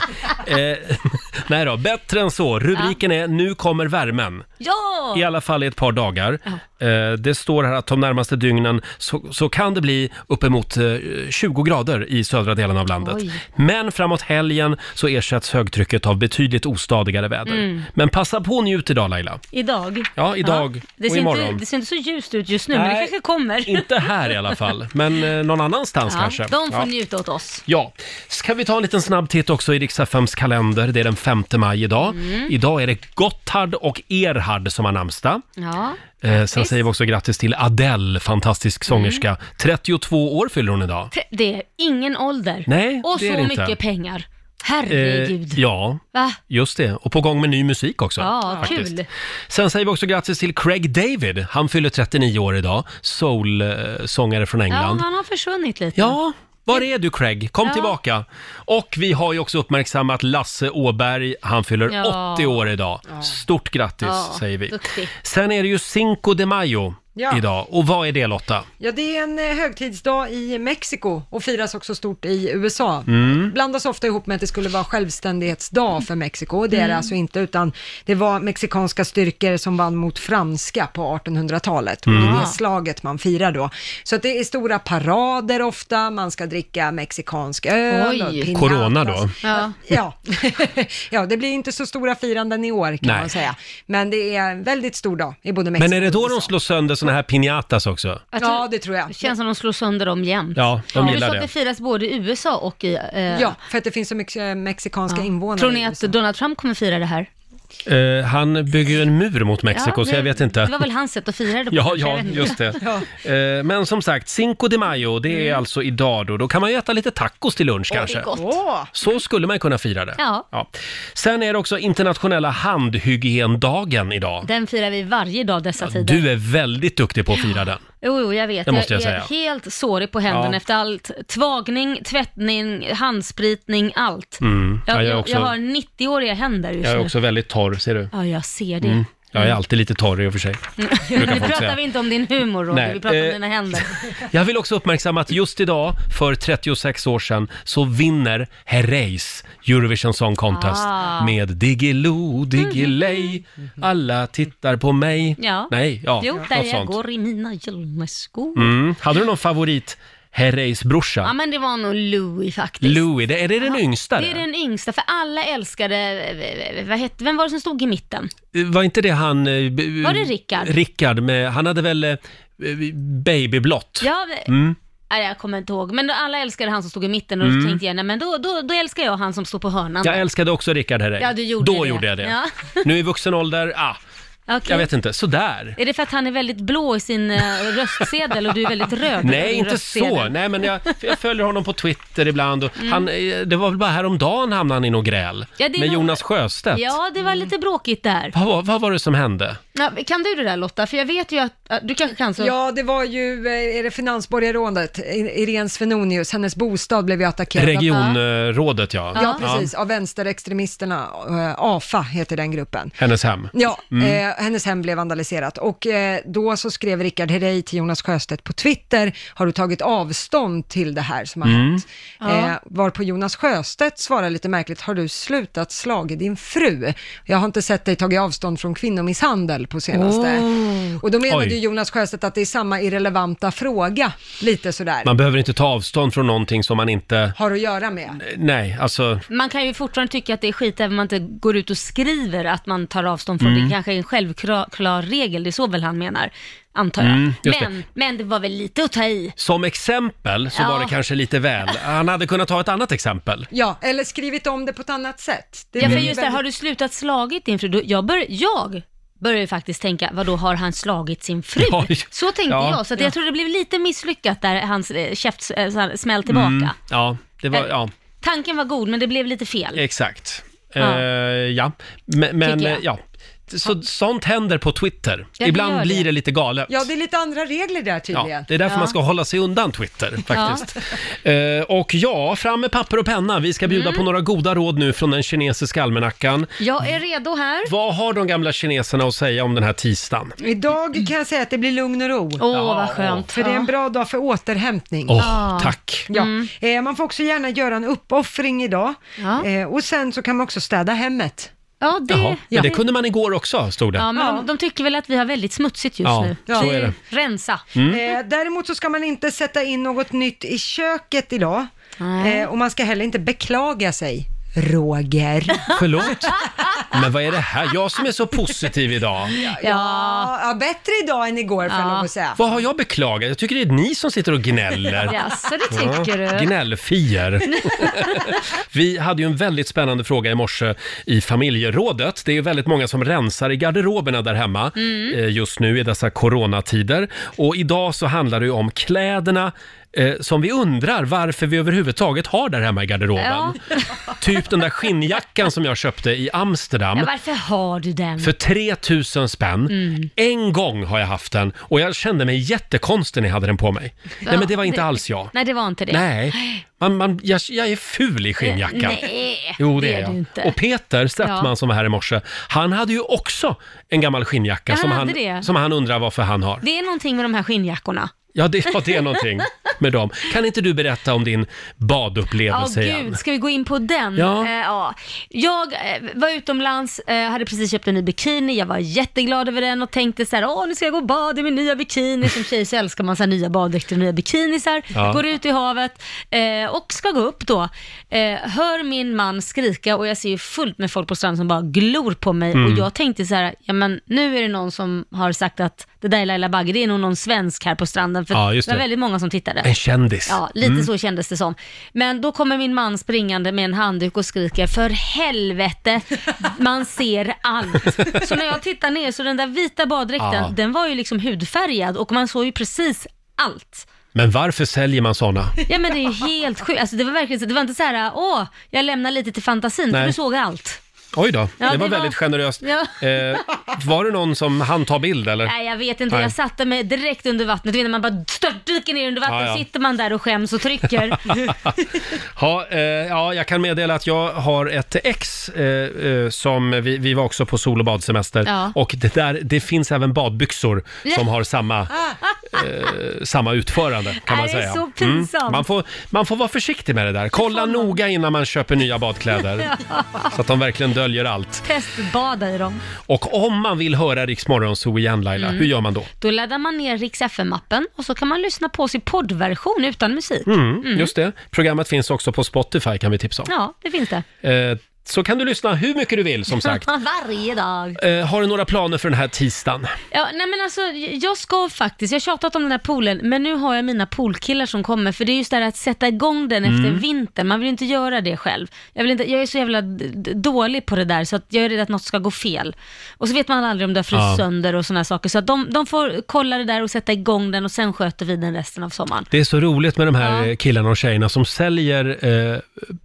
[SPEAKER 1] Eh, Nej då, bättre än så. Rubriken är “Nu kommer värmen”.
[SPEAKER 2] Ja!
[SPEAKER 1] I alla fall i ett par dagar. Eh, Det står här att de närmaste dygnen så, så kan det bli uppemot eh, 20 grader i södra delen av landet.
[SPEAKER 2] Oj.
[SPEAKER 1] Men framåt helgen så ersätts högtrycket av betydligt ostadigare väder.
[SPEAKER 2] Mm.
[SPEAKER 1] Men passa på och njut idag Laila.
[SPEAKER 2] Idag.
[SPEAKER 1] Ja, idag
[SPEAKER 2] Det,
[SPEAKER 1] och
[SPEAKER 2] ser inte,
[SPEAKER 1] imorgon.
[SPEAKER 2] det ser inte så ljust ut just nu, men
[SPEAKER 1] Nej.
[SPEAKER 2] det kanske kommer.
[SPEAKER 1] Inte här i alla fall, men eh, någon annanstans
[SPEAKER 2] Ja,
[SPEAKER 1] kanske.
[SPEAKER 2] de får
[SPEAKER 1] Ja.
[SPEAKER 2] njuta åt oss.
[SPEAKER 1] Ja, ska vi ta en liten snabb titt också i Riks-FMs kalender. Det är den 5 maj idag.
[SPEAKER 2] Mm.
[SPEAKER 1] Idag är det Gotthard och Erhard som har namnsdag.
[SPEAKER 2] Ja.
[SPEAKER 1] Eh, sen säger vi också grattis till Adele, fantastisk
[SPEAKER 2] Mm.
[SPEAKER 1] sångerska. 32 år fyller hon idag.
[SPEAKER 2] Te- Det är ingen ålder.
[SPEAKER 1] Nej,
[SPEAKER 2] Och
[SPEAKER 1] det är
[SPEAKER 2] så
[SPEAKER 1] det inte.
[SPEAKER 2] mycket pengar.
[SPEAKER 1] Eh,
[SPEAKER 2] Herregud.
[SPEAKER 1] ja,
[SPEAKER 2] Va?
[SPEAKER 1] just det. Och på gång med ny musik också.
[SPEAKER 2] Ja,
[SPEAKER 1] faktiskt.
[SPEAKER 2] kul.
[SPEAKER 1] Sen säger vi också grattis till Craig David. Han fyller 39 år idag. Soul-sångare från
[SPEAKER 2] Ja,
[SPEAKER 1] England.
[SPEAKER 2] han har försvunnit lite.
[SPEAKER 1] Ja, Var är du Craig? Kom
[SPEAKER 2] Ja.
[SPEAKER 1] tillbaka! Och vi har ju också uppmärksammat Lasse Åberg. Han fyller
[SPEAKER 2] Ja.
[SPEAKER 1] 80 år idag. Stort grattis
[SPEAKER 3] Ja,
[SPEAKER 1] säger vi.
[SPEAKER 3] duktig.
[SPEAKER 1] Sen är det ju Cinco de Mayo
[SPEAKER 3] Ja.
[SPEAKER 1] idag. Och vad är det Lotta?
[SPEAKER 3] Ja, det är en eh, högtidsdag i Mexiko och firas också stort i USA.
[SPEAKER 1] Mm.
[SPEAKER 3] Blandas ofta ihop med att det skulle vara självständighetsdag för Mexiko. och Det är det
[SPEAKER 2] Mm.
[SPEAKER 3] alltså inte, utan det var mexikanska styrkor som vann mot franska på 1800-talet. Och Det
[SPEAKER 2] Mm.
[SPEAKER 3] är det slaget man firar då. Så att det är stora parader ofta, man ska dricka mexikansk öl och piñatas.
[SPEAKER 1] Corona då?
[SPEAKER 2] Ja.
[SPEAKER 3] Ja. ja, det blir inte så stora firanden i år kan
[SPEAKER 1] Nej.
[SPEAKER 3] man säga. Men det är en väldigt stor dag i både Mexiko
[SPEAKER 1] Men är det då
[SPEAKER 3] och
[SPEAKER 1] de slår sönder såna här piñatas också?
[SPEAKER 3] Ja, det tror jag. Det
[SPEAKER 2] känns som Alltså, de slår sönder dem jämt.
[SPEAKER 1] Ja, de
[SPEAKER 2] det. är
[SPEAKER 1] gillar
[SPEAKER 2] så att det
[SPEAKER 1] det.
[SPEAKER 2] firas både i USA och i... Eh,
[SPEAKER 3] Ja, för att det finns så mycket eh, mexikanska
[SPEAKER 2] ja.
[SPEAKER 3] invånare.
[SPEAKER 2] Tror ni att Donald Trump kommer fira det här?
[SPEAKER 1] Eh, han bygger ju en mur mot Mexiko,
[SPEAKER 2] Ja,
[SPEAKER 1] så jag
[SPEAKER 2] det-
[SPEAKER 1] vet inte.
[SPEAKER 2] Det var väl hans sätt att fira det på,
[SPEAKER 1] Ja,
[SPEAKER 2] kanske, jag
[SPEAKER 1] ja,
[SPEAKER 2] vet inte.
[SPEAKER 1] just det. Eh, Men som sagt, Cinco de Mayo, det
[SPEAKER 2] Mm.
[SPEAKER 1] är alltså idag då. Då kan man ju äta lite tacos till lunch kanske. Så skulle man kunna fira det.
[SPEAKER 2] Ja.
[SPEAKER 1] Sen är det också internationella handhygiendagen idag.
[SPEAKER 2] Den firar vi varje dag dessa tider.
[SPEAKER 1] Du är väldigt duktig på att fira den.
[SPEAKER 2] Jo, jo, jag vet.
[SPEAKER 1] Det måste jag
[SPEAKER 2] är
[SPEAKER 1] säga.
[SPEAKER 2] helt sårig på händerna
[SPEAKER 1] Ja.
[SPEAKER 2] efter allt. Tvagning, tvättning, handspritning, allt.
[SPEAKER 1] Mm. Ja,
[SPEAKER 2] Jag,
[SPEAKER 1] jag är
[SPEAKER 2] jag,
[SPEAKER 1] också-
[SPEAKER 2] jag har 90-åriga händer just
[SPEAKER 1] Jag är
[SPEAKER 2] nu.
[SPEAKER 1] också väldigt torr, ser du?
[SPEAKER 2] Ja, jag ser det.
[SPEAKER 1] Mm. Jag är alltid lite torr i och för sig.
[SPEAKER 2] nu
[SPEAKER 1] brukar folk
[SPEAKER 2] pratar
[SPEAKER 1] säga.
[SPEAKER 2] vi inte om din humor, Roger.
[SPEAKER 1] Nej,
[SPEAKER 2] Vi pratar
[SPEAKER 1] eh,
[SPEAKER 2] om dina händer.
[SPEAKER 1] Jag vill också uppmärksamma att just idag, för 36 år sedan, så vinner Herreys Eurovision Song Contest
[SPEAKER 2] Ah. Mhm.
[SPEAKER 1] med Diggiloo, Diggiley, alla tittar på mig.
[SPEAKER 2] Ja.
[SPEAKER 1] Nej, ja,
[SPEAKER 2] Jo, där
[SPEAKER 1] något
[SPEAKER 2] jag
[SPEAKER 1] sånt.
[SPEAKER 2] går i mina hjälmeskor.
[SPEAKER 1] Mm. Hade du någon favorit Herreys brorsa?
[SPEAKER 2] Ja, men det var nog Louis faktiskt.
[SPEAKER 1] Louis, det, är det den yngsta?
[SPEAKER 2] Det är den yngsta, för alla älskade, eh, vad hette, vem var det som stod i mitten?
[SPEAKER 1] Var inte det han... eh, b-
[SPEAKER 2] Var det Rickard?
[SPEAKER 1] Rickard, med, han hade väl eh, babyblått?
[SPEAKER 2] Ja,
[SPEAKER 1] Mm.
[SPEAKER 2] nej, jag kommer inte ihåg, men då alla älskade han som stod i mitten och då
[SPEAKER 1] Mm.
[SPEAKER 2] tänkte jag, nej men då, då, då älskar jag han som står på hörnan.
[SPEAKER 1] Jag älskade också Rickard Herrey.
[SPEAKER 2] Ja, du gjorde
[SPEAKER 1] Då
[SPEAKER 2] det.
[SPEAKER 1] gjorde jag det.
[SPEAKER 2] Ja.
[SPEAKER 1] Nu i vuxen ålder, ah,
[SPEAKER 2] Okej.
[SPEAKER 1] jag vet inte, sådär.
[SPEAKER 2] Är det för att han är väldigt blå i sin eh, röstsedel och du är väldigt röd? över
[SPEAKER 1] Nej,
[SPEAKER 2] din
[SPEAKER 1] inte
[SPEAKER 2] röstsedel?
[SPEAKER 1] så. Nej, men jag, för jag följer honom på Twitter ibland. Och
[SPEAKER 2] Mm.
[SPEAKER 1] han, eh, det var väl bara häromdagen hamnade han i något gräl
[SPEAKER 2] Ja, det är
[SPEAKER 1] med
[SPEAKER 2] nog-
[SPEAKER 1] Jonas Sjöstedt.
[SPEAKER 2] Ja, det var lite bråkigt där.
[SPEAKER 1] Vad, var- vad var det som hände?
[SPEAKER 2] Ja, kan du det där Lotta? För jag vet ju att, att du kanske kan så...
[SPEAKER 3] Ja, det var ju, eh, är det finansborgarrådet, I- Irene Svenonius, hennes bostad blev ju attackerad. av,
[SPEAKER 1] Regionrådet, ja.
[SPEAKER 3] ja, precis, av vänsterextremisterna, eh, AFA heter den gruppen.
[SPEAKER 1] Hennes hem.
[SPEAKER 3] Ja,
[SPEAKER 1] Mm.
[SPEAKER 3] eh, hennes hem blev vandaliserat och eh, då så skrev Rickard Herrey till Jonas Sjöstedt på Twitter, har du tagit avstånd till det här som har
[SPEAKER 1] Mm.
[SPEAKER 3] hänt?
[SPEAKER 2] Ja.
[SPEAKER 3] Eh, varpå Jonas Sjöstedt svarar lite märkligt, har du slutat slagit din fru? Jag har inte sett dig tagit avstånd från kvinnomisshandel på senaste.
[SPEAKER 2] Oh.
[SPEAKER 3] Och då menade
[SPEAKER 1] Oj.
[SPEAKER 3] ju Jonas Sjöstedt att det är samma irrelevanta fråga, lite sådär,
[SPEAKER 1] Man behöver inte ta avstånd från någonting som man inte...
[SPEAKER 3] har att göra med.
[SPEAKER 1] Nej, alltså...
[SPEAKER 2] Man kan ju fortfarande tycka att det är skit även om man inte går ut och skriver att man tar avstånd från
[SPEAKER 1] Mm.
[SPEAKER 2] det. kanske är en självklar klar regel, det är så väl han menar, antar jag.
[SPEAKER 1] Mm, just det.
[SPEAKER 2] men, men det var väl lite att ta i.
[SPEAKER 1] Som exempel så
[SPEAKER 2] Ja.
[SPEAKER 1] var det kanske lite väl. Han hade kunnat ta ett annat exempel.
[SPEAKER 3] Ja, eller skrivit om det på ett annat sätt. Det
[SPEAKER 2] Ja, för
[SPEAKER 3] blir
[SPEAKER 2] just det,
[SPEAKER 3] väldigt-
[SPEAKER 2] har du slutat slagit din fru? Då- Jag, bör, jag börjar ju faktiskt tänka, vad då har han slagit sin fru?
[SPEAKER 1] Ja,
[SPEAKER 2] Så tänkte
[SPEAKER 1] ja.
[SPEAKER 2] jag, så att
[SPEAKER 1] Ja.
[SPEAKER 2] jag tror det blev lite misslyckat där, hans eh, käft eh, så här, smäll tillbaka.
[SPEAKER 1] Mm, ja, det var... Ja, Eh,
[SPEAKER 2] Tanken var god, men det blev lite fel.
[SPEAKER 1] exakt.
[SPEAKER 2] Ja.
[SPEAKER 1] Eh, ja. Men, men
[SPEAKER 2] Tycker jag.
[SPEAKER 1] eh, ja. så, sånt händer på Twitter.
[SPEAKER 3] det
[SPEAKER 1] Ibland
[SPEAKER 3] gör det.
[SPEAKER 1] blir det lite galet.
[SPEAKER 3] Ja, det är lite andra regler där
[SPEAKER 1] Ja,
[SPEAKER 3] tydligen.
[SPEAKER 1] det är därför man ska hålla sig undan Twitter faktiskt. Eh, och ja, fram med papper och penna. Vi ska bjuda på några goda råd nu från den kinesiska almanackan.
[SPEAKER 2] Jag är redo här.
[SPEAKER 1] Vad har de gamla kineserna att säga om den här tisdagen?
[SPEAKER 3] Idag kan jag säga att det blir lugn och ro. Åh,
[SPEAKER 1] Ja. vad skönt.
[SPEAKER 3] För det är en bra dag för återhämtning.
[SPEAKER 1] Åh, Ah. tack.
[SPEAKER 3] Ja.
[SPEAKER 1] Mm.
[SPEAKER 3] Eh, man får också gärna göra en uppoffring idag.
[SPEAKER 2] Ja.
[SPEAKER 3] Eh, och sen så kan man också städa hemmet.
[SPEAKER 2] Ja, det...
[SPEAKER 1] Jaha, men det kunde man igår också, stod det.
[SPEAKER 2] Ja, men De, de tycker väl att vi har väldigt smutsigt just
[SPEAKER 1] Ja,
[SPEAKER 2] nu.
[SPEAKER 1] så är det.
[SPEAKER 2] Rensa.
[SPEAKER 1] Mm.
[SPEAKER 3] Eh, däremot så ska man inte sätta in något nytt i köket idag.
[SPEAKER 2] Nej.
[SPEAKER 3] Eh, och man ska heller inte beklaga sig. Roger.
[SPEAKER 1] Förlåt? Men vad är det här? Jag som är så positiv idag.
[SPEAKER 3] Ja, ja bättre idag än igår får jag lov att säga.
[SPEAKER 1] Vad har jag beklagat? Jag tycker det är ni som sitter och gnäller.
[SPEAKER 3] Jaså, det tycker du?
[SPEAKER 1] Gnällfier. Vi hade ju en väldigt spännande fråga i morse i familjerådet. Det är ju väldigt många som rensar i garderoberna där hemma
[SPEAKER 16] Mm.
[SPEAKER 1] eh, just nu i dessa coronatider. Och idag så handlar det ju om kläderna eh, som vi undrar varför vi överhuvudtaget har där hemma i garderoben.
[SPEAKER 2] Ja.
[SPEAKER 1] Typ den där skinnjackan som jag köpte i Amsterdam.
[SPEAKER 2] Ja, varför har du den?
[SPEAKER 1] För 3000 spänn.
[SPEAKER 2] Mm.
[SPEAKER 1] En gång har jag haft den och jag kände mig jättekonstig när jag hade den på mig. Nej men det var inte alls jag.
[SPEAKER 2] Nej, det var inte det.
[SPEAKER 1] Nej, man, man, jag, jag är ful i skinnjacka.
[SPEAKER 2] Nej,
[SPEAKER 1] jo, det,
[SPEAKER 2] det
[SPEAKER 1] är
[SPEAKER 2] är
[SPEAKER 1] jag.
[SPEAKER 2] du inte.
[SPEAKER 1] Och Peter Settman
[SPEAKER 2] Ja.
[SPEAKER 1] som var här i morse, han hade ju också en gammal skinnjacka
[SPEAKER 2] Jag
[SPEAKER 1] som
[SPEAKER 2] hade
[SPEAKER 1] han,
[SPEAKER 2] det.
[SPEAKER 1] som han undrar varför han har.
[SPEAKER 2] Det är någonting med de här skinnjackorna.
[SPEAKER 1] Ja, det, ja, det är någonting med dem. Kan inte du berätta om din
[SPEAKER 2] Ja,
[SPEAKER 1] badupplevelse igen?
[SPEAKER 2] gud, ska vi gå in på den?
[SPEAKER 1] Ja.
[SPEAKER 2] Eh, ja. Jag eh, var utomlands, eh, hade precis köpt en ny bikini, jag var jätteglad över den och tänkte så här, åh nu ska jag gå och bada i min nya bikini. Som tjej så älskar man så här nya baddräkter och nya bikinisar.
[SPEAKER 5] Ja.
[SPEAKER 2] Går ut i havet eh, och ska gå upp då. Eh, hör min man skrika och jag ser ju fullt med folk på stranden som bara glor på mig
[SPEAKER 5] Mm.
[SPEAKER 2] och jag tänkte så här, ja men nu är det någon som har sagt att det där är Laila Bagge, det är nog någon svensk här på stranden för
[SPEAKER 1] Ja, just
[SPEAKER 2] det var
[SPEAKER 1] det.
[SPEAKER 2] väldigt många som tittade.
[SPEAKER 1] En kändis.
[SPEAKER 2] Ja, lite
[SPEAKER 1] Mm.
[SPEAKER 2] så kändes det som. Men då kommer min man springande med en handduk och skriker för helvete, man ser allt. Så när jag tittar ner så den där vita baddräkten,
[SPEAKER 1] Ja.
[SPEAKER 2] den var ju liksom hudfärgad och man såg ju precis allt.
[SPEAKER 1] Men varför säljer man såna?
[SPEAKER 2] Ja men det är ju helt sjukt, alltså det var verkligen så- det var inte så här, åh, jag lämnar lite till fantasin, för
[SPEAKER 1] Nej.
[SPEAKER 2] du såg allt.
[SPEAKER 1] Oj då, det,
[SPEAKER 2] det
[SPEAKER 1] var
[SPEAKER 2] var-
[SPEAKER 1] väldigt generöst.
[SPEAKER 2] Ja.
[SPEAKER 1] Eh, var det någon som han tar bild eller?
[SPEAKER 2] Nej jag vet inte,
[SPEAKER 1] Nej.
[SPEAKER 2] jag satte mig direkt under vattnet, du vet när man bara störtdyker ner under vattnet,
[SPEAKER 1] Ja, ja.
[SPEAKER 2] sitter man där och skäms och trycker.
[SPEAKER 1] ja, eh, ja, jag kan meddela att jag har ett ex eh, eh, som vi, vi var också på sol och badsemester
[SPEAKER 2] Ja.
[SPEAKER 1] och det, där, det finns även badbyxor som har samma, eh, samma utförande kan man
[SPEAKER 2] Nej, det är
[SPEAKER 1] säga. Mm.
[SPEAKER 2] så pinsamt.
[SPEAKER 1] Man, får, man får vara försiktig med det där. Kolla noga innan man köper nya badkläder så att de verkligen döljer allt.
[SPEAKER 2] Testbada i dem.
[SPEAKER 1] Och om man vill höra Rix Morgonzoo igen Laila,
[SPEAKER 2] Mm.
[SPEAKER 1] hur gör man då?
[SPEAKER 2] Då laddar man ner Rix FM-appen och så kan man lyssna på oss i poddversion utan musik.
[SPEAKER 1] Mm,
[SPEAKER 2] Mm.
[SPEAKER 1] Just det. Programmet finns också på Spotify kan vi tipsa om.
[SPEAKER 2] Ja, det finns det.
[SPEAKER 1] Eh, så kan du lyssna hur mycket du vill som sagt.
[SPEAKER 2] Varje dag.
[SPEAKER 1] Eh, har du några planer för den här tisdagen?
[SPEAKER 2] Ja, nej men alltså, jag ska faktiskt, jag har tjatat om den här poolen, men nu har jag mina poolkillar som kommer, för det är just det här att sätta igång den efter
[SPEAKER 5] Mm.
[SPEAKER 2] vintern, man vill inte göra det själv. Jag, vill inte, jag är så jävla d- d- dålig på det där, så att jag är rädd att något ska gå fel. Och så vet man aldrig om det har fryst
[SPEAKER 1] Ja.
[SPEAKER 2] sönder och sådana saker, så att de, de får kolla det där och sätta igång den och sen sköter vi den resten av sommaren.
[SPEAKER 1] Det är så roligt med de här eh, killarna och tjejerna som säljer eh,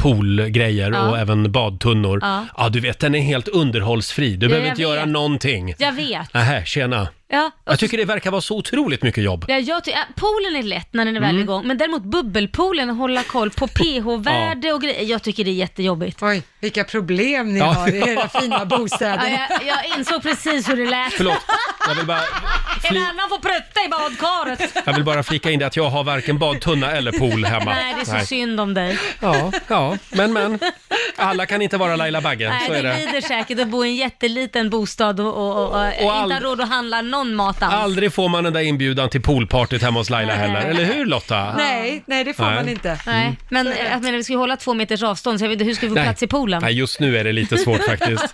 [SPEAKER 1] poolgrejer
[SPEAKER 2] Ja.
[SPEAKER 1] och även badtunnor. Ja.
[SPEAKER 2] Ja.
[SPEAKER 1] du vet, den är helt underhållsfri. Du
[SPEAKER 2] Ja,
[SPEAKER 1] behöver
[SPEAKER 2] jag
[SPEAKER 1] inte göra
[SPEAKER 2] vet.
[SPEAKER 1] någonting.
[SPEAKER 2] Jag vet.
[SPEAKER 1] Nähä, tjena.
[SPEAKER 2] Ja,
[SPEAKER 1] Jag tycker det verkar vara så otroligt mycket jobb.
[SPEAKER 2] Ja, jag ty- ja, poolen är lätt när den är väl
[SPEAKER 1] Mm.
[SPEAKER 2] igång, men däremot bubbelpoolen, hålla koll på pH-värde och grejer, jag tycker det är jättejobbigt.
[SPEAKER 3] Oj, vilka problem ni
[SPEAKER 1] Ja.
[SPEAKER 3] har i era fina bostäder.
[SPEAKER 2] Ja, jag, jag insåg precis hur det lät.
[SPEAKER 1] Förlåt, jag vill bara,
[SPEAKER 2] En annan får prutta i badkaret.
[SPEAKER 1] jag vill bara flika in det att jag har varken badtunna eller pool hemma.
[SPEAKER 2] Nej, det är så synd om dig.
[SPEAKER 1] Ja, ja, men men. Alla kan inte vara Laila Bagge,
[SPEAKER 2] Nej,
[SPEAKER 1] så
[SPEAKER 2] det
[SPEAKER 1] är det.
[SPEAKER 2] lider säkert att bo i en jätteliten bostad och, och, och, och, inte ha
[SPEAKER 1] aldrig-
[SPEAKER 2] råd att handla någon mat alls.
[SPEAKER 1] Aldrig får man den där inbjudan till poolpartyt hemma hos Laila heller, eller hur Lotta?
[SPEAKER 2] Nej,
[SPEAKER 3] nej det
[SPEAKER 1] får Nej. man inte.
[SPEAKER 2] Nej, men eh, jag menar vi ska ju hålla två meters avstånd så jag vet inte hur ska vi få
[SPEAKER 1] Nej.
[SPEAKER 2] plats i poolen?
[SPEAKER 1] Nej, just nu är det lite svårt faktiskt.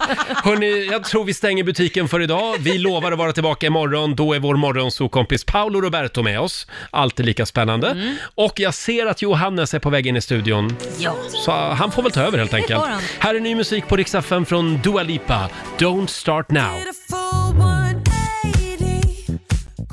[SPEAKER 1] Hörni, jag tror vi stänger butiken för idag. Vi lovar att vara tillbaka imorgon. Då är vår morgonsokompis Paolo Roberto med oss. Alltid lika spännande. Och jag ser att Johannes är på väg in i studion.
[SPEAKER 2] Ja.
[SPEAKER 1] Så eh, han får väl ta över helt
[SPEAKER 5] Det
[SPEAKER 1] enkelt.
[SPEAKER 5] får han.
[SPEAKER 1] Här är ny musik på Rix FM från Dua Lipa. Don't start now.
[SPEAKER 5] Beautiful